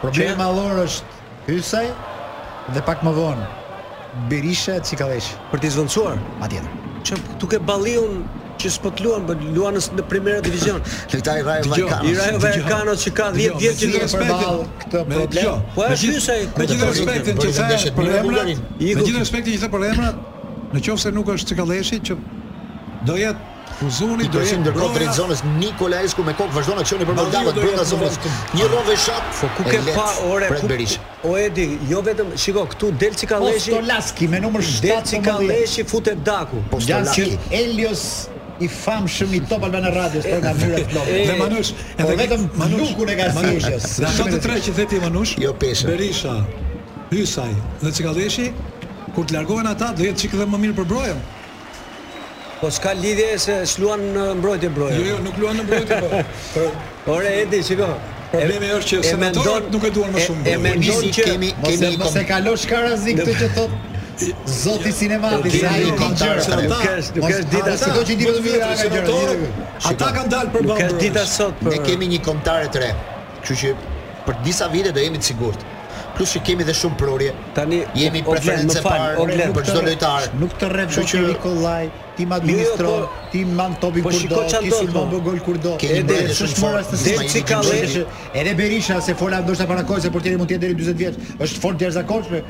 Speaker 8: Problemi
Speaker 6: Që?
Speaker 8: mallor është Hysaj dhe pak më vonë Berisha Çikavesh.
Speaker 6: Për t'i zvendçuar.
Speaker 8: Patjetër.
Speaker 6: Që duke balliun që s'po të luan, po luan në s- në Primera Divizion.
Speaker 7: Lojtari Rajo
Speaker 9: Dgjoj,
Speaker 6: I
Speaker 7: Vajkanos.
Speaker 6: Rajo
Speaker 9: Dgjoj.
Speaker 6: Valkano që ka 10
Speaker 9: Dgjoj,
Speaker 6: vjetë që
Speaker 9: me
Speaker 6: nuk
Speaker 9: gjithë
Speaker 8: e përball
Speaker 9: respektin-
Speaker 8: këtë
Speaker 9: me-
Speaker 8: problem.
Speaker 9: dgjoj,
Speaker 6: Po,
Speaker 9: me
Speaker 6: është
Speaker 9: gjithë-
Speaker 6: Hysaj,
Speaker 9: Me gjithë
Speaker 6: kujtë-
Speaker 9: respektin
Speaker 7: kujtë
Speaker 9: që the
Speaker 7: ndeshjet
Speaker 9: për
Speaker 7: në
Speaker 9: emrat,
Speaker 7: Bullgarin.
Speaker 9: me
Speaker 6: Iku-
Speaker 9: gjithë respektin që the për emrat, në qoftë se nuk është Cikalleshi që do jetë Uzuni,
Speaker 7: I
Speaker 9: do
Speaker 7: përshim
Speaker 9: jetë
Speaker 7: ndërkohë
Speaker 9: Broja,
Speaker 7: drejt zonës Nikola Esku me kokë vazhdon aksioni për
Speaker 9: Balliu
Speaker 7: Moldavët
Speaker 9: do
Speaker 7: brenda
Speaker 9: jetë
Speaker 7: zonës.
Speaker 9: moment.
Speaker 7: Një rove shat.
Speaker 6: Po ku
Speaker 7: e
Speaker 6: ke
Speaker 7: lehtë
Speaker 6: pa ore
Speaker 7: pret
Speaker 6: ku
Speaker 7: Berisha. Po
Speaker 6: O Edi, jo vetëm, shiko, këtu del Cikaleshi,
Speaker 8: Postolaski me numër
Speaker 6: del
Speaker 8: 7
Speaker 6: Cikaleshi futet daku.
Speaker 7: Postolaki.
Speaker 8: Gjanski Elios i famshëm i Top Albana Radios për nga mbyra plot.
Speaker 9: Dhe Manush,
Speaker 8: po vetëm
Speaker 9: Manush-
Speaker 8: lukun e ka
Speaker 9: Manush,
Speaker 8: sjelljes.
Speaker 9: Dhe ato të tre që the ti Manush,
Speaker 7: Jo peshë.
Speaker 9: Berisha, Hysaj dhe Cikalleshi, kur të largohen ata do jetë çik edhe më mirë për Brojen.
Speaker 6: Po s'ka lidhje se s'luan në mbrojtje broja.
Speaker 9: Jo, jo, nuk luan në mbrojtje po. (laughs)
Speaker 6: Ore Edi, shiko.
Speaker 9: Problemi është që senatorët nuk e duan më shumë. jo.
Speaker 6: E, e mendon
Speaker 7: Nisi
Speaker 6: që
Speaker 7: kemi
Speaker 8: Mos e
Speaker 7: kemi
Speaker 8: mos e kalosh ka razi këtë që thot Zoti sinemati, se ai
Speaker 7: Kemi
Speaker 8: i di
Speaker 7: kontakt,
Speaker 8: gjëra.
Speaker 9: nuk
Speaker 6: është- nuk është dita
Speaker 8: se do që i di vetëm mira ka gjëra.
Speaker 9: Ata kanë dalë për
Speaker 6: Nuk
Speaker 9: banë.
Speaker 6: është dita sot për
Speaker 7: Ne kemi një kontare të re. Kështu që për disa vite do jemi të sigurt. Plus që kemi dhe shumë prorje.
Speaker 6: Tani,
Speaker 7: jemi
Speaker 6: o- o
Speaker 7: preferencë
Speaker 6: Glenn, më
Speaker 7: e
Speaker 6: fal, o
Speaker 7: parë
Speaker 6: Glenn,
Speaker 7: për çdo lojtar.
Speaker 8: Nuk të rrep
Speaker 7: Kështu
Speaker 8: do
Speaker 7: që-
Speaker 8: që Nikolaj, ti më administron,
Speaker 6: Jo, jo, po-
Speaker 8: ti më topin
Speaker 6: po
Speaker 8: kur do,
Speaker 6: shiko çfarë
Speaker 8: ti
Speaker 6: do,
Speaker 8: sulmon
Speaker 6: po.
Speaker 8: bë gol kur do.
Speaker 7: Keni
Speaker 8: Edhe
Speaker 7: brojtje shumë
Speaker 8: është mora
Speaker 7: forte,
Speaker 8: se
Speaker 7: Del
Speaker 8: Ismaili
Speaker 7: Cikallë-
Speaker 8: Gjimbrëshi, Ere Berisha se fola ndoshta para kohës se portieri mund të jetë deri 40 vjeç. Është fort jashtëzakonshme.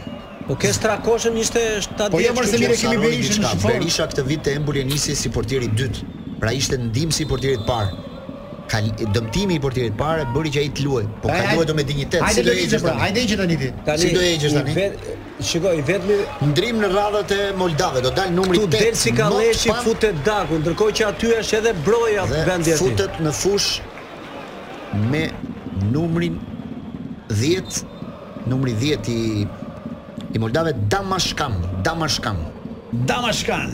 Speaker 6: Po ke strakoshën 27
Speaker 8: Po jo,
Speaker 6: vjeç.
Speaker 8: mërë se
Speaker 6: kështu
Speaker 8: mire
Speaker 6: që-
Speaker 8: kemi
Speaker 7: Saroni
Speaker 8: Berishën
Speaker 7: diçka.
Speaker 8: në shifon.
Speaker 7: Berisha këtë vit të embul e nisi si portieri i dytë. Pra ishte ndihmë si portieri i parë. Ka dëmtimi i portierit parë e bëri që ai të luajë, po ka luajtur me dinjitet.
Speaker 8: Hajde
Speaker 7: si
Speaker 8: do
Speaker 7: do
Speaker 8: hiqe
Speaker 7: heqësh
Speaker 8: pra,
Speaker 7: tani?
Speaker 8: hajde hiqe tani ti.
Speaker 6: Tani,
Speaker 7: si do e gjësh
Speaker 6: i
Speaker 7: tani?
Speaker 6: vet- Shiko, i vetmi
Speaker 7: Ndrim në radhët e Moldave do dal numri
Speaker 6: Tu
Speaker 7: 8.
Speaker 6: del si kalleshi
Speaker 7: Notpan
Speaker 6: futet daku, ndërkohë që aty është edhe broja
Speaker 7: dhe
Speaker 6: vendi aty.
Speaker 7: futet në fush me numrin 10, numri 10 i i Moldave Damashkam, Damashkam,
Speaker 8: Damashkan.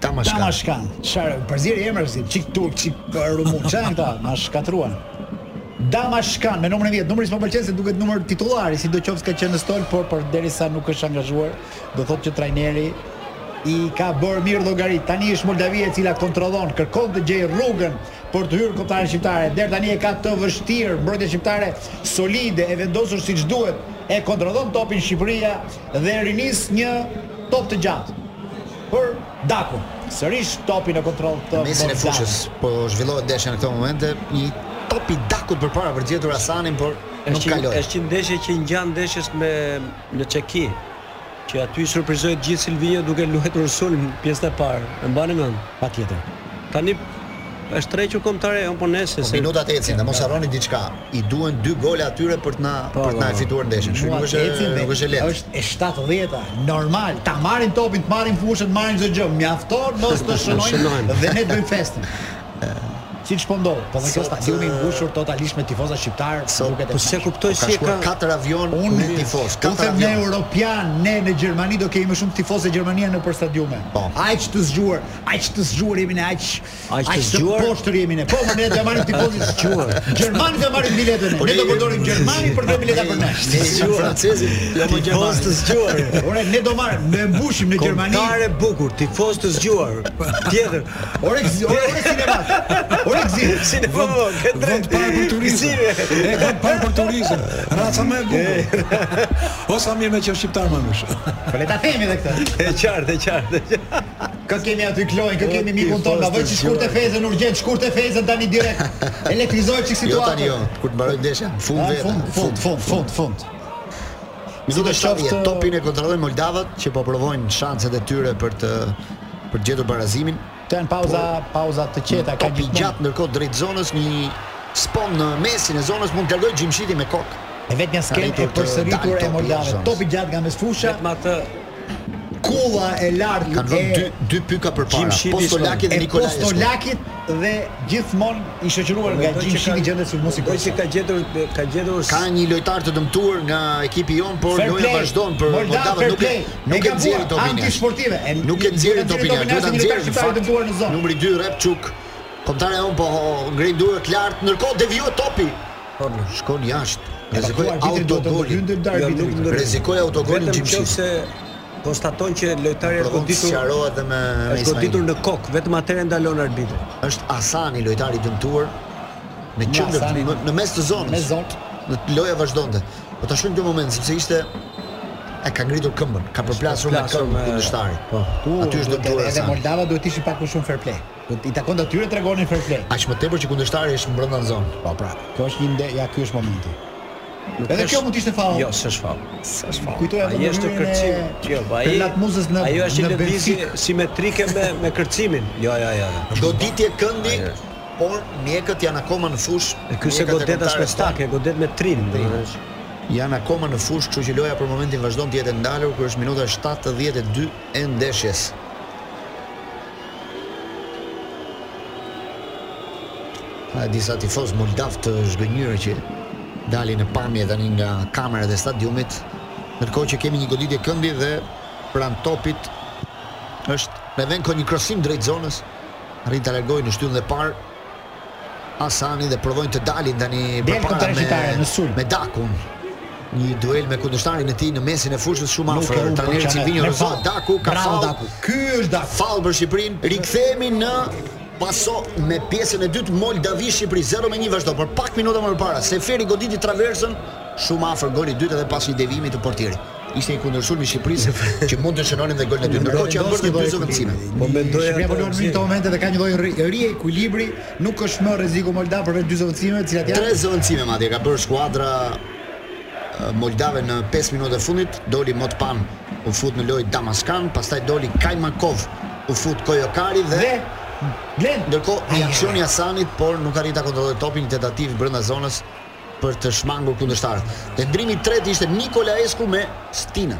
Speaker 7: Damashkam.
Speaker 8: Damashkan. Çfarë përzierje emër si çik turk, çik rumun. Çfarë janë këta? Ma shkatruan. Damashkan me numrin 10. Numri s'më pëlqen se duket numër titullari, sidoqoftë ka qenë në stol, por por derisa nuk është angazhuar, do thotë që trajneri i ka bërë mirë llogarit. Tani është Moldavia e cila kontrollon, kërkon të gjejë rrugën për të hyrë kontare shqiptare. Deri tani e ka të vështirë, mbrojtja shqiptare solide, e vendosur siç duhet, e kontrollon topin Shqipëria dhe rinis një top të gjatë për Dakun. Sërish topi në kontroll të
Speaker 7: Mesin e
Speaker 8: Moldavës.
Speaker 7: fushës, po zhvillohet deshja në këto momente, një top i dakut përpara për gjetur Hasanin, por nuk
Speaker 6: Është një-
Speaker 7: kaloi.
Speaker 6: është një ndeshje që ngjan ndeshjes me në Çeki, që aty surprizoi të gjithë Silvinho duke luajtur sulm në pjesën e parë. E mbani mend?
Speaker 8: patjetër.
Speaker 6: Tani është trequr kombëtare on po nesër
Speaker 7: Po
Speaker 6: se
Speaker 7: Minutat ecin, dhe mos harroni diçka. I duhen dy gole atyre për të na
Speaker 6: Po,
Speaker 7: për të na
Speaker 6: po, po.
Speaker 7: fituar ndeshjen. Kështu
Speaker 8: Mua
Speaker 7: nuk është
Speaker 8: ecin dhe
Speaker 7: nuk është e lehtë.
Speaker 8: Është e 70-ta, normal. Ta marrin topin, të marrin fushën, të marrin çdo gjë. Mjafton mos
Speaker 7: (laughs)
Speaker 8: të
Speaker 6: shënojnë.
Speaker 8: shënojnë dhe ne bëjmë festën. Siç po ndodh, po dhe kjo
Speaker 7: Sot,
Speaker 8: stadiumi i mbushur totalisht me tifoza shqiptar,
Speaker 7: Sot,
Speaker 8: duket e
Speaker 6: Po se
Speaker 8: kënaqshme.
Speaker 6: kuptoj
Speaker 7: Ka
Speaker 6: si e
Speaker 7: shkuar
Speaker 6: ka
Speaker 7: katër avion me tifoz,
Speaker 8: Unë
Speaker 7: katër
Speaker 8: them ne
Speaker 7: avion.
Speaker 8: europian, ne në Gjermani do kemi më shumë tifozë Gjermania në për stadiume.
Speaker 7: Po.
Speaker 8: Aq të zgjuar, aq të zgjuar jemi ne, aq
Speaker 6: Aq të zgjuar?
Speaker 8: poshtër jemi ne. Po, më ne do marrim
Speaker 7: (laughs)
Speaker 8: tifozë të zgjuar. Gjermani do marrim biletën. e. Ne do përdorim Gjermanin për të bileta për ne. (laughs)
Speaker 7: Po Ne jemi francezi, jo më
Speaker 6: tifoz të
Speaker 7: gjermanë.
Speaker 6: zgjuar.
Speaker 8: Ore, ne do marrim, ne mbushim në Gjermani.
Speaker 6: Kombëtare bukur, tifoz të zgjuar. Tjetër.
Speaker 8: Ore, gzi- ore, ore sinemat. Ore gzi.
Speaker 6: Si ne po, ke
Speaker 9: Vend parë për turizëm. E vend parë për turizëm. Raca më e bukur. (laughs) O sa mirë me që është shqiptar më mësh.
Speaker 8: Po le ta themi edhe këtë.
Speaker 6: E qartë, e qartë. e qartë.
Speaker 8: Kë kemi aty Kloin, kë kemi mikun ton, na vëj që shkurt e fezën urgjent, shkurt e fezën tani direkt. Elektrizoj çik
Speaker 7: Jo
Speaker 8: situatën.
Speaker 7: tani jo, kur të mbaroj ndeshja, në fund
Speaker 8: Ah,
Speaker 7: vetë.
Speaker 8: Fund, fund, fund, fund, fund.
Speaker 7: Minuta
Speaker 8: Si do
Speaker 7: 70,
Speaker 8: qoftë-
Speaker 7: topin e kontrollojnë Moldavët që po provojnë shanset e tyre për të për të gjetur barazimin.
Speaker 8: Të janë pauza, pauza të qeta.
Speaker 7: Top i gjatë ndërkohë drejt zonës një spon në mesin e zonës mund të largoj gjimshiti me kokë.
Speaker 8: E vetmja skenë e
Speaker 7: Arritur të
Speaker 8: përsëritur
Speaker 7: dalë
Speaker 8: e
Speaker 7: topi
Speaker 8: Moldave.
Speaker 7: jashtë.
Speaker 8: po Top i gjatë nga mesfusha,
Speaker 6: Vetëm atë
Speaker 8: kulla e lartë
Speaker 7: Kanë vënë dy
Speaker 8: e
Speaker 7: dy pyka përpara.
Speaker 6: Gjimshiti
Speaker 7: Postolaki
Speaker 8: e
Speaker 7: dhe Nikolaj. Esku.
Speaker 8: Postolakit dhe gjithmonë i shoqëruar nga
Speaker 6: mendoj që
Speaker 8: gjimshiti
Speaker 6: ka-
Speaker 8: gjendet sulmuesi
Speaker 6: mendoj se
Speaker 8: Kosova.
Speaker 6: ka gjetur ka gjetur
Speaker 7: Ka një lojtar të dëmtuar nga ekipi jon, por
Speaker 8: Fair
Speaker 7: loja
Speaker 8: play.
Speaker 7: vazhdon për
Speaker 8: Moldavë,
Speaker 7: Moldavën
Speaker 8: fair
Speaker 7: nuk e
Speaker 8: play. E
Speaker 7: nuk e
Speaker 8: gabuar,
Speaker 7: nxjerrin topin.
Speaker 8: antisportive. E-
Speaker 7: Nuk e nxjerrin
Speaker 8: duhet ta
Speaker 7: topin,
Speaker 8: nxjerrin
Speaker 7: duhet ta
Speaker 8: topin, ashtu një lojtar
Speaker 7: nxjerrin në
Speaker 8: shqiptar i
Speaker 7: fakt.
Speaker 8: dëmtuar në zonë.
Speaker 7: Numri 2 Repçuk. Kontare on po ngrej duart lart, ndërkohë devijohet topi. Shkon jashtë. Rrezikoi
Speaker 8: arbitri duhet të
Speaker 7: autogolin.
Speaker 8: hyndë
Speaker 6: Jo,
Speaker 8: arbitri.
Speaker 6: nuk ndër-
Speaker 7: Rrezikoi autogolin
Speaker 6: vetëm
Speaker 7: gjimshiti.
Speaker 6: nëse konstaton që lojtari është
Speaker 7: Provon të
Speaker 6: goditur
Speaker 7: sqarohet edhe me me
Speaker 6: është goditur
Speaker 7: Ismail.
Speaker 6: në kokë, vetëm atëherë ndalon arbitri.
Speaker 7: Është Asani lojtari i dëmtuar në qendër
Speaker 8: Asani.
Speaker 7: në- në mes të zonës.
Speaker 8: Me zonë.
Speaker 7: Dhe loja vazhdonte. Po ta shohim këtë moment sepse ishte e ka ngritur këmbën, ka përplasur me
Speaker 6: përplasur
Speaker 7: këmbën
Speaker 6: me-
Speaker 7: kundërshtari.
Speaker 6: Po.
Speaker 7: Aty është dëmtuar
Speaker 8: Edhe
Speaker 7: Asani.
Speaker 8: Moldava duhet të ishin pak më shumë fair play. Do i takon atyre tregonin fair play.
Speaker 7: Aq më tepër që kundërshtari është brenda në zonë.
Speaker 8: Po pra, kjo është një ide, ja ky është momenti. Edhe
Speaker 6: është-
Speaker 8: kjo mund të ishte faul.
Speaker 6: Jo, s'është faul.
Speaker 8: s'është faul. Kujtoj atë
Speaker 6: Ai është kërcim. Jo, po ai.
Speaker 8: Penat Muzës në
Speaker 6: Ajo është një
Speaker 8: në
Speaker 6: lëvizje
Speaker 8: Belgjik.
Speaker 6: simetrike me me kërcimin. Jo, jo, jo. jo.
Speaker 7: Goditje këndi, por mjekët janë akoma në fush.
Speaker 6: E ky se
Speaker 7: mjekët
Speaker 6: godet as me
Speaker 7: kontarës
Speaker 6: stak, e godet me trim, domethënë.
Speaker 7: tanë Janë akoma në fush, kështu që loja për momentin vazhdon të jetë e ndalur, kur është minuta 72 e ndeshjes. Ka disa tifoz moldav të zhgënjur që dalin në pamje tani nga kamerat e stadiumit, ndërkohë që kemi një goditje këndi dhe pranë topit është Revenko një krosim drejt zonës, arrin ta largojë në shtyllën e parë. Hasani dhe provojnë të dalin tani
Speaker 8: Del kontra shqiptare, në sulm.
Speaker 7: me Dakun. Një duel me kundërshtarin e tij në mesin e fushës shumë
Speaker 8: Nuk e
Speaker 7: afër.
Speaker 8: unë
Speaker 7: Trajneri Silvino Rosa Daku ka
Speaker 8: po- Bravo
Speaker 7: faull.
Speaker 8: Daku. Ky është Daku.
Speaker 7: Fall për Shqipërinë. Rikthehemi në Paso me pjesën e dytë Moldavi Shqipëri 0 me 1 vazhdo, por pak minuta më parë Seferi goditi traversën shumë afër golit dytë dhe pas një devimi të portierit. Ishte një kundërshtim
Speaker 8: (laughs)
Speaker 7: i Shqipërisë që mund të shënonin dhe golin e dytë. Ndërkohë që janë bërë dy zëvendësime.
Speaker 6: Po mendoja
Speaker 8: Shqipëria po
Speaker 6: atë
Speaker 8: lën në këto momente dhe ka një lloj rri- riekuilibri, nuk është më rreziku Moldav përveç dy zëvendësimeve, të cilat janë
Speaker 7: Tre zëvendësime madje ka bërë skuadra e, Moldave në 5 minuta e fundit, doli Motpan, u fut në lojë Damaskan, pastaj doli Kajmakov, u fut Kojokari dhe,
Speaker 8: dhe Glen
Speaker 7: ndërkohë i aksioni Hasanit, por nuk arrita kontrolloi topin një tentativë brenda zonës për të shmangur kundërshtarët. Dhe ndrimi i tretë ishte Nikola Esku me Stinën.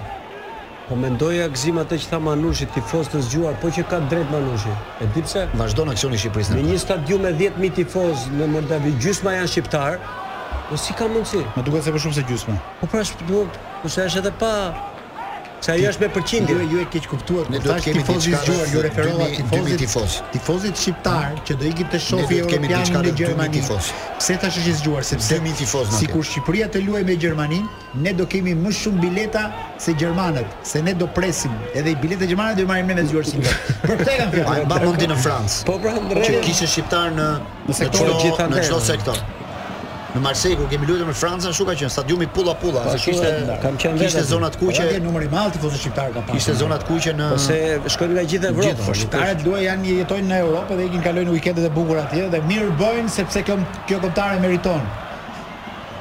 Speaker 6: Po mendoja gzim atë që tha Manushi, tifoz të zgjuar, po që ka drejt Manushi. E di pse?
Speaker 7: Vazhdon aksioni i Shqipërisë.
Speaker 6: Në
Speaker 7: në-
Speaker 6: një stadium me 10000 tifoz në Moldavi, gjysma janë shqiptar. Po si ka mundësi?
Speaker 8: Më duket se më shumë se gjysmë.
Speaker 6: Po pra, shp- po po se është edhe pa Se ajo është me
Speaker 8: Ju
Speaker 6: përqindje.
Speaker 8: ju e keq kuptuar,
Speaker 7: Ne
Speaker 8: kur
Speaker 7: do të
Speaker 8: thash
Speaker 7: kemi
Speaker 8: tifoz i
Speaker 7: diçka
Speaker 8: zgjuar,
Speaker 7: rreth
Speaker 8: ju referova
Speaker 7: 2000
Speaker 8: tifozit
Speaker 7: 2000 tifoz.
Speaker 8: Tifozit shqiptar që do ikin të
Speaker 7: Ne
Speaker 8: shofi
Speaker 7: do të kemi diçka
Speaker 8: europianin në
Speaker 7: rreth 2000
Speaker 8: Gjermani.
Speaker 7: tifoz.
Speaker 8: Pse tash është i zgjuar? Sepse
Speaker 7: 2000 tifoz na
Speaker 8: Sikur
Speaker 7: ke.
Speaker 8: Shqipëria të luajë me Gjermaninë, ne do kemi më shumë bileta se gjermanët, se ne do presim. Edhe i biletat gjermane do i marrim ne me zgjuarsin.
Speaker 7: (laughs)
Speaker 8: Për këtë kanë
Speaker 7: Ai
Speaker 8: fjalë.
Speaker 7: mban mundin në Francë.
Speaker 6: Po pra, në
Speaker 7: që
Speaker 6: rregull.
Speaker 7: kishte shqiptar në në
Speaker 6: sektor
Speaker 7: çdo-
Speaker 6: gjithandej,
Speaker 7: në çdo
Speaker 6: domethënë.
Speaker 7: sektor. Në Marseille kur kemi luajtur me Francën, ashtu ka qenë stadiumi pulla pulla, se
Speaker 6: ashtu
Speaker 7: kishte
Speaker 6: Po, e- kam qenë
Speaker 7: kishte
Speaker 6: vetë.
Speaker 7: zona të
Speaker 8: Kuqe
Speaker 7: kuqe,
Speaker 8: dhe numri i madh tifozë shqiptar ka pasur.
Speaker 7: kishte zona të kuqe në
Speaker 6: Po se shkojnë nga gjithë Evropa.
Speaker 7: Gjithë, po,
Speaker 8: Shqiptarët duaj janë jetojnë në Europë dhe ikin kalojnë weekendet e bukura atje dhe mirë bëjnë sepse kjo kjo kontare meriton.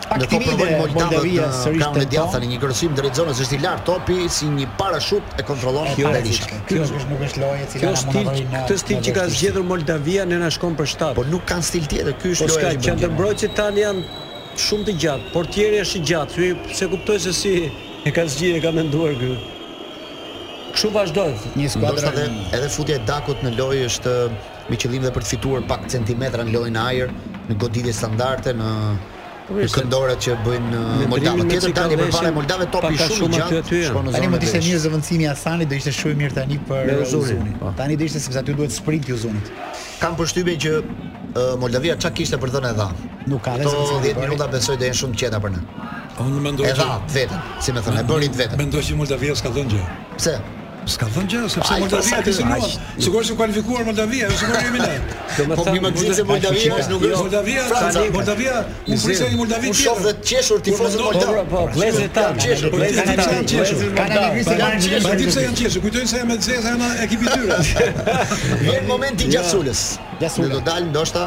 Speaker 7: Ndërkohë
Speaker 8: Aktivide
Speaker 7: provojnë Moldavia
Speaker 8: Moldavia
Speaker 7: në
Speaker 8: sërish
Speaker 7: kraun e
Speaker 8: të
Speaker 7: djathtë tani një kërcim drejt zonës është i lartë topi si një parashut e kontrollon
Speaker 8: Kjo
Speaker 7: Berisha.
Speaker 8: Kjo është nuk është loje e cila
Speaker 6: Kjo
Speaker 8: na mund
Speaker 6: stil,
Speaker 8: të vëjë në
Speaker 6: këtë stil që ka zgjedhur Moldavia ne na shkon për shtat.
Speaker 7: Po nuk kanë stil tjetër, ky është
Speaker 6: Po
Speaker 7: loja që
Speaker 6: s'ka
Speaker 7: bën. Gjermania.
Speaker 6: qendërmbrojtësit tani janë shumë të gjatë. Portieri është i gjatë. Ky pse kuptoj se si e ka zgjidhë, e ka menduar ky. Kështu vazhdojnë.
Speaker 8: një
Speaker 7: Ndoshta
Speaker 8: skuadër
Speaker 7: edhe edhe futja e Dakut në lojë është me qëllim dhe për të fituar pak centimetra në lojën e ajër, në goditje standarde në në këndorat që bëjnë uh,
Speaker 6: Në
Speaker 7: Moldavë.
Speaker 6: ndrimin me
Speaker 7: Tjetër tani
Speaker 6: Cikaveshin,
Speaker 7: përpara Moldave topi
Speaker 6: paka
Speaker 7: shumë
Speaker 6: shumë
Speaker 7: i
Speaker 6: aty
Speaker 7: gjatë.
Speaker 6: aty janë.
Speaker 7: shkon në
Speaker 8: Tani
Speaker 7: zonën
Speaker 8: më ishte
Speaker 7: e
Speaker 8: një
Speaker 7: Berishës.
Speaker 8: zëvendësimi i Hasanit do ishte shumë mirë tani për
Speaker 6: Dhe Uzunin,
Speaker 8: Uzunin.
Speaker 6: po.
Speaker 8: Tani do ishte sepse aty duhet sprint i Uzunit.
Speaker 7: Kam përshtypjen që uh, Moldavia çka kishte për dhënë e dha.
Speaker 8: Nuk ka dhe
Speaker 7: Ato
Speaker 8: zëvendësim të
Speaker 7: 10
Speaker 8: bëri.
Speaker 7: minuta besoj do jenë shumë të qeta për ne.
Speaker 9: (laughs) Unë mendoj
Speaker 7: E
Speaker 9: që
Speaker 7: dha vetën, si më thënë, e bërin vetën.
Speaker 9: mendoj që Moldavia s'ka dhënë gjë.
Speaker 7: Pse?
Speaker 9: S'ka dhënë gjë sepse
Speaker 7: Ai,
Speaker 9: Moldavia
Speaker 7: sa
Speaker 9: ka
Speaker 7: ky-
Speaker 9: sinuar.
Speaker 7: aq-
Speaker 9: Sigurisht u kualifikuar Moldavia, jo sigurisht jemi ne.
Speaker 7: Po mi më gzim se Moldavia është nuk
Speaker 9: Jo,
Speaker 7: është
Speaker 9: Moldavia,
Speaker 7: Franca.
Speaker 9: tani Moldavia, unë prisja një Moldavi
Speaker 7: Unë shoh
Speaker 9: tjetër.
Speaker 7: dhe të qeshur tifozët
Speaker 9: Kur mendoj-
Speaker 7: moldavë.
Speaker 6: Po, po, vlezët tanë,
Speaker 7: Qeshur,
Speaker 9: Po,
Speaker 6: vlezët
Speaker 9: ti- ti- ti-
Speaker 6: tanë.
Speaker 9: janë qeshur.
Speaker 8: Kanë alegrisë
Speaker 7: Janë
Speaker 8: marrin
Speaker 7: qeshur.
Speaker 9: Ma di pse
Speaker 8: gjithë.
Speaker 9: janë qeshur, kujtojnë se janë me
Speaker 7: (laughs)
Speaker 9: zeza janë ekipi tyre.
Speaker 7: Vjen momenti i Gjasulës.
Speaker 8: Gjasula.
Speaker 7: Ne do dal ndoshta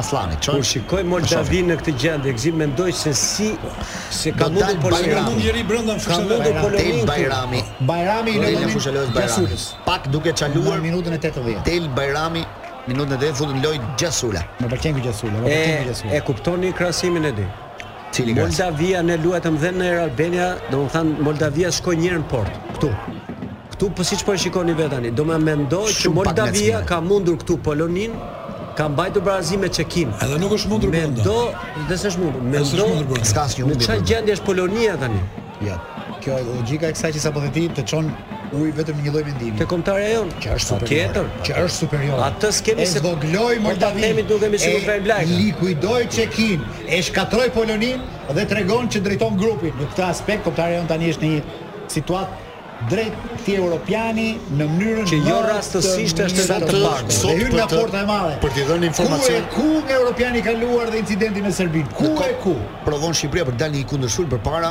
Speaker 7: Aslanit.
Speaker 6: Kur shikoj Moldavin në këtë gjendje, gzim mendoj se si se ka
Speaker 7: Do
Speaker 6: mundur
Speaker 7: dalë
Speaker 6: Polonia.
Speaker 7: Bajrami.
Speaker 9: Mund njëri brenda në
Speaker 6: Ka
Speaker 9: fushën
Speaker 6: mundur
Speaker 7: Bajrami. Del
Speaker 6: Polonin.
Speaker 7: Bajrami.
Speaker 8: Bajrami në
Speaker 7: Del në
Speaker 8: momentin
Speaker 7: fushë lojës Bajrami.
Speaker 8: Gjasulis.
Speaker 7: Pak duke
Speaker 8: Në
Speaker 7: çaluar
Speaker 8: minutën e 80.
Speaker 7: Del Bajrami minutën e 10 futën lojë Gjasula,
Speaker 8: Më pëlqen ky Gjasula, më
Speaker 6: E
Speaker 8: pëlqen ky
Speaker 6: e
Speaker 8: Gjasula.
Speaker 6: kuptoni krahasimin e dy.
Speaker 7: cili ka
Speaker 6: Moldavia ne luajtëm dhe në Air Albania, domethënë Moldavia shkoi një herë në port, këtu. Këtu po siç po e shikoni vetë tani, do më mendoj që
Speaker 7: Shumë pak
Speaker 6: Moldavia
Speaker 7: ngacmime.
Speaker 6: ka mundur këtu Polonin, ka mbajtur barazim me Çekin.
Speaker 9: Edhe nuk është mundur brenda.
Speaker 6: Mendo, dhe s'është mundur,
Speaker 9: S'është
Speaker 6: mendo.
Speaker 9: mundur brenda.
Speaker 7: s'ka asnjë
Speaker 6: Në
Speaker 7: humbi.
Speaker 6: çfarë
Speaker 7: brenda.
Speaker 6: gjendje është Polonia tani?
Speaker 8: Ja. Kjo e logjika e kësaj që sapo the ti të çon ujë vetëm në një lloj mendimi.
Speaker 6: Te kombëtarja jon.
Speaker 8: Që është superior.
Speaker 6: Tjetër.
Speaker 8: Që është superior.
Speaker 6: Atë s'kemi
Speaker 8: e
Speaker 6: se-
Speaker 8: zvogloi
Speaker 6: po ta
Speaker 8: Moldavin.
Speaker 6: themi dukemi sikur Brian Blajka.
Speaker 8: E likuidoi Çekin, e shkatroi Polonin dhe tregon që drejton grupin. Në këtë aspekt kombëtari jon tani është në një situatë drejt ti europiani në mënyrën
Speaker 6: Që jo
Speaker 8: më të
Speaker 6: rastësisht
Speaker 8: mirë
Speaker 6: është edhe
Speaker 8: të
Speaker 6: të
Speaker 8: bardhë.
Speaker 6: bardhë.
Speaker 8: Dhe
Speaker 7: Sot
Speaker 8: hyn
Speaker 7: për
Speaker 8: nga
Speaker 7: të-
Speaker 8: porta e madhe.
Speaker 7: për t'i dhënë informacion.
Speaker 8: Ku e ku nga europiani ka luar dhe incidenti me Serbin? Ku e ku?
Speaker 7: provon Shqipëria për dalë një kundërshtim përpara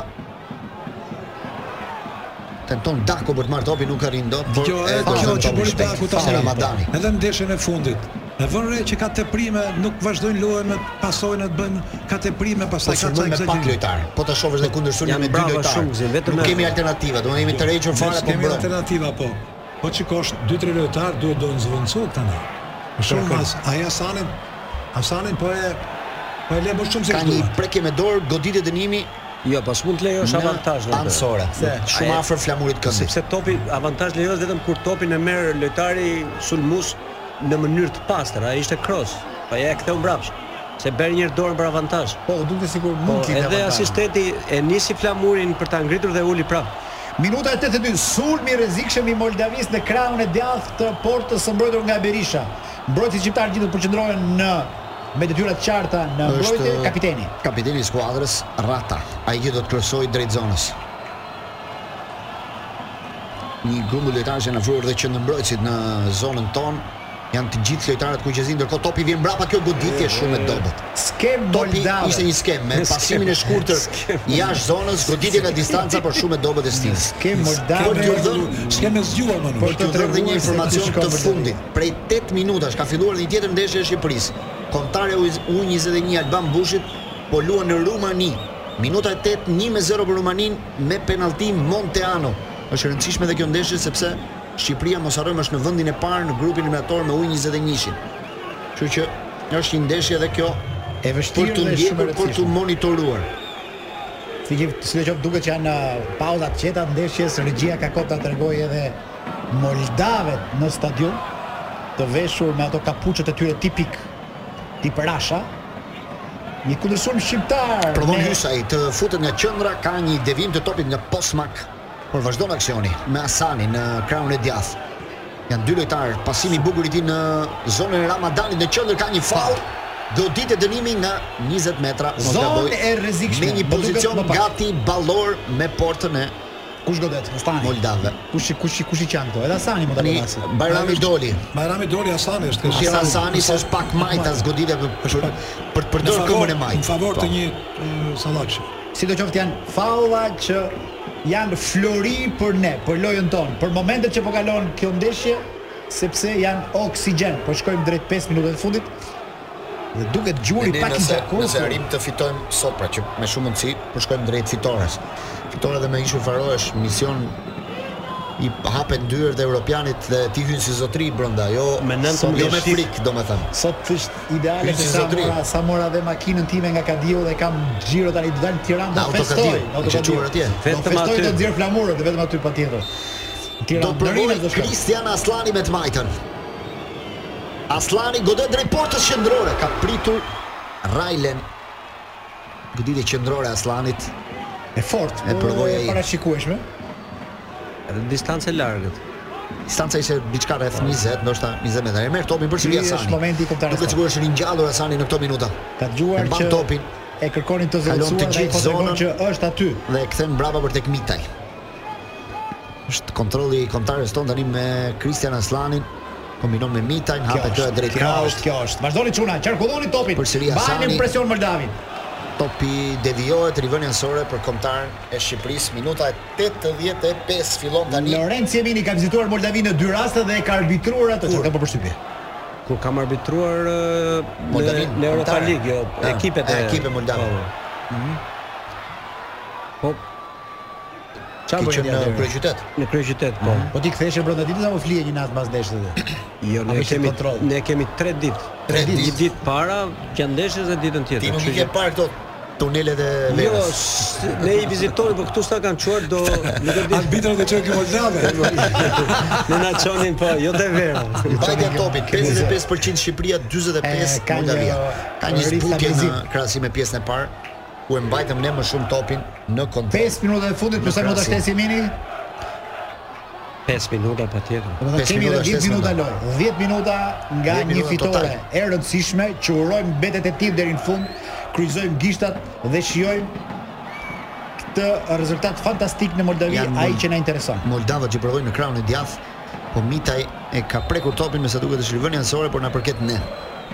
Speaker 7: tenton Dako për të marrë topin, nuk arrin dot. por
Speaker 9: Kjo
Speaker 7: e
Speaker 9: e
Speaker 7: dorëzon
Speaker 9: kjo që
Speaker 7: topin
Speaker 9: bëri
Speaker 7: shpejt.
Speaker 9: Daku
Speaker 7: Fal
Speaker 9: tani.
Speaker 7: Ramadani.
Speaker 9: Edhe në ndeshjen e fundit. E vënë re që ka teprime, nuk vazhdojnë lojën me pasojnë të bëjnë ka teprime,
Speaker 7: Po
Speaker 9: pastaj ka
Speaker 7: shërbën me pak lojtar. Po ta shohësh dhe kundërshtimin
Speaker 6: Janë
Speaker 7: me dy
Speaker 6: brava
Speaker 7: lojtar.
Speaker 6: shumë, Zin, vetëm
Speaker 7: nuk
Speaker 6: e-
Speaker 7: kemi alternativa, domethënë jemi të rrequr fare po
Speaker 9: kemi
Speaker 7: bërë.
Speaker 9: alternativa po. Po çikosh 2-3 lojtar duhet do në zvoncu tani. Për shembull, as ai Hasanin, Hasanin po e po e le më shumë se
Speaker 7: Ka
Speaker 9: këtu.
Speaker 7: një prekje me dorë, goditë dënimi
Speaker 6: Jo, pas mund të lejosh
Speaker 7: në
Speaker 6: avantazh në këtë.
Speaker 7: anësore. Shumë
Speaker 6: Aje-
Speaker 7: afër flamurit këmbit.
Speaker 6: sepse topi avantazh lejohet vetëm kur topin e merr lojtari sulmues në mënyrë të pastër, ai ishte cross, pa ja e ktheu mbrapsht, se bën një herë dorën për avantazh.
Speaker 8: Po, duke sikur
Speaker 6: Po,
Speaker 8: mund të
Speaker 6: edhe asistenti e nisi flamurin për ta ngritur dhe uli prapë.
Speaker 8: Minuta e 82, sulmi i rrezikshëm i Moldavisë në krahun e djathtë të portës së mbrojtur nga Berisha. Mbrojtësit shqiptar gjithë përqendrohen në me detyra të qarta në mbrojtje kapiteni.
Speaker 7: Kapiteni i skuadrës Rata. Ai që do të kryesojë drejt zonës. Një grumbull lojtarësh janë afruar dhe qendërmbrojtësit në zonën tonë janë të gjithë lojtarët ku qezin ndërkohë topi vjen mbrapa kjo goditje shumë e dobët.
Speaker 8: Skem
Speaker 7: Topi
Speaker 8: Moldave.
Speaker 7: ishte një skemë me
Speaker 6: Skemë.
Speaker 7: pasimin e shkurtër
Speaker 6: Skemë.
Speaker 7: jashtë zonës, goditje nga distanca por shumë e dobët e stilës.
Speaker 8: Skem Moldave.
Speaker 7: Kjo t'ju dhënë-
Speaker 9: Skemë zgjuar më
Speaker 8: Po,
Speaker 9: nuk.
Speaker 7: Por të
Speaker 8: treguar
Speaker 7: treguar një
Speaker 8: se
Speaker 7: informacion
Speaker 8: kush ka
Speaker 7: të
Speaker 8: vërtetë.
Speaker 7: fundit. Prej 8 minutash ka filluar një tjetër ndeshje e Shqipërisë. Kontare U21 Alban Bushit po luan në Rumani. Minuta e 8, 1-0 për Rumaninë me penallti Monteano. Është e rëndësishme edhe kjo ndeshje sepse Shqipëria mos harrojmë është në vendin e parë në grupin eliminator me U21-shin. Kështu që është një ndeshje edhe kjo
Speaker 8: E
Speaker 7: për
Speaker 8: vështirë
Speaker 7: të
Speaker 8: dhe shumë e
Speaker 7: ndjekur, për të
Speaker 8: rëndësishme.
Speaker 7: monitoruar.
Speaker 8: Si që si do qoftë duket që janë uh, pauza të qeta të ndeshjes, regjia ka kohë ta tregojë edhe Moldavet në stadium të veshur me ato kapuçet e tyre tipik tip Rasha. Një kundërshtim shqiptar.
Speaker 7: Provon
Speaker 8: me-
Speaker 7: Hysaj të futet nga qendra, ka një devim të topit nga Posmak, por vazhdon aksioni me Asani në krahun e djathtë. Janë dy lojtarë, pasimi i bukur i tij në zonën e Ramadanit në qendër ka një faull. Godit e dënimi nga 20 metra mos
Speaker 8: Zonë
Speaker 7: gaboj,
Speaker 8: e rrezikshme,
Speaker 7: Me një
Speaker 8: më duket
Speaker 7: pozicion
Speaker 8: më pak.
Speaker 7: gati ballor me portën e
Speaker 8: Kush godet? Astani.
Speaker 7: Moldave.
Speaker 8: Kush kush kush i qan këto? Edhe Asani mund ta
Speaker 7: Tani
Speaker 8: godasë.
Speaker 7: Bajrami doli.
Speaker 9: Bajrami Doli Hasani është kështu.
Speaker 7: Asani, Asani se është pak majta zgoditë për për për të
Speaker 9: Në
Speaker 7: përdorur
Speaker 9: favor-
Speaker 7: këmbën e majt.
Speaker 9: Në favor të
Speaker 7: Po.
Speaker 9: një e, sallakshi.
Speaker 8: Sidoqoftë janë faulla që janë flori për ne, për lojën tonë, për momentet që po kalon kjo ndeshje, sepse janë oksigjen. Po shkojmë drejt 5 minutave të fundit. Dhe duket gjuri
Speaker 7: Ne
Speaker 8: pak i
Speaker 7: nëse, nëse
Speaker 8: zakonshëm.
Speaker 7: arrim të fitojmë sot pra që me shumë mundësi po shkojmë drejt fitores. Fitore dhe me ishull faro është mision i hapet dyert e europianit dhe ti hyn si zotri brenda, jo
Speaker 6: Me nëntë
Speaker 7: sot, jo me
Speaker 6: mundësi.
Speaker 7: frik domethënë.
Speaker 8: Sot është ideale
Speaker 7: Ky
Speaker 8: se
Speaker 7: si
Speaker 8: sa
Speaker 7: zotri.
Speaker 8: mora, sa mora dhe makinën time nga Kadio dhe kam xhiro tani do dal në Tiranë
Speaker 7: Në
Speaker 8: do festoj.
Speaker 7: autokadio,
Speaker 8: në
Speaker 7: në që quar atje.
Speaker 8: Do
Speaker 6: Vetëm
Speaker 8: festoj
Speaker 6: aty.
Speaker 8: do nxjerr flamurët, vetëm aty patjetër.
Speaker 7: Do
Speaker 8: Tiranë do
Speaker 7: provoj
Speaker 8: do shkoj.
Speaker 7: Kristian Aslani me të majtën. Aslani godet drejt portës qendrore, ka pritur Rajlen goditje qendrore e Aslanit.
Speaker 8: E fortë,
Speaker 7: E provoj ai.
Speaker 8: e parashikueshme.
Speaker 6: Edhe distancë e largët.
Speaker 7: Distanca ishte diçka rreth 20, ndoshta 20 metra. E merr topin për Shqipëri
Speaker 8: Ky është
Speaker 7: Asani.
Speaker 8: momenti i kombëtarës
Speaker 7: Duket
Speaker 8: tonë.
Speaker 7: sigurisht është ringjallur Asani në këto minuta.
Speaker 8: Ka dëgjuar
Speaker 7: E mban
Speaker 8: që
Speaker 7: topin.
Speaker 8: e kërkonin të
Speaker 7: Kalon të
Speaker 8: zgjuar dhe ai
Speaker 7: gjithë
Speaker 8: po tregon
Speaker 7: zonën.
Speaker 8: që është aty.
Speaker 7: dhe e kthen brapa për tek Mitaj. Është kontrolli i kontarës tonë tani me Kristian Aslanin, kombinon me Mitajin, hapet kjo drejt
Speaker 8: kjo
Speaker 7: krahut.
Speaker 8: është, kjo është. Vazhdoni çuna, qarkulloni topin.
Speaker 7: Përsëri Hasani.
Speaker 8: Bajeni presion Moldavin.
Speaker 7: Topi devijohet rivënien sore për kontarën e Shqipërisë. Minuta e 85 fillon tani
Speaker 8: Lorenzo Jemini ka vizituar Moldavinë në dy raste dhe e ka arbitruar atë çka po përshtypje.
Speaker 6: kur kam arbitruar ë, në,
Speaker 7: Moldavin,
Speaker 6: në Europa
Speaker 7: kombëtare.
Speaker 6: League, jo,
Speaker 7: Ah,
Speaker 6: ekipet
Speaker 7: e Mhm. ekipe moldave.
Speaker 6: Po. Po. Çfarë
Speaker 7: Ti
Speaker 6: bëri
Speaker 7: që në Mhm.
Speaker 6: atëherë?
Speaker 7: kryeqytet.
Speaker 6: Në kryeqytet, po.
Speaker 8: Po ti ktheshe brenda ditës apo flije një natë pas ndeshjes atë?
Speaker 6: Jo,
Speaker 8: A
Speaker 6: ne
Speaker 8: kishte
Speaker 6: kemi
Speaker 8: kontroll?
Speaker 6: ne kemi 3 ditë.
Speaker 7: Tre
Speaker 6: 3 ditë,
Speaker 7: ditë.
Speaker 6: një ditë para gjatë ndeshjes dhe ditën tjetër.
Speaker 7: Ti nuk i
Speaker 6: kështu
Speaker 7: ke
Speaker 6: që-
Speaker 7: parë këto tunelet e
Speaker 6: Jo,
Speaker 7: verës.
Speaker 6: s- ne i vizitojmë, po këtu s'ta kanë çuar
Speaker 7: (laughs)
Speaker 6: do nuk e di.
Speaker 9: Arbitrat dhe çojnë Moldave.
Speaker 6: Ne na çonin po, jo te vera.
Speaker 7: Mbajtja e topit
Speaker 8: Ke-
Speaker 7: 55% Shqipëria,
Speaker 8: E,
Speaker 7: 45
Speaker 8: ka një-
Speaker 7: Moldavia. Ka një
Speaker 8: rritje
Speaker 7: zbutje
Speaker 8: amazim.
Speaker 7: në krahasim me pjesën e parë ku e mbajtëm ne më shumë topin në kontroll.
Speaker 8: 5 minuta e fundit përsa mund ta
Speaker 7: krasi.
Speaker 8: shtesë Jemini,
Speaker 6: 5 minuta patjetër.
Speaker 8: domethënë
Speaker 7: Pesë
Speaker 8: kemi edhe
Speaker 7: minuta
Speaker 8: 10
Speaker 7: shtesë
Speaker 8: minuta
Speaker 7: mendoj.
Speaker 8: lojë. 10 minuta nga një
Speaker 7: 10 minuta
Speaker 8: fitore
Speaker 7: total.
Speaker 8: e rëndësishme që urojmë betet e tim deri në fund, kryqëzojmë gishtat dhe shijojmë këtë rezultat fantastik në Moldavi,
Speaker 7: Janë
Speaker 8: ai
Speaker 7: mund-
Speaker 8: që na intereson.
Speaker 7: Moldavët që provojnë në krahun e djathtë, po Mitaj e ka prekur topin me sa duket është i vënë anësore, por na përket ne.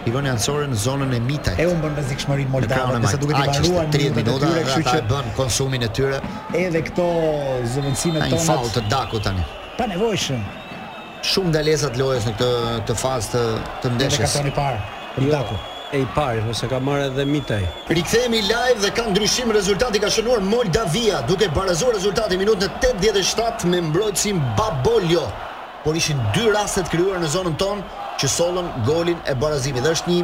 Speaker 7: I vënë anësore në zonën e Mitaj.
Speaker 8: E humbën rrezikshmërinë
Speaker 7: Në krahun
Speaker 8: moldave,
Speaker 7: e
Speaker 8: dhe sa
Speaker 7: majtë.
Speaker 8: duket i
Speaker 7: Aq është
Speaker 8: mbaruan
Speaker 7: 30 minuta,
Speaker 8: tyre,
Speaker 7: dhe
Speaker 8: kështu
Speaker 7: ata e
Speaker 8: që
Speaker 7: bën konsumin e tyre.
Speaker 8: edhe këto zëvendësime
Speaker 7: Ka një
Speaker 8: tona
Speaker 7: faul të daku tani.
Speaker 8: pa nevojshëm.
Speaker 7: Shumë ndalesa të lojës në këtë këtë fazë të të
Speaker 8: Edhe
Speaker 7: ndeshjes.
Speaker 8: kartoni i parë
Speaker 7: Jo.
Speaker 8: për Daku.
Speaker 6: Jo, E i pari, ose ka marrë edhe Mitaj.
Speaker 7: Rikthehemi live dhe ka ndryshim rezultati ka shënuar Moldavia duke barazuar rezultatin minutën 87 me mbrojtësin Baboljo. Por ishin dy raste të krijuara në zonën tonë që sollën golin e barazimit. Dhe është një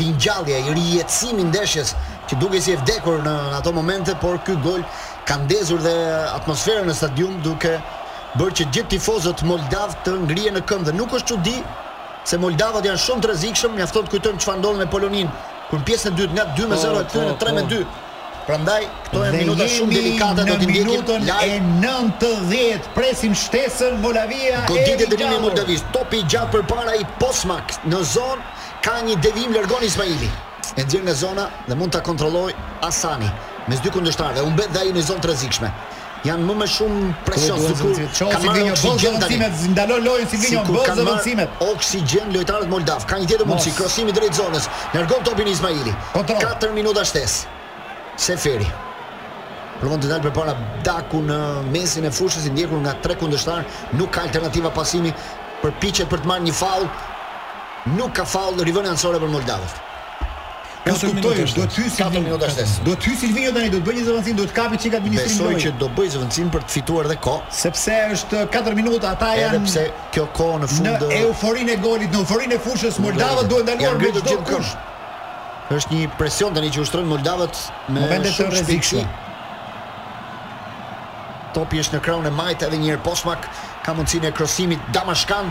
Speaker 7: ringjallje, i rijetësim i ndeshjes që duke si e vdekur në ato momente, por ky gol ka ndezur dhe atmosferën në stadium duke bërë që gjithë tifozët moldav të ngrihen në këmbë dhe nuk është çudi se Moldavat janë shumë të rrezikshëm, mjafton të kujtojmë çfarë ndodhi me Poloninë, kur pjesën e dytë nga 2 me 0 e kthyen në 3 me 2. Prandaj këto janë
Speaker 8: Po, Dhe
Speaker 7: minuta shumë
Speaker 8: jemi
Speaker 7: delikate do t'i
Speaker 8: në
Speaker 7: ndjekim
Speaker 8: minutën e
Speaker 7: live.
Speaker 8: 90 presim shtesën Molavia
Speaker 7: Goditje
Speaker 8: e
Speaker 7: dënimi i
Speaker 8: Ricardo.
Speaker 7: Moldavis, topi i gjatë përpara i Posmak në zonë ka një devijim largon Ismaili. E nxjerr nga zona dhe mund ta kontrolloj Asani mes dy kundërshtarëve. U mbet dhe ai në zonë të rrezikshme. Janë më më shumë presion sikur
Speaker 8: Çosi Silvinho bën zëvendësimet, ndalon lojën Silvinho
Speaker 7: Sikur
Speaker 8: bën
Speaker 7: kanë
Speaker 8: zëvendësimet.
Speaker 7: marrë Oksigjen lojtarët moldav. Ka një tjetër mundësi,
Speaker 8: Mos.
Speaker 7: krosimi drejt zonës. Largon topin Ismaili.
Speaker 8: Kontroll.
Speaker 7: 4 minuta shtesë. Seferi. Provon të dalë përpara Daku në mesin e fushës i ndjekur nga tre kundështar, nuk ka alternativa pasimi, përpiqet për të marrë një faull. Nuk ka faull rivënë anësore për moldavët.
Speaker 8: Mos
Speaker 9: Katër
Speaker 8: kuptoj,
Speaker 9: minuta është.
Speaker 8: do të hyj
Speaker 7: Katër
Speaker 8: Silvinho.
Speaker 7: minuta shtesë.
Speaker 8: Do të hyj Silvinho tani, do të bëjë një zëvendësim, do të kapi çik administrim
Speaker 7: Besoj
Speaker 8: lojë.
Speaker 7: që do bëj zëvendësim për të fituar dhe kohë,
Speaker 8: Sepse është 4 minuta, ata
Speaker 7: edhe
Speaker 8: janë
Speaker 7: pse kjo kohë në
Speaker 8: në
Speaker 7: fund ë,
Speaker 8: euforinë e golit, në euforinë e fushës Moldavët
Speaker 7: Moldavët.
Speaker 8: duhet
Speaker 7: Janë
Speaker 8: ndaluar me
Speaker 7: ngritur
Speaker 8: çdo
Speaker 7: gjithë
Speaker 8: kush.
Speaker 7: është një presion tani që ushtrojnë moldavët me
Speaker 8: Momente të
Speaker 7: shumë
Speaker 8: rrezikshme.
Speaker 7: shpejtësi. Topi është në krahun e majt edhe një herë Posmak ka mundësinë e krosimit Damashkan,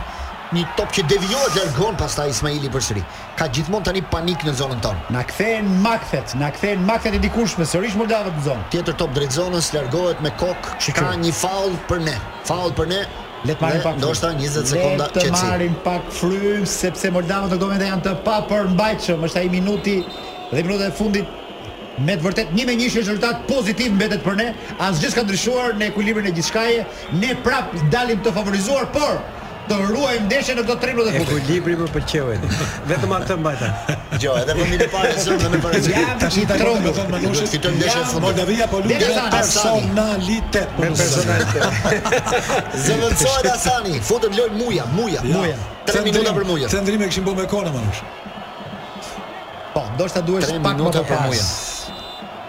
Speaker 7: një top që devijohet largon pastaj Ismaili përsëri. Ka gjithmonë tani panik në zonën tonë.
Speaker 8: Na kthehen makthet, na kthehen makthet e dikushme, sërish Moldavët në zonë.
Speaker 7: Tjetër top drejt zonës largohet me kok,
Speaker 8: Shqyqy.
Speaker 7: ka një faull për ne. Faull për ne.
Speaker 8: Le të marrin
Speaker 7: dhe
Speaker 8: pak. frymë.
Speaker 7: Ndoshta 20 sekonda
Speaker 8: Le të
Speaker 7: qetësi.
Speaker 8: marrin pak frym sepse Moldavët në këto momente janë të papërmbajtshëm. Është ai minuti dhe minuta e fundit me të vërtet një me një është rezultat pozitiv mbetet për ne. Asgjë s'ka ndryshuar në ekuilibrin e gjithçkaje. Ne prap dalim të favorizuar, por të ruajmë ndeshjen në këto 3 minuta e fundit.
Speaker 6: Ekuilibri më pëlqeu. edhe. Vetëm atë mbajta.
Speaker 7: Gjo, Jo, edhe vendi i parë zonë dhe me
Speaker 8: Jam
Speaker 7: parë.
Speaker 8: i trombull.
Speaker 7: Manushi fiton ndeshjen e fundit.
Speaker 9: Moldavia po
Speaker 8: Deri
Speaker 9: lutet
Speaker 8: tani,
Speaker 9: personalitet. po më zënë.
Speaker 7: (laughs) Zëvendësohet Asani, futën loj muja, muja, muja. 3
Speaker 9: Cendrim-
Speaker 7: minuta për muja.
Speaker 9: Cendrime kishin bërë me kona manush.
Speaker 8: Po, ndoshta duhesh
Speaker 7: 3
Speaker 8: pak më
Speaker 7: minuta
Speaker 8: të
Speaker 7: për
Speaker 8: pas.
Speaker 7: muja.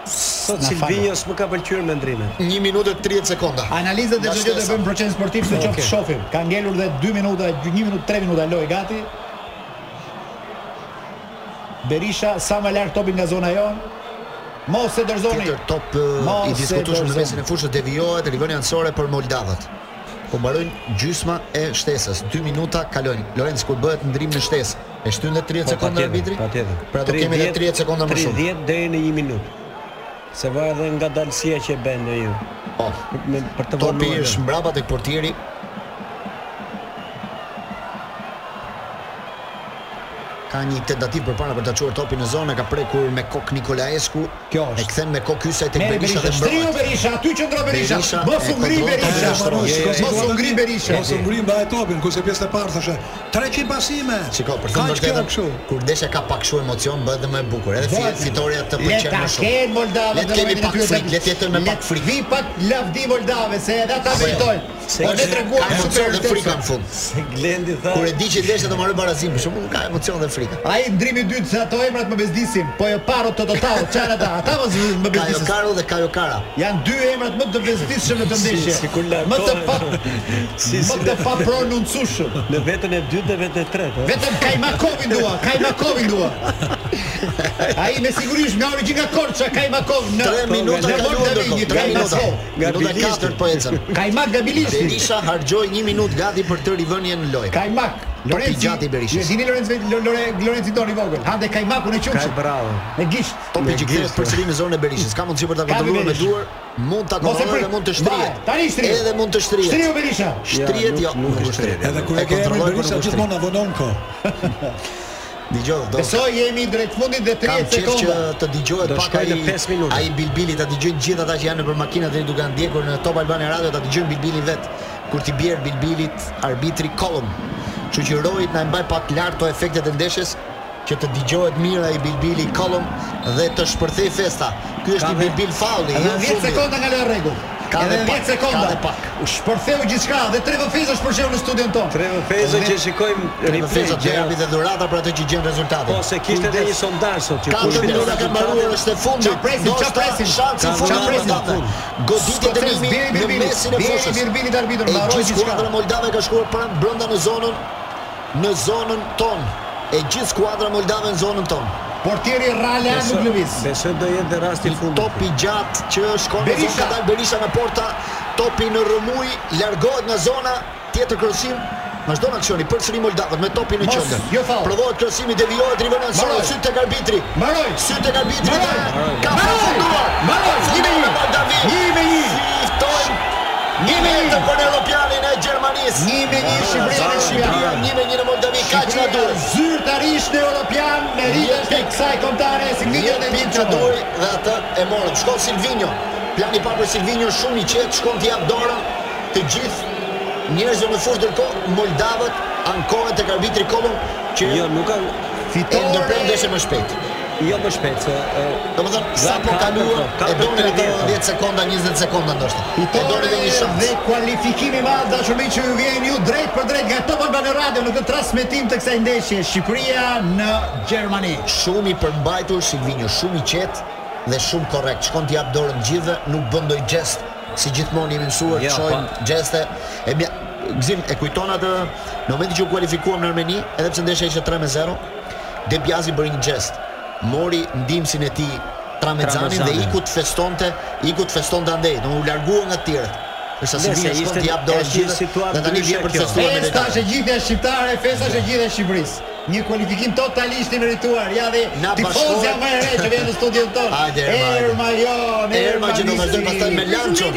Speaker 6: Sot
Speaker 8: Na
Speaker 6: Silvinho s'më ka pëlqyer mendrimet.
Speaker 7: 1 minutë 30 sekonda.
Speaker 8: Analizat e
Speaker 7: Nga
Speaker 8: çdo gjë do
Speaker 7: shtesa.
Speaker 8: bëjmë proces sportiv
Speaker 7: Ah,
Speaker 8: se qoftë shohim. Ka ngelur dhe 2 minuta, 1 minutë, 3 minuta lojë gati. Berisha sa më lart topin nga zona jon. Mos e dorëzoni.
Speaker 7: Tjetër top eh,
Speaker 8: Mos
Speaker 7: i
Speaker 8: e
Speaker 7: diskutueshëm në
Speaker 8: dorëzon.
Speaker 7: mesin e fushës devijohet rivënia anësore për moldavët. Po mbarojnë gjysma e shtesës. 2 minuta kalojnë. Lorenz kur bëhet ndrim në shtesë, e shtyn dhe 30 sekonda arbitri.
Speaker 6: Po, Patjetër.
Speaker 7: Pra do kemi edhe 30 sekonda më shumë.
Speaker 6: 30 deri në 1 minutë. Se vaje edhe nga dalësia që e bën në ju.
Speaker 7: Po.
Speaker 6: Me për të
Speaker 7: Topi
Speaker 6: vonuar.
Speaker 7: është mbrapa tek portieri. Ka një tentativë përpara për ta çuar topin në zonë, e ka prekur me kok Nikolaescu.
Speaker 8: Kjo
Speaker 7: E
Speaker 8: është.
Speaker 7: kthen me kok Hysaj tek
Speaker 8: Meri
Speaker 7: Berisha
Speaker 8: Berisha,
Speaker 7: dhe
Speaker 8: shtriu
Speaker 7: mbrapa.
Speaker 8: Berisha, aty qëndron Berisha.
Speaker 7: Berisha
Speaker 8: Mos
Speaker 7: e
Speaker 8: u ngri
Speaker 7: kontrollon
Speaker 8: Berisha.
Speaker 7: dhe shtroi. Jo, jo,
Speaker 8: Mos u ngri Berisha.
Speaker 9: Mos u ngri mbaj topin, ku se pjesë e parë thoshe 300 pasime.
Speaker 7: Shiko, për të
Speaker 9: Kaq kjo
Speaker 7: vërtetë,
Speaker 9: kështu.
Speaker 7: kur ndeshja ka pak shumë emocion, bëhet edhe më e bukur. Edhe fi-
Speaker 8: Bëhet.
Speaker 7: fitoria të
Speaker 8: Le
Speaker 7: pëlqen
Speaker 8: ta
Speaker 7: më shumë.
Speaker 8: kenë Moldave
Speaker 7: Le të kemi pak frikë, le të jetojmë me pak
Speaker 8: frikë. Vi pak lavdi Moldave se edhe ata
Speaker 7: Apo jo.
Speaker 8: meritojnë.
Speaker 6: Se
Speaker 7: Po ne
Speaker 6: Glen-
Speaker 7: treguam
Speaker 8: ka
Speaker 7: emocion dhe
Speaker 8: vërtetësa.
Speaker 7: frikë në fund.
Speaker 6: se Glendi tha
Speaker 7: Kur e di që ndeshja do marrë barazim, për shembull, ka emocion dhe frikë.
Speaker 8: Ai ndrimi i dytë se ato emrat më bezdisin, po jo paro të total, çfarë ata? Ata mos më
Speaker 7: Ka
Speaker 8: bezdisin.
Speaker 7: Jokaro dhe ka Jokara.
Speaker 8: Janë dy emrat më të bezdisshëm në të ndeshje.
Speaker 6: Si- sikur largohen.
Speaker 8: Më të pa
Speaker 7: (laughs)
Speaker 6: Si- si-
Speaker 8: më të pa pronuncueshëm.
Speaker 6: në vetën e dytë dhe vetën e tretë. ëh.
Speaker 8: Vetëm Kajmakovin dua, Kajmakovin
Speaker 7: (laughs)
Speaker 8: dua. Ai me sigurisht nga origjina Korça Kajmakov në
Speaker 7: Tre minuta
Speaker 8: në
Speaker 7: ka
Speaker 8: Mort
Speaker 7: luar
Speaker 8: Davinjë,
Speaker 7: ndërkohë. Tre minuta.
Speaker 8: Kajmakov.
Speaker 6: Nga
Speaker 7: Minuta
Speaker 6: Bilishti.
Speaker 7: 4 po ecën.
Speaker 8: Kajmak nga Bilishti.
Speaker 7: Berisha harxoi 1 minutë gati për të rivënien në lojë.
Speaker 8: Kajmak. Lorenzi
Speaker 7: gjati i Berishës.
Speaker 8: E dini Lorenzi Lo- Lore- Lorenzi Doni vogël. Hande Kajmakun e
Speaker 6: Ka
Speaker 8: qumshit.
Speaker 6: bravo.
Speaker 8: Me gisht.
Speaker 7: Topi që kthehet përsëri në zonën e Berishës. Ka mundësi për ta
Speaker 8: Kapi
Speaker 7: kontrolluar me
Speaker 8: Berish.
Speaker 7: duar, mund ta kontrollojë dhe mund të shtrihet.
Speaker 8: Vaje, Tani shtrihet.
Speaker 7: Edhe mund të
Speaker 8: Shtrihet
Speaker 7: shtrihet.
Speaker 8: Berisha.
Speaker 7: Shtrihet jo,
Speaker 6: Ja, nuk- nuk e shtrihet.
Speaker 9: Edhe kur e ke emrin
Speaker 7: kontrolloi, por
Speaker 9: Berisha
Speaker 7: nuk e
Speaker 9: gjithmonë avonon ko.
Speaker 7: shtrihet. Dëgjoj, do.
Speaker 8: Besoj jemi drejt fundit dhe
Speaker 7: Kam
Speaker 8: 30
Speaker 7: qef që
Speaker 8: sekonda.
Speaker 7: të dëgjohet
Speaker 6: Do
Speaker 7: pak
Speaker 6: shkoj
Speaker 7: ai
Speaker 6: në pesë minuta.
Speaker 7: ai bilbili ta dëgjojnë gjithë ata që janë nëpër makina deri duke ndjekur në Top Albania Radio ta dëgjojnë bilbilin vet kur ti bjer bilbilit arbitri Kollum. Kështu që rojit na e mbaj pak lart to efektet e ndeshjes që të dëgjohet mirë ai bilbili Kollum dhe të shpërthej festa. Ky është
Speaker 6: Ka
Speaker 7: një
Speaker 6: dhe-
Speaker 7: bilbil faulli.
Speaker 8: Edhe
Speaker 7: jo
Speaker 8: 10
Speaker 7: fundi.
Speaker 8: sekonda nga lojë rregull.
Speaker 7: Ka
Speaker 8: Edhe
Speaker 7: dhe pak,
Speaker 8: 10 sekonda.
Speaker 7: ka dhe pak.
Speaker 8: U shpërtheu gjithçka dhe tre vëfezë shpërsheu në studion tonë.
Speaker 6: Tre vëfezë që shikojmë
Speaker 7: Në
Speaker 6: replay.
Speaker 7: festat
Speaker 6: gjëra-
Speaker 7: derbi dhe dhurata për atë që gjen rezultatin.
Speaker 6: Ose kishte edhe një sondazh sot që kush
Speaker 7: 4
Speaker 6: fiton
Speaker 7: minuta kanë mbaruar
Speaker 6: rezultatin.
Speaker 7: është e fundi.
Speaker 8: Qa presin, qa
Speaker 7: Ndoshta
Speaker 8: presin?
Speaker 7: Shansi
Speaker 6: Ka
Speaker 7: fund.
Speaker 6: vënë
Speaker 7: Çfarë
Speaker 6: presin?
Speaker 7: presin? Goditje
Speaker 8: Skocez,
Speaker 7: dënimi
Speaker 8: bjeri
Speaker 7: në
Speaker 8: Bilbilit,
Speaker 7: mesin e
Speaker 8: bjeri
Speaker 7: fushës.
Speaker 8: Bilbilit arbitër,
Speaker 7: E
Speaker 8: mbaroi
Speaker 7: gjithë
Speaker 8: gjithçka.
Speaker 7: skuadra moldave ka shkuar pra brenda në zonën në zonën ton. E gjithë skuadra moldave në zonën ton.
Speaker 8: Portieri Rala nuk lëviz.
Speaker 6: Besoj do jetë dhe rasti i fundit.
Speaker 7: Top i gjatë që shkon në zonë
Speaker 8: Berisha.
Speaker 7: ka dal Berisha me porta, topi në rrëmuj, largohet nga zona, tjetër krosim. Vazhdon aksioni përsëri Moldavët me topin në
Speaker 8: Mos,
Speaker 7: qendër.
Speaker 8: jo foul.
Speaker 7: Provohet krosimi, devijohet Rivera në zonë,
Speaker 8: Mbaroj.
Speaker 7: syt tek arbitri.
Speaker 8: Mbaroj.
Speaker 7: Sytë e arbitrit
Speaker 8: Mbaroj.
Speaker 7: dhe ka
Speaker 8: Mbaroj.
Speaker 7: përfunduar.
Speaker 8: Mbaroj.
Speaker 7: Fundon
Speaker 8: Një me një.
Speaker 7: me Moldavi.
Speaker 8: Një me një.
Speaker 7: Fitojnë një me një të për Europianin e Gjermanisë.
Speaker 8: Një me një Shqipëria në
Speaker 7: Shqipëria,
Speaker 8: Shqipëri.
Speaker 7: një me një në Moldavi, kaq na
Speaker 8: Shqipëria
Speaker 7: duhet.
Speaker 8: zyrtarisht në Europian me rritën e kësaj kontare si
Speaker 7: Një
Speaker 8: ngritën e
Speaker 7: pik
Speaker 8: vitë
Speaker 7: na duhet dhe atë e morën. Shkon Silvinho. Plani pa për Silvinho shumë i qetë, shkon t'i jap dorën të gjithë njerëzve në fushë ndërkohë Moldavët ankohen tek arbitri Kollum që
Speaker 6: Jo, nuk kanë
Speaker 7: e ndërprer ndeshjen më shpejt.
Speaker 6: jo më shpejt se ë,
Speaker 7: Domethënë sa po
Speaker 6: Katër,
Speaker 7: kaluan
Speaker 6: po, katër,
Speaker 7: e donin
Speaker 6: tre
Speaker 7: edhe
Speaker 6: vjetra.
Speaker 7: 10 sekonda, 20 sekonda ndoshta. E donin edhe Po një shans.
Speaker 8: Dhe kualifikimi i madh dashuri që ju vjen ju drejt për drejt nga Top Albana Radio në këtë transmetim të kësaj ndeshje Shqipëria në Gjermani.
Speaker 7: Shumë i përmbajtur Silvinho, shumë i qetë dhe shumë korrekt. Shkon t'i jap dorën gjithëve, nuk bën ndonjë gest. Si gjithmonë jemi mësuar,
Speaker 6: Ja,
Speaker 7: ja, gjeste. E mja, gzim e kujton atë në momentin që u kualifikuam në Armeni, edhe pse ndeshja ishte 3-0, Debjazi bëri një gest. Mori ndihmësin e tij Tramezanin dhe
Speaker 6: Tramezanin.
Speaker 7: iku të festonte, iku të festonte andej, do u largua nga të tjerët. Përsa
Speaker 6: Nëse
Speaker 7: Silvinho shkon
Speaker 6: ishte-
Speaker 7: t'i jap dorën
Speaker 6: është një
Speaker 7: gjithëve
Speaker 6: situatë
Speaker 7: dhe tani
Speaker 6: ndryshe
Speaker 7: vjen për të
Speaker 6: kjo.
Speaker 7: festuar me
Speaker 8: Festa
Speaker 7: detaj.
Speaker 8: është e gjithë e shqiptare, festa është e gjithë e Shqipërisë. Një kualifikim totalisht i merituar. Ja dhe
Speaker 7: Na
Speaker 8: tifozja
Speaker 7: bashkohet-
Speaker 8: më e re që vjen në studion tonë.
Speaker 7: (laughs) Hajde, Erma,
Speaker 8: Erma
Speaker 7: hajde.
Speaker 8: jo,
Speaker 7: Erma që do vazhdojmë pastaj me Lançon.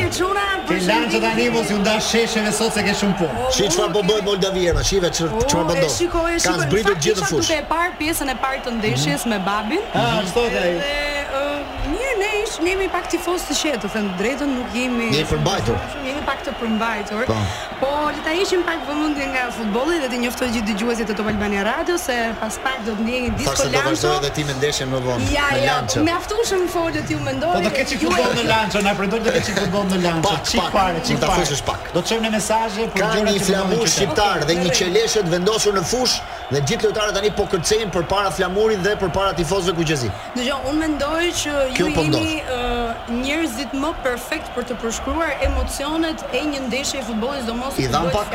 Speaker 8: Ti lanë që tani mos ju ndash shesheve sot se ke shumë punë.
Speaker 7: Shi çfarë po bëhet Moldavia, shive çfarë çfarë po ndodh.
Speaker 10: Shikoj, shikoj.
Speaker 7: Kanë zbritur
Speaker 10: Fakt,
Speaker 7: gjithë Mhm. në
Speaker 10: isha
Speaker 7: fushë.
Speaker 10: Duke e parë pjesën e parë të ndeshjes me babin.
Speaker 8: Ah, sot ai.
Speaker 10: Dhe ë, mirë ne ish, ne jemi pak tifoz të qetë, të thënë drejtën, nuk jemi
Speaker 7: Jemi përmbajtur.
Speaker 10: Jemi pak të përmbajtur.
Speaker 7: Po.
Speaker 10: Po le ta heqim pak vëmendjen nga futbolli dhe të njoftoj gjithë dëgjuesit e Top Albania Radio se pas pak do të ndjekin
Speaker 7: Pastaj
Speaker 10: Disco
Speaker 7: do
Speaker 10: Lancho.
Speaker 7: vazhdoj edhe ti me ndeshjen më vonë.
Speaker 10: Ja,
Speaker 7: me
Speaker 10: ja,
Speaker 7: Lancho.
Speaker 10: mjaftueshëm folët ju mendoj.
Speaker 8: Po do ke çik futboll në Lanço, na pretendon të ke çik futboll në Lanço.
Speaker 7: Pak,
Speaker 8: Çik
Speaker 7: pak,
Speaker 8: fare,
Speaker 7: mund
Speaker 8: çik
Speaker 7: ta
Speaker 8: fare.
Speaker 7: fushësh pak.
Speaker 8: Do të çojmë në mesazhe për
Speaker 7: Ka
Speaker 8: gjëra
Speaker 7: një
Speaker 8: që do
Speaker 7: flamur
Speaker 8: të qytet.
Speaker 7: shqiptar dhe një
Speaker 10: Okej,
Speaker 7: qeleshët vendosur në fushë dhe gjithë lojtarët tani po kërcejnë përpara flamurit dhe përpara tifozëve kuqezi.
Speaker 10: Dëgjoj, unë mendoj që
Speaker 7: Kjo
Speaker 10: ju
Speaker 7: po
Speaker 10: jeni ë, njerëzit më perfekt për të përshkruar emocionet e një ndeshje e futbollit, sidomos
Speaker 7: I dham pak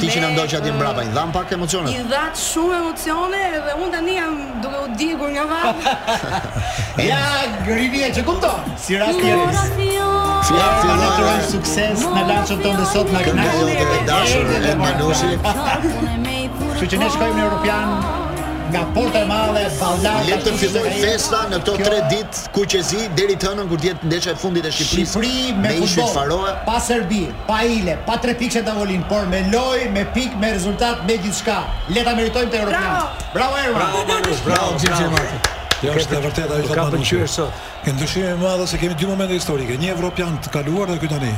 Speaker 7: ti që na ndoqë atje mbrapa, i dham pak
Speaker 10: I
Speaker 7: emocionet.
Speaker 10: dhat shumë emocione dhe unë tani jam duke u djegur nga
Speaker 7: (laughs)
Speaker 10: vapa.
Speaker 8: Ja, grinia që kupton. Si rasti i Eris.
Speaker 7: Ja,
Speaker 8: Erma,
Speaker 10: Flora
Speaker 7: fillon
Speaker 8: na
Speaker 7: e-
Speaker 8: urojmë sukses në Lançon tonë dhe sot na
Speaker 7: Kënga jote e dashur
Speaker 8: Erdhi
Speaker 7: e
Speaker 8: dhe
Speaker 7: Manushi,
Speaker 8: (laughs) Kështu që ne shkojmë në Europian nga porta e madhe, ballata.
Speaker 7: le të
Speaker 8: kështu që
Speaker 7: filloj
Speaker 8: ka jetë
Speaker 7: festa në këto
Speaker 8: kjo
Speaker 7: 3 ditë kuqezi deri të hënën kur të jetë ndeshja e fundit e Shqipërisë.
Speaker 8: Shqipëri me
Speaker 7: ishin
Speaker 8: futboll,
Speaker 7: Faroe.
Speaker 8: pa Serbi, pa Ile, pa tre pikë që tavolin, por me lojë, me pikë, me rezultat, me gjithçka. Le ta meritojmë të Europian.
Speaker 10: Bravo!
Speaker 8: Bravo Erma.
Speaker 6: Bravo Manush, bravo, bravo.
Speaker 9: Kjo është e vërtetë ajo
Speaker 6: Nuk
Speaker 9: që
Speaker 6: ka
Speaker 9: thonë
Speaker 6: pëlqyer
Speaker 9: Manushi.
Speaker 6: sot.
Speaker 9: Ke ndryshime më madhe se kemi dy momente historike, një evropian të kaluar dhe ky tani.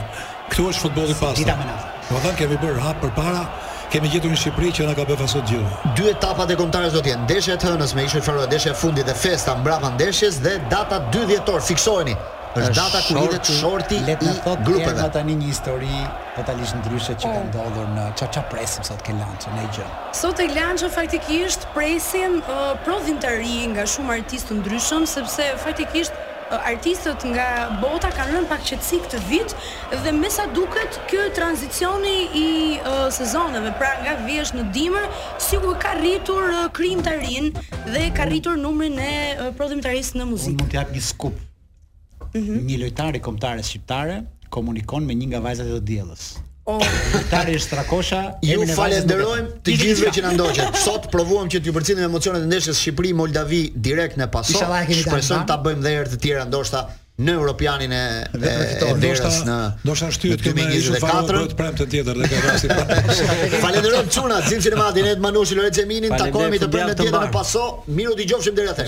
Speaker 9: Ktu është futbolli pas.
Speaker 8: Dita me natë.
Speaker 9: Do thënë kemi bërë hap përpara, kemi gjetur një Shqipëri që na ka befasur gjithë.
Speaker 7: Dy etapat e kombëtarës do të jenë ndeshja e të hënës me Ishën Faroe, ndeshja e fundit dhe festa mbrapa ndeshjes dhe data 2 dhjetor fiksoheni. është data ku hidhet shorti i
Speaker 8: Let na thot
Speaker 7: grupeve.
Speaker 8: Erma tani një histori totalisht ndryshe që ka ndodhur në ça ça presim sot ke lançë, ne gjë.
Speaker 10: Sot e lanë që faktikisht presim uh, prodhin të ri nga shumë artistë të ndryshëm, sepse faktikisht uh, artistët nga bota kanë rënë pak qetësi këtë vit dhe me sa duket ky tranzicioni i uh, sezoneve, pra nga vjesh në dimër, sikur ka rritur uh, krijimtarin dhe ka rritur numrin e uh, prodhimtarisë në
Speaker 8: Unë
Speaker 10: muzikë.
Speaker 8: mund të jap një skup. Një lojtar i kombëtares shqiptare komunikon me një nga vajzat e të diellës.
Speaker 10: Oh,
Speaker 8: Lojtari është Strakosha.
Speaker 7: Ju
Speaker 8: emrin e vajzës nuk e-
Speaker 7: falenderojmë të gjithëve që na ndoqët. Sot provuam që t'ju përcjellim emocionet e ndeshjes Shqipëri-Moldavi direkt në paso.
Speaker 11: Inshallah e keni dalë,
Speaker 7: Shpresojmë
Speaker 11: ha?
Speaker 7: ta bëjmë dhe herë të tjera ndoshta në Europianin e
Speaker 11: Dhe
Speaker 7: e-
Speaker 11: përfitojmë.
Speaker 7: e derës në
Speaker 9: ndoshta shtyhet
Speaker 7: në
Speaker 9: këtu me Yusuf
Speaker 7: 2024. (laughs)
Speaker 9: Faro bëhet premte tjetër dhe ka rasti prapë.
Speaker 7: Falenderojmë Çuna, Zim Sinema, Dinet Manushi, Lorenzo Eminin,
Speaker 6: Faleminderit,
Speaker 7: takohemi të
Speaker 6: fundjavë
Speaker 7: premte
Speaker 6: të
Speaker 7: tjetër
Speaker 6: mbarë.
Speaker 7: në paso. Miru dëgjofshim deri atëherë.